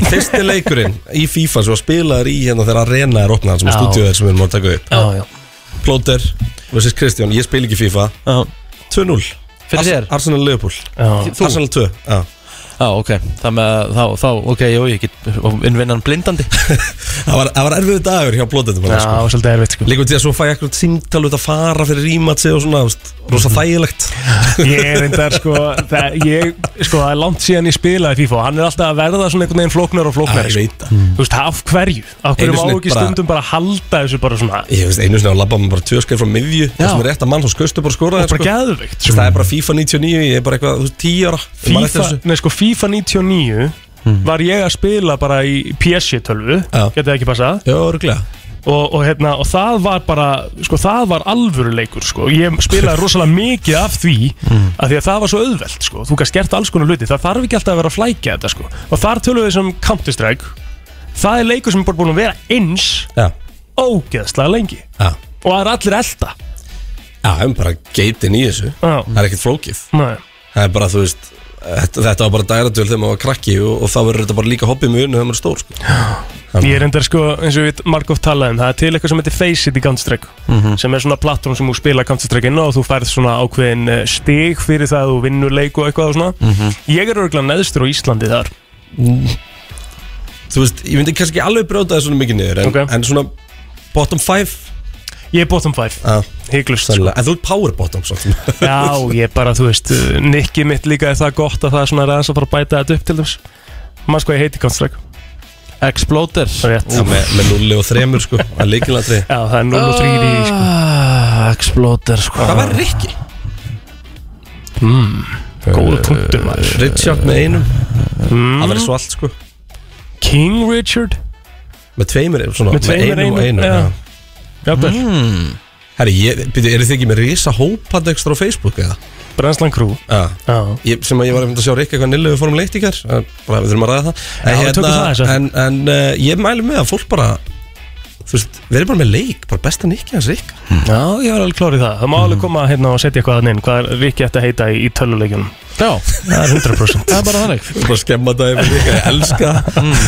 Speaker 4: fyrst, Fyrsti leikurinn í FIFA sem var spilaður í hérna þegar arena er opnað sem er
Speaker 3: Já.
Speaker 4: stúdíu sem við erum að taka upp
Speaker 3: Já, já.
Speaker 4: Plóter versus Kristján, ég spil ekki FIFA 2-0
Speaker 2: Fyrir þér?
Speaker 4: Arsenal Liverpool
Speaker 2: Já. Þú?
Speaker 4: Arsenal 2 Já
Speaker 2: Já, ok, það með að- þá, þá, ok, jú, ég get innvinnan blindandi
Speaker 4: Það var, það var erfiðu dagur hjá blóðendum
Speaker 2: Já, það var
Speaker 3: svolítið erfitt sko.
Speaker 4: Líkum til að svo fæ ég eitthvað símtal út að fara fyrir rímatsi og svona, þú veist, rosa þægilegt
Speaker 3: Ég er reyndar sko það, ég, sko, það er langt síðan ég spilaði FIFA og Hann er alltaf að verða svona einhvern veginn flóknar og flóknar
Speaker 4: Já, ég veit
Speaker 3: sko. Þú veist, af hverju? Af
Speaker 4: Einu
Speaker 3: hverju má
Speaker 4: sinni
Speaker 3: ekki
Speaker 4: bara-
Speaker 3: stundum bara halda þessu bara svona
Speaker 4: Ég veist, einu sinni á labba maður bara tvö skref frá miðju Það sem er rétt að mann svo skaustu bara skora
Speaker 3: Og bara geðveikt, sko.
Speaker 4: Það er bara FIFA 99, ég er bara eitthvað, þú veist, 10 ára Ég man eftir
Speaker 3: FIFA,
Speaker 4: þessu. Hmm.
Speaker 3: nei, sko, FIFA 99 var ég að spila bara í PSG-tölvu Getið það ekki passað?
Speaker 4: Já, örgulega
Speaker 3: og, og, hérna, og það var bara sko, það var alvöru leikur sko. ég spilaði rosalega mikið af því
Speaker 4: Mm.
Speaker 3: af því að það var svo auðvelt sko. þú gæst gert alls konar hluti, það þarf ekki alltaf að vera að flækja þetta sko. og þar tölum við sem Counter-Strike það er leikur sem er bara búin að vera eins
Speaker 4: Já.
Speaker 3: ógeðslega lengi
Speaker 4: Já.
Speaker 3: og það er allir elda
Speaker 4: Já, það er bara geitin í þessu Það er ekkert flókið
Speaker 3: Nei.
Speaker 4: Það er bara, þú veist, þetta, þetta var bara dæratöl þegar maður var krakki og, og það verður þetta bara líka hoppið mjög unni þegar maður er stór sko.
Speaker 3: Ég er reyndar sko, eins og við margótt talaðum, um, það er til eitthvað sem heitir Face It í Counter-Strike
Speaker 4: Mhm.
Speaker 3: sem er svona plattform sem þú spila Counter-Strike inn á og þú færð svona ákveðin eh, stig fyrir það að þú vinnur leik og eitthvað og svona
Speaker 4: Mhm.
Speaker 3: Ég er örgulega neðstur á Íslandi þar
Speaker 4: Þú veist, ég myndi kannski ekki alveg brjóta það svona mikið niður en, en svona bottom 5
Speaker 3: Ég er bottom 5 Hygglust
Speaker 4: sko. En þú ert power bottom svolítið
Speaker 3: Já, ég bara, þú veist, uh, nikki mitt líka er það gott að það er svona ræðans að fara að bæta þetta upp til þess Mann sko, ég heiti Counter-Strike
Speaker 2: Exploder
Speaker 3: Rétt
Speaker 4: Já, með, með nulli og þremur sko að leikilandri
Speaker 3: Já, það er 0 og 3 í því, sko.
Speaker 2: Ah, Exploder, sko
Speaker 4: Hvað var Rikki?
Speaker 3: mm, Góða punktur
Speaker 2: Eh,
Speaker 3: maður
Speaker 4: Richard með einum
Speaker 3: mm.
Speaker 4: Það verður svo allt sko
Speaker 3: King Richard
Speaker 4: Með tveimur, svona,
Speaker 3: Með
Speaker 4: með,
Speaker 3: tveimur,
Speaker 4: einum og einum
Speaker 3: einum, já. Jafnvel.
Speaker 4: mm. Herri, ég, byrju, eru þið ekki með risa hópa ekstra á Facebook eða?
Speaker 3: Brænslan Crew
Speaker 4: Já,
Speaker 3: já.
Speaker 4: Ég, sem að ég var einmitt að sjá Rikki eitthvað nillu við fórum leitt í kær Eh, bara við þurfum að ræða það
Speaker 3: Já, við tökum það aðeins eftir.
Speaker 4: En, en uh, ég mælu með að fólk bara þú veist, verið bara með leik bara bestan ekki hans Hmm. Rikki
Speaker 3: Hmm. Já, ég var alveg klárið það Það má alveg koma hérna og setja eitthvað að inn Hvað er Rikki ætti að heita í, í töluleikjunum
Speaker 2: Já
Speaker 3: Það er 100%
Speaker 2: Það er bara þannig
Speaker 4: Bara skemma það yfir líka, ég elska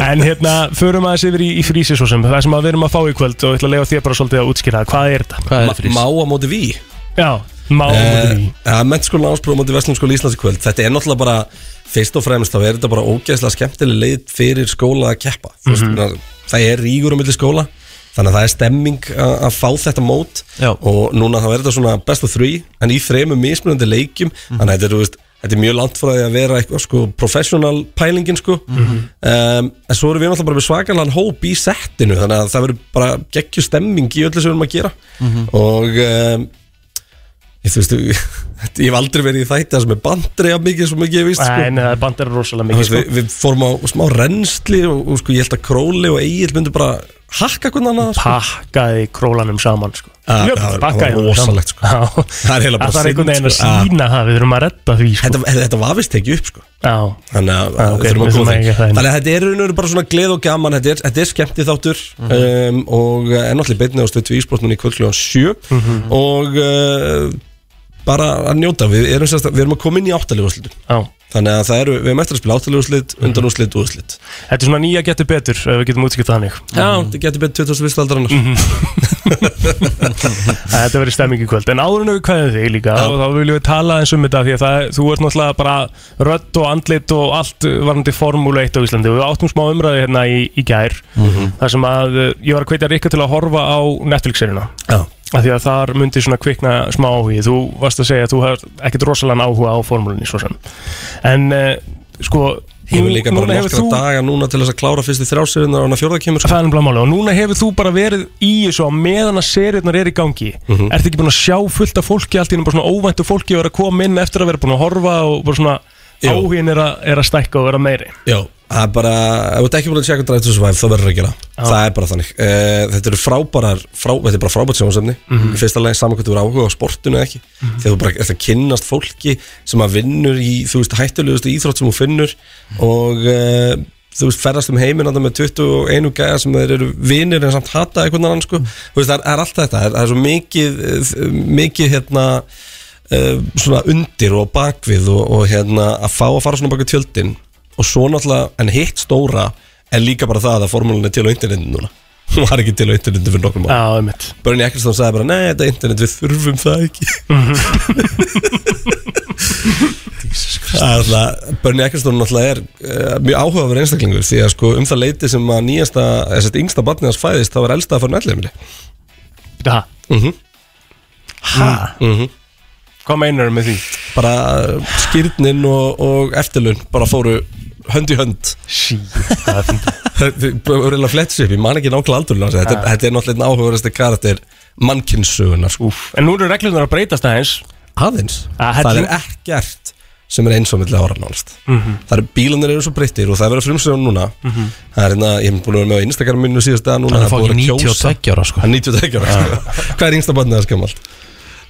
Speaker 3: En hérna, förum aðeins yfir í, í frísi svo sem Það sem að við erum að fá í kvöld og ég ætla að lega þér bara svolítið að útskýra það. Hvað er þetta?
Speaker 2: Hvað
Speaker 4: Ma- Má á móti ví
Speaker 3: Já, má á
Speaker 4: Eh,
Speaker 3: móti ví
Speaker 4: Það er mennskóla áspróð á móti Vestlumskóla Íslands í kvöld Þetta er náttúrulega bara, fyrst og fremst þá er þetta bara ógeðslega skemmtileg leið fyrir skóla að keppa mm -hmm. Það er rígur á milli skóla Þannig að það er stemming a- að fá þetta mót Já. og núna þá er þetta svona best of three en í þremur mismunandi leikjum þannig að þetta er, þú veist, þetta er mjög langt frá því að vera eitthvað sko professional pælingin sko um, en svo erum við náttúrulega bara með svakalan hóp í settinu þannig að það verður bara geggjur stemming í öllu sem við erum að gera
Speaker 2: Mhm.
Speaker 4: og um, Ég, þú veist, þetta- ég hef aldrei verið í þætti það sem er bandri af mikið sem ekki ég veist sko.
Speaker 3: Nei, nei, það er eh, bandar rosalega
Speaker 4: Þú
Speaker 3: mikið
Speaker 4: veist,
Speaker 3: sko.
Speaker 4: við, við fórum á smá rennsli og, og sko, ég held að Króli og Egil myndu bara hakka hvernig annað sko.
Speaker 3: Pakkaði królanum saman sko.
Speaker 4: Ah,
Speaker 3: Jöfn,
Speaker 4: það var-
Speaker 3: pakkaði
Speaker 4: það var
Speaker 3: honum saman.
Speaker 4: rosalegt, sko.
Speaker 3: hérna. Já.
Speaker 4: Það er eiginlega bara
Speaker 3: Að Það er
Speaker 4: synd,
Speaker 3: einhvern veginn að
Speaker 4: sko. Ah.
Speaker 3: sína það Við þurfum að redda því sko.
Speaker 4: þetta, þetta var vist ekki upp sko.
Speaker 3: Já,
Speaker 4: þannig að
Speaker 3: Ah, ok,
Speaker 4: við þurfum að
Speaker 3: við
Speaker 4: koma
Speaker 3: þurfum að eiga
Speaker 4: þeim
Speaker 3: það inn.
Speaker 4: þannig að þetta er raunur bara svona gleð og gaman þetta er, þetta er skemmti þáttur
Speaker 3: Mhm.
Speaker 4: um, og eh, er náttúrulega beinnið á stöðtu í ísportnum í kvöldkljóðan 7
Speaker 3: Mhm.
Speaker 4: og uh, bara að njóta við erum, sérst, við erum að koma inn í áttalífuslit
Speaker 3: Já.
Speaker 4: þannig að það eru, við erum eftir að spila áttalífuslit undanúslit og úslit
Speaker 3: Þetta er svona nýja getur betur ef við getum útskipt það hannig
Speaker 4: Já, þetta getur betur 21. aldarinnar Mhm.
Speaker 3: Þetta verður stemming í kvöld En áður en við kveðum þig líka og þá viljum við tala eins um þetta því að það, þú ert náttúrulega bara rödd og andlit og allt varandi formúlu 1 á Íslandi og við áttum smá umræði hérna í, í gær þar sem að uh, ég var að hvetja Rikka til að horfa á Netflix-serina af því að þar myndi svona kvikna smá áhugi þú varst að segja að þú hefur ekkert rosalega áhuga á formúlunni svo sem en uh, sko
Speaker 4: Hefur
Speaker 3: nú-
Speaker 4: líka bara
Speaker 3: núna hefur
Speaker 4: nokkra
Speaker 3: þú-
Speaker 4: daga núna til þess að klára fyrstu þrjásirinnar og hann að fjórða kemur sko.
Speaker 3: Það er náttúrulega máli og núna hefur þú bara verið í þessu á meðan að seriðnar er í gangi
Speaker 4: Mhm.
Speaker 3: Ertu ekki búin að sjá fullt af fólki allt í henni bara svona óvæntu fólki og er að koma inn eftir að vera búin að horfa og bara svona áhugin er, að- er að stækka og vera meiri
Speaker 4: Já, Það er bara, ef þú ert ekki búin að checka Drive to Survive þá verður það að gera
Speaker 16: Já.
Speaker 4: Það er bara þannig uh, Þetta eru frábærar, frá, þetta er bara frábært sjónsefni
Speaker 16: Mhm.
Speaker 4: Í fyrsta lagi saman hvað þú eru áhuga á sportinu eða ekki Þegar þú bara ert að kynnast fólki sem að vinnur í, þú veist, hættulegustu íþrótt sem þú finnur Og uh, þú veist, ferðast um heiminn þarna með 21 gæja sem þeir eru vinir en samt hata einhvern annan sko. Þú veist, það er, það er allt þetta, það er, það er svo mikið, eh, mikið hérna Uh, svona undir og bakvið og, og hérna að fá að fara svona baka tjöldin og svo náttúrulega, en hitt stóra er líka bara það að formúlan er til á internetinu núna hún var ekki til á internetinu fyrir nokkrum
Speaker 3: ára ah,
Speaker 4: Bernie Ecclestone sagði bara, nei þetta er internet við þurfum það ekki Það er alltaf, Bernie Ecclestone náttúrulega er uh, mjög áhugaverð einstaklingur því að sko um það leiti sem að nýjasta, þess að yngsta barnið hans fæðist þá var elsta að fara nættilegumili
Speaker 3: Ha?
Speaker 4: Mhm.
Speaker 3: Ha?
Speaker 4: Mm -hmm.
Speaker 3: Hvað meinar með því?
Speaker 4: Bara uh, skýrnin og, og eftirlun bara fóru hönd í hönd
Speaker 3: Sí, það er fyndið
Speaker 4: Það er reyna flett sér upp, ég man ekki nákvæmlega aldurinn á þessu. þetta,
Speaker 3: Ja.
Speaker 4: þetta er náttúrulega einn áhugaverðasti karakter mannkynnsögunar sko.
Speaker 3: En nú eru reglunar að breytast aðeins
Speaker 4: Aðeins? Það
Speaker 3: helling.
Speaker 4: er ekkert sem er eins og milli ára nánast
Speaker 3: Mhm.
Speaker 4: Það eru bílanir eru svo breyttir og það verður frumsöðun núna
Speaker 3: Mhm.
Speaker 4: Það er hérna, ég hef búin að vera með á Instagram minnu síðast dag núna
Speaker 2: Hann er
Speaker 4: það búið að
Speaker 2: fucking
Speaker 4: kjósa.
Speaker 2: 92 ára, sko. Ah.
Speaker 4: Hann er 92 ára sko. Hvað er yngsta barnið þess gamalt?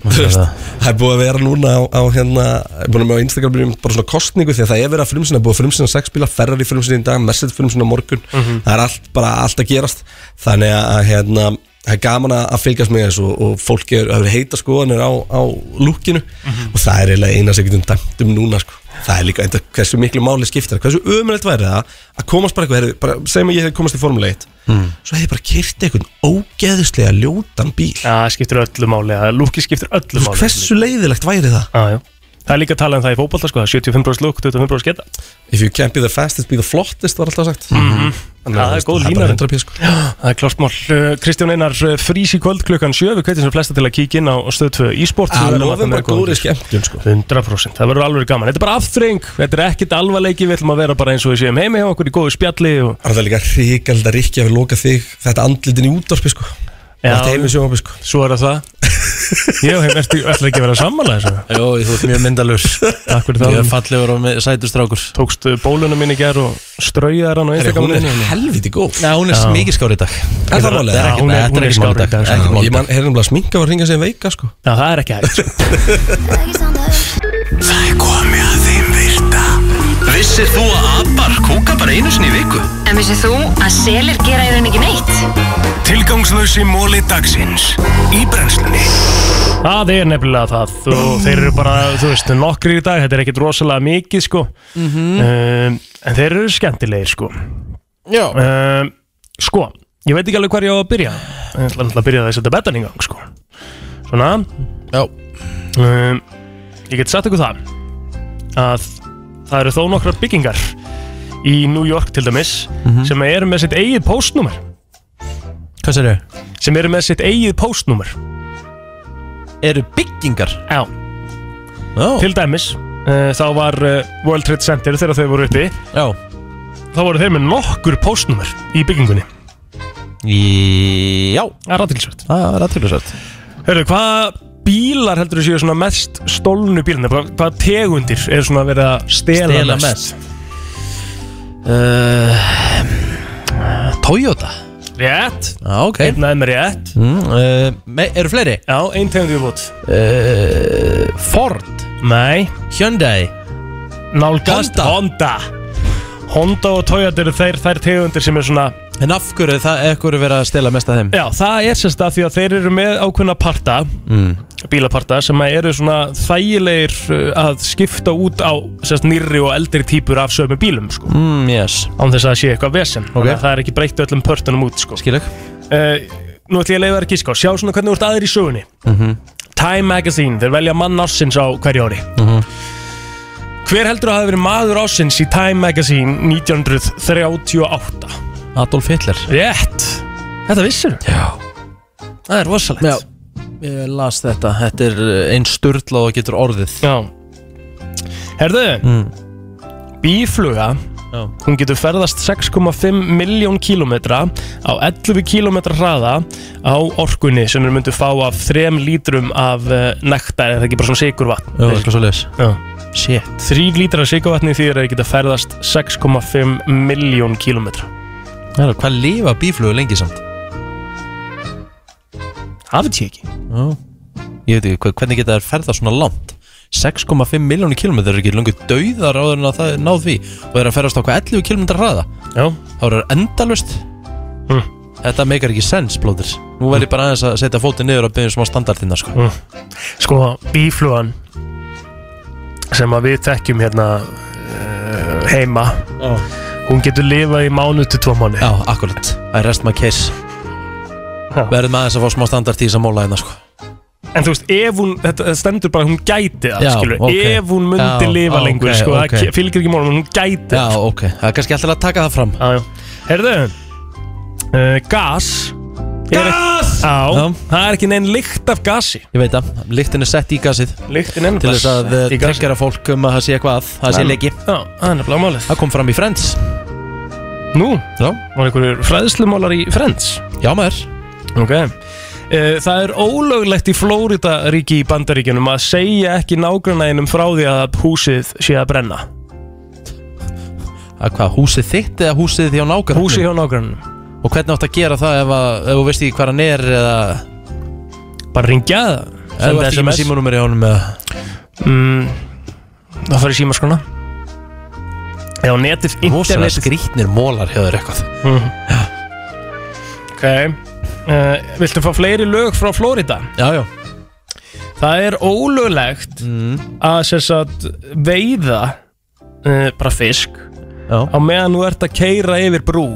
Speaker 4: Þú veist, Það er búið að vera núna á, á hérna, ég er búin að vera með á Instagram minnu bara svona kostningu því að það er verið að frumsina búið að frumsina sex bíla, Ferrari frumsina í dag, Mercedes frumsina á morgun
Speaker 16: Mhm.
Speaker 4: Það er allt, bara allt að gerast þannig að hérna Það er gaman að að fylgjast með þessu og, og fólk er, hefur heita skoðanir á, á lúkinu og það er eiginlega eina sem getum dæmt um núna sko. það er líka enda hversu miklu máli skiptir hversu umrætt væri það að komast bara eitthvað heyrðu, bara, segjum að ég hef komast í Formule 1 svo hefði ég bara kyrtið einhvern ógeðuslega ljótan bíl
Speaker 3: Já, það skiptir öllu máli að Lúki skiptir öllu
Speaker 4: Þú veist,
Speaker 3: máli
Speaker 4: hversu leiðilegt væri það?
Speaker 3: Ah, Já, já Það er líka að tala um það í fótbolta sko, það er 75% lúk, 25% geta
Speaker 4: If you can't be the fastest, be the flottest var alltaf sagt
Speaker 3: Mhm.
Speaker 4: Þannig að
Speaker 3: Það
Speaker 4: þú
Speaker 3: er
Speaker 4: veist,
Speaker 3: góð
Speaker 4: það er bara
Speaker 3: lína
Speaker 4: 100 pí, sko.
Speaker 3: Já, Það er klart mál Uh, Kristján Einar uh, frís í kvöld klukkan 7 Við kveitum sem flesta til að kíkja inn á stöð 2 e-sport
Speaker 4: Það
Speaker 3: Við verðum að
Speaker 4: lofum
Speaker 3: það
Speaker 4: bara
Speaker 3: er góður.
Speaker 4: góðri skemmtun sko.
Speaker 3: 100% Það verður alveg gaman Þetta er bara aftring Þetta er ekkit alvarleiki Við ætlum að vera bara eins og við séum heimi hjá okkur í góðu spjalli og...
Speaker 4: Það er líka ríkald að ríkja við loka þig þetta andlitin í útdorpi sko.
Speaker 3: Já.
Speaker 4: Þetta heim í sjónvarpi sko.
Speaker 3: Svo er það það Ég hef eftir, eftir ekki að vera sammála þessu
Speaker 2: Jó, þú ert mjög myndalur
Speaker 3: Takk fyrir
Speaker 2: Ég
Speaker 3: það
Speaker 2: er fallegur og með- sætur strákur
Speaker 3: Tókst bólunum minni ger og strauðar hann á
Speaker 2: Herri, hún
Speaker 3: Instagram
Speaker 2: er helviti góð Nei, hún er
Speaker 3: Já.
Speaker 2: mikið skár í dag
Speaker 3: Er það málið? Já, hún er- hún
Speaker 2: Þetta er
Speaker 3: er
Speaker 2: ekki
Speaker 3: skár í
Speaker 2: mál í dag
Speaker 3: dag, sko.
Speaker 2: Ekki mál í
Speaker 4: Ég man, heyrðum að sminka var að ringa sig veika sko.
Speaker 3: Já, það er ekki hægt
Speaker 1: Það er komið að þeim virta Vissir þú að abar kúka bara einu sinni í viku?
Speaker 15: En vissið þú að selir gera í rauninni ekki neitt?
Speaker 1: Tilgangslösi móli dagsins Í brennslunni
Speaker 3: Það er nefnilega það og þeir eru bara, þú veist, nokkri í dag þetta er ekkit rosalega mikið, sko
Speaker 2: Mhm.
Speaker 3: um, en þeir eru skemmtilegir, sko
Speaker 2: Já
Speaker 3: um, Sko, ég veit ekki alveg hvar ég á að byrja en ég ætla náttúrulega að byrja þess að þetta betan í gang, sko Svona
Speaker 2: Já
Speaker 3: um, Ég get sagt ykkur það að það eru þó nokkrar byggingar í New York til dæmis
Speaker 2: Mhm.
Speaker 3: sem eru með sitt eigið póstnúmer
Speaker 2: dag. Hvað sér þau?
Speaker 3: sem eru með sitt eigið póstnúmer
Speaker 2: Eru byggingar?
Speaker 3: Já
Speaker 2: oh.
Speaker 3: Til dæmis uh, Þá var uh, World Trade Center þegar þau voru uppi
Speaker 2: Já
Speaker 3: Þá voru þeir með nokkur póstnúmer í byggingunni
Speaker 2: Í- Já
Speaker 3: Það er aðtilsvært
Speaker 2: Það er aðtilsvært
Speaker 3: Hörru, hvað bílar heldur þú séu svona mest stólnu bílina? Hvað, hvað tegundir er svona verið að stela,
Speaker 2: Stela
Speaker 3: mest?
Speaker 2: uh, Toyota
Speaker 3: Rétt
Speaker 2: Já, ok
Speaker 3: Einn aðeim er rétt
Speaker 2: mm, uh, me, Eru fleiri?
Speaker 3: Já, ein tegund viðbútt
Speaker 2: uh, Ford
Speaker 3: Nei
Speaker 2: Hyundai
Speaker 3: Nálgast Honda Honda og Toyota eru þeir, þær tegundir sem er svona
Speaker 2: En af hverju það er hverju verið að stela mest af þeim?
Speaker 3: Já, það er sérst að því að þeir eru með ákveðna parta
Speaker 2: Mm.
Speaker 3: bílaparta sem að eru svona þægilegir uh, að skipta út á sérst, nýrri og eldri típur af sömu bílum sko.
Speaker 2: Mm, yes
Speaker 3: án þess að það sé eitthvað vesen
Speaker 2: Ok.
Speaker 3: Þannig að það er ekki breytt öllum pörtunum út sko.
Speaker 2: Skilök
Speaker 3: Nú ætlum ég að leiða þér að gíska og sjá svona hvernig þú ert aðrir í sögunni
Speaker 2: Mhm.
Speaker 3: Time Magazine, þeir velja mann ársins á hverju ári
Speaker 5: 嗯
Speaker 2: Mhm.
Speaker 3: Hver heldur að hafa verið maður ársins í Time Magazine 1938?
Speaker 2: Adolf Hitler
Speaker 3: Rétt Þetta vissir
Speaker 2: Já
Speaker 3: Það er rosalegt
Speaker 2: Já Ég las þetta Þetta er einn sturla og það getur orðið
Speaker 3: Já Herðu
Speaker 2: Mm.
Speaker 3: Bífluga Hún getur ferðast 6,5 miljón kílómetra á 11 kílómetra hraða á orkunni sem er myndu fá af 3 lítrum af uh, nektar, er það ekki bara svona sigurvatn?
Speaker 2: Jú, eitthvað svoleiðis.
Speaker 3: Shit. 3 lítrar af sigurvatni því að það geta ferðast 6,5 miljón kílómetra.
Speaker 2: Já, Hvað lifa bíflugur lengi samt?
Speaker 3: Hafið ég ekki
Speaker 2: Já. Ég veit ekki, hva- hvernig geta þær ferða svona langt 6,5 miljónu kilometrar er ekki lungu dauðar áður en að það er náð því og er að ferðast á hvað 11 kilometrar hraða
Speaker 3: Já.
Speaker 2: þá er það endalust
Speaker 3: Mm.
Speaker 2: Þetta meikar ekki sens, blóðir Nú verð ég bara aðeins að setja fótið niður og byrja smá standardina sko.
Speaker 3: Mm. Sko, bíflugan sem að við þekkjum hérna uh, heima hún getur lifað í mánu til tvo mánu
Speaker 2: Já, akkurat, I rest my case Verðum aðeins að fá smá standard í þess að móla hérna sko.
Speaker 3: En þú veist, ef hún, þetta þetta stendur bara að hún gæti það,
Speaker 2: Já,
Speaker 3: skilur
Speaker 2: ok.
Speaker 3: Ef hún myndi
Speaker 2: Já,
Speaker 3: lifa
Speaker 2: ok,
Speaker 3: lengur, sko,
Speaker 2: ok.
Speaker 3: það ke- fylgir ekki málum, hún gæti
Speaker 2: Já, ok, það er kannski alltaf að taka það fram
Speaker 3: Já, já Herðu, uh, gas Gas! Já, það er ekki neinn lykt af gasi
Speaker 2: Ég veit það, lyktin er sett í gasið
Speaker 3: Lyktin er
Speaker 2: Til þess að
Speaker 3: nefnilega sett í gasið.
Speaker 2: tryggjara fólk um að það sé eitthvað að Það sé
Speaker 3: Nei.
Speaker 2: leiki
Speaker 3: Já, það er nefnilega málið
Speaker 2: Það kom fram í Friends
Speaker 3: Nú,
Speaker 2: Já.
Speaker 3: var einhverjur fræðslumólar í Friends
Speaker 2: Já maður
Speaker 3: Ok Eh, Það er ólöglegt í Flórídaríki í Bandaríkjunum að segja ekki nágrannaðinum frá því að húsið sé að brenna
Speaker 2: Að hvað, húsið þitt eða húsið hjá nágrannum?
Speaker 3: Húsið hjá nágrannum
Speaker 2: Og hvernig átt að gera það ef, að, ef þú veist ekki hvað hann er eða
Speaker 3: Bara ringja það
Speaker 2: Ef þú ert ekki með símanúmeri á honum eða
Speaker 3: mm, Það fari síma skona Já, netið,
Speaker 2: Hósana
Speaker 3: internetið
Speaker 2: skrítnir mólar hjá þér eitthvað
Speaker 3: mm. Ok uh, Viltu fá fleiri lög frá Flórida?
Speaker 2: Já, já Mm.
Speaker 3: Það er ólöglegt að sem sagt, veiða uh, bara fisk
Speaker 2: já.
Speaker 3: á meðan þú ert að keira yfir brú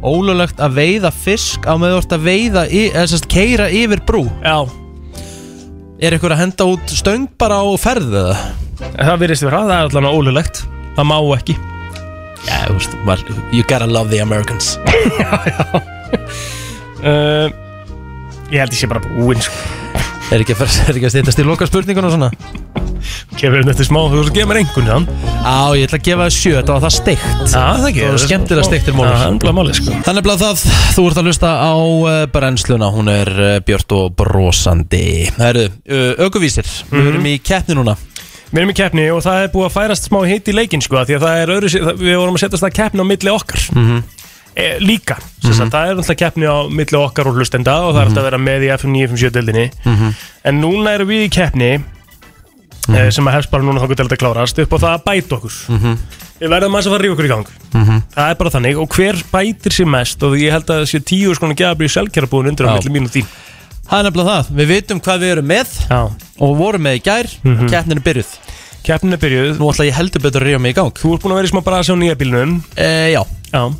Speaker 2: Ólulegt að veiða fisk á með þú ert að veiða, í- eða sérst keira yfir brú
Speaker 3: Já
Speaker 2: Er ykkur að henda út stöng bara á ferð eða?
Speaker 3: Það virðist vera, það er allan ólulegt Það má ekki
Speaker 2: Já, þú veist, maður- you gotta love the Americans
Speaker 3: uh, Ég held ég sé bara búinn sko.
Speaker 2: Er ekki að, fer- er ekki að stýttast í loka spurningunum og svona?
Speaker 3: Kemur þetta smá, þú veist að gefa mér einhvern hann
Speaker 2: Á, ég ætla að gefa það sjö, þetta var það steikt
Speaker 3: Já, það ekki
Speaker 2: Það var skemmtilega steiktir mólur
Speaker 3: Já, Það er málið sko
Speaker 2: Þannig að það, þú ert að hlusta á eh, brennsluna, hún er eh, björt og brosandi Herru, aukuvísir,
Speaker 3: Mhm.
Speaker 2: við erum í keppni núna
Speaker 3: Við erum í keppni og það er búið að færast smá hitt í leikin sko, af því að það er öðru, við vorum að setja það keppni á milli okkar
Speaker 2: Mhm.
Speaker 3: e, líka, mm -hmm. það er alltaf keppni á milli okkar og hlustenda og það er alltaf að vera með í FM 957 deildinni
Speaker 2: Mhm.
Speaker 3: en núna erum við í keppni e, sem að hefst bara núna þá til þetta klárast upp á það að bæta okkur
Speaker 2: Mhm.
Speaker 3: við verðum aðeins að fara að rífa okkur í gang
Speaker 5: 嗯
Speaker 2: Mhm.
Speaker 3: það er bara þannig og hver bætir sér mest og ég held að það sé tíu skona Gabriel Selkjara undir á
Speaker 2: Já.
Speaker 3: milli mín og þín
Speaker 2: Það er nefnilega það, Ah, við vitum hvað við erum með
Speaker 3: Já.
Speaker 2: og vorum með í gær, mm
Speaker 3: Mhm.
Speaker 2: keppnin er byrjuð
Speaker 3: Keppnin er byrjuð
Speaker 2: Nú ætla ég heldur betur að ríða mig í gang
Speaker 3: Þú ert búin að vera í smá brasi á nýja bílnum
Speaker 2: e, Já
Speaker 3: Já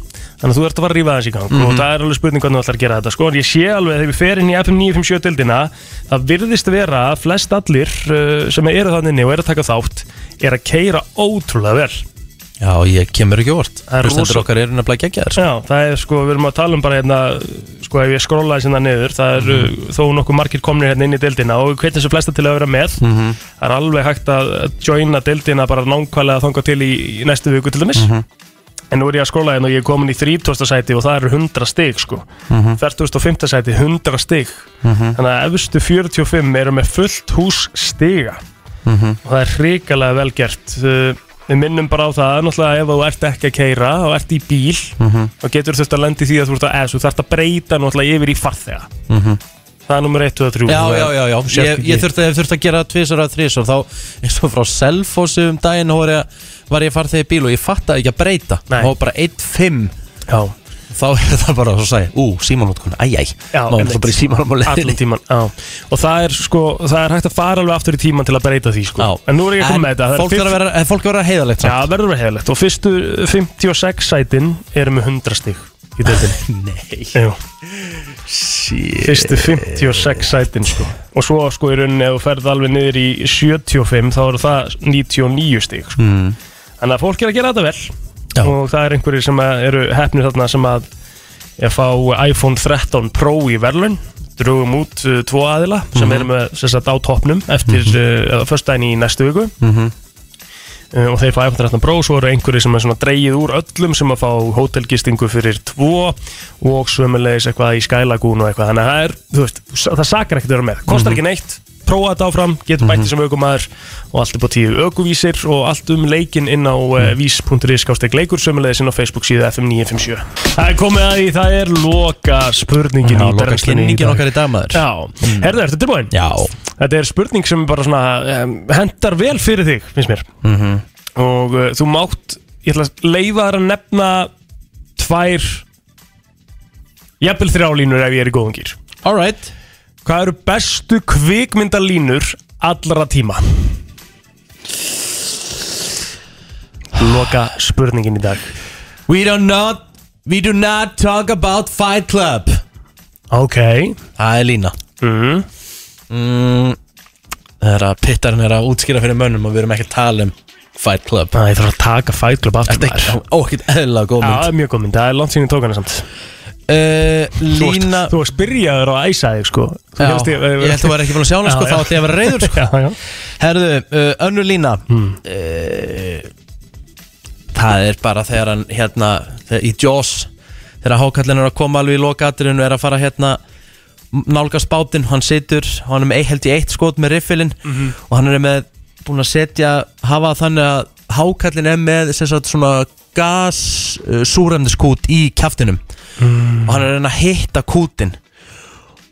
Speaker 3: Þannig að þú ert að fara að rífa þessi í gang
Speaker 2: Mhm.
Speaker 3: og það er alveg spurning hvernig þú ætlar að gera þetta sko en ég sé alveg að þegar við ferum inn í FM 957 dildina það virðist vera að flest allir uh, sem eru þannig inni og eru að taka þátt er að keira ótrúlega vel
Speaker 2: Já, ég kemur ekki óvart
Speaker 3: Það er
Speaker 2: Hlustendur
Speaker 3: rosa-
Speaker 2: okkar eru nefnilega geggjaðir sko.
Speaker 3: Já, það er sko, við erum að tala um bara hérna sko ef ég skrolla þessi hérna niður það eru
Speaker 2: Mhm.
Speaker 3: þó nokkuð margir komnir hérna inn í dildina og hvernig þessu flesta til að vera með
Speaker 2: Mhm.
Speaker 3: það er alveg hægt að joina dildina bara nánkvæmlega þanga til í, í næstu viku til dæmis
Speaker 2: Mhm.
Speaker 3: en nú er ég að skrolla hérna og ég er komin í 30. sæti og það eru 100 stig sko
Speaker 2: Mhm.
Speaker 3: 45. sæti, 100 stig
Speaker 2: Mhm.
Speaker 3: þannig að efstu 45 eru með fullt hús stiga
Speaker 2: Mhm.
Speaker 3: og það er hrikalega vel gert Uh, við minnum bara á það náttúrulega ef þú ert ekki að keira og ert í bíl
Speaker 2: Mhm.
Speaker 3: þá getur þurft að lenda í því að þú ert að, eða, þú þarft að breyta náttúrulega yfir í farþega
Speaker 2: Mhm.
Speaker 3: það er nummer 1, 2, 3
Speaker 2: Já, já, já, já. Ég, ég þurfti, ég þurfti að gera tvisar að þrísar Þá, eins og frá Selfossi um daginn var ég, var ég að fara þegar bíl og ég fattaði ekki að breyta Nei. og bara 1-5 Þá er það bara svo sæ, ú, símanótkun, æjæ
Speaker 3: Já,
Speaker 2: Má
Speaker 3: einmitt.
Speaker 2: það bara í símanum og
Speaker 3: Allan
Speaker 2: leiðinni
Speaker 3: tíman, já Og það er sko, það er hægt að fara alveg aftur í tíman til að breyta því sko já. En nú er ég að koma
Speaker 2: En
Speaker 3: með þetta Það er
Speaker 2: fólk verður að vera- en Fólk verður að vera heiðalegt
Speaker 3: Já, verður að vera heiðalegt Og fyrstu 56 sætin eru með 100 stig í deildinni
Speaker 2: Nei
Speaker 3: Jú Fyrstu 56 sætin sko Og svo sko í rauninni ef þú ferð alveg niður í 75 þá eru það 99 stig sko.
Speaker 5: 嗯
Speaker 2: Mm.
Speaker 3: Þannig að fólk er að gera þetta vel Já. Og það er einhverjir sem að eru hefnir þarna sem að ég fá iPhone 13 Pro í verðlun Drögum út uh, tvo aðila sem
Speaker 2: Mhm.
Speaker 3: eh, eru með sem sagt á toppnum eftir mm -hmm. uh, föstudaginn í næstu viku
Speaker 2: Mhm.
Speaker 3: eh, og þeir fá 15 bró, svo eru einhverju sem er svona dreigið úr öllum sem að fá hótelgistingu fyrir tvo og sömulegis eitthvað í skælagún og eitthvað þannig að það er, þú veist, það sakar ekkert að vera með kostar
Speaker 2: Mhm.
Speaker 3: ekki neitt, prófa þetta áfram getur bættið sem aukumæður og allt upp á tíu aukuvísir og allt um leikin inn á mm.
Speaker 2: Mhm.
Speaker 3: vís.is skásteg leikur sömulegis inn á Facebook síðu FM 957 Það er komið að því, það er loka spurningin í
Speaker 2: Já, loka
Speaker 3: brennslunni
Speaker 2: kynningin
Speaker 3: dag.
Speaker 2: okkar í dag, maður. Mhm.
Speaker 3: Já, mm. herðu, ertu tilbúin? Já Þetta er spurning sem bara svona um, hendar vel fyrir þig, finnst mér
Speaker 2: Mhm.
Speaker 3: og uh, þú mátt ég ætla að leifa þær að nefna tvær jafnvel þrjálínur ef ég er í góðum gýr Alright Hvað eru bestu kvikmyndalínur allra tíma? Loka spurningin í dag
Speaker 2: We do not We do not talk about Fight Club
Speaker 3: Ok
Speaker 2: Það er lína
Speaker 3: mm.
Speaker 2: Mm, Það er að pittarinn er að útskýra fyrir mönnum og við erum ekki að tala um Fight Club
Speaker 3: Það er að taka Fight Club aftur
Speaker 2: maður Ó, ekkert eðlilega góð
Speaker 3: Já,
Speaker 2: mynd
Speaker 3: það er mjög góð mynd, það er langt síðan ég tók hana samt
Speaker 2: uh,
Speaker 3: Lína Þú varst byrjaður á að æsa þig sko Þú
Speaker 2: Já,
Speaker 3: hélst
Speaker 2: ég held að þú væri ekki búin að sjá hana, sko, þá átti ég að vera reiður, sko.
Speaker 3: já, já.
Speaker 2: Herðu, uh, önnu lína uh, Það er bara þegar hann hérna þegar, í Jaws þegar hákallin er að koma alveg í lokaturinn og er að fara hérna nálgast bátinn, hann situr hann er með eitt- held í eitt skot með riffilinn
Speaker 8: Mhm.
Speaker 2: og hann er með búin að setja hafa þannig að hákallin er með sem sagt svona gas uh, súremniskút í kjaftinum
Speaker 8: Mm.
Speaker 2: og hann er að reyna að hitta kútin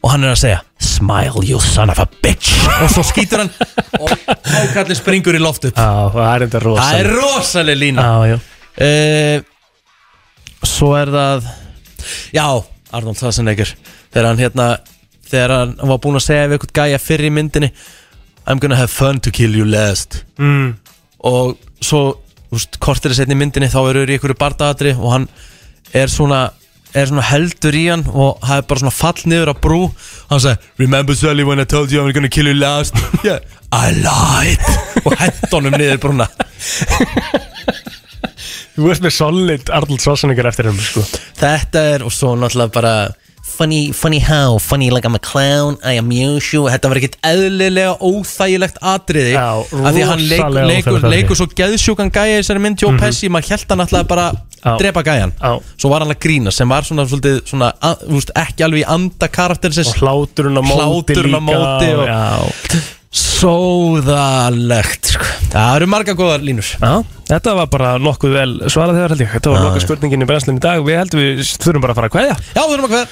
Speaker 2: og hann er að segja smile you son of a bitch og svo skýtur hann og hákallin springur í loft upp
Speaker 3: á, það er enda rosaleg
Speaker 2: það er rosaleg lína
Speaker 3: á,
Speaker 2: uh, svo er það já, Arnold Schwarzenegger þegar hann hérna þegar hann var búinn að segja við eitthvað gæja fyrir í myndinni I'm gonna have fun to kill you last
Speaker 3: Mm.
Speaker 2: og svo þú veist, kortir að setja í myndinni þá eru í einhverju bardaðatri og hann er svona er svona heldur í hann og það er bara svona fall niður á brú hann sagði Remember Sully when I told you I'm gonna kill you last yeah, I lied og hent honum niður brúna
Speaker 3: Þú ert með solid Arnold Schwarzenegger eftir henni sko
Speaker 2: Þetta er og svo náttúrulega bara Funny, funny how, funny like I'm a clown I amuse you, þetta var ekkert eðlilega óþægilegt atriði Já, að því að hann leik,
Speaker 3: rosalega
Speaker 2: leikur,
Speaker 3: óþægilegt
Speaker 2: leikur svo geðsjúkan gæja í þessari mynd Jó
Speaker 3: Mhm.
Speaker 2: Pesci, maður held hann alltaf bara
Speaker 3: Já.
Speaker 2: drepa gæjan
Speaker 3: Já.
Speaker 2: svo var hann að grína sem var svona, svolítið, svona að, þú veist, ekki alveg í anda karakterisins
Speaker 3: Og hláturinn á móti
Speaker 2: Hláturinn á
Speaker 3: líka,
Speaker 2: móti og,
Speaker 3: já.
Speaker 2: Sóðalegt sko. Það eru marga góðar línur
Speaker 3: Já, þetta var bara nokkuð vel svarað þegar held ég Þetta var nokkuð spurningin í brennslinn í dag Við heldum við þurfum bara að fara að kveðja
Speaker 2: Já, við þurfum að kveðja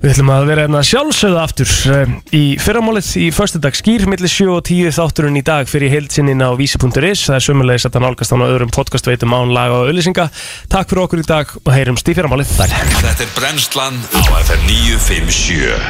Speaker 3: Við ætlum að vera hérna sjálfsögða aftur eh, í fyrramálið í föstudag skýr millir 7 og 10 þátturinn í dag fyrir heilsinnin á vísi.is Það er sömulegis að það nálgast án á öðrum podcastveitum án laga og auðlýsinga Takk fyrir okkur í dag og heyrumst í fyrramálið Takk
Speaker 1: Þetta er brennslan á FM 957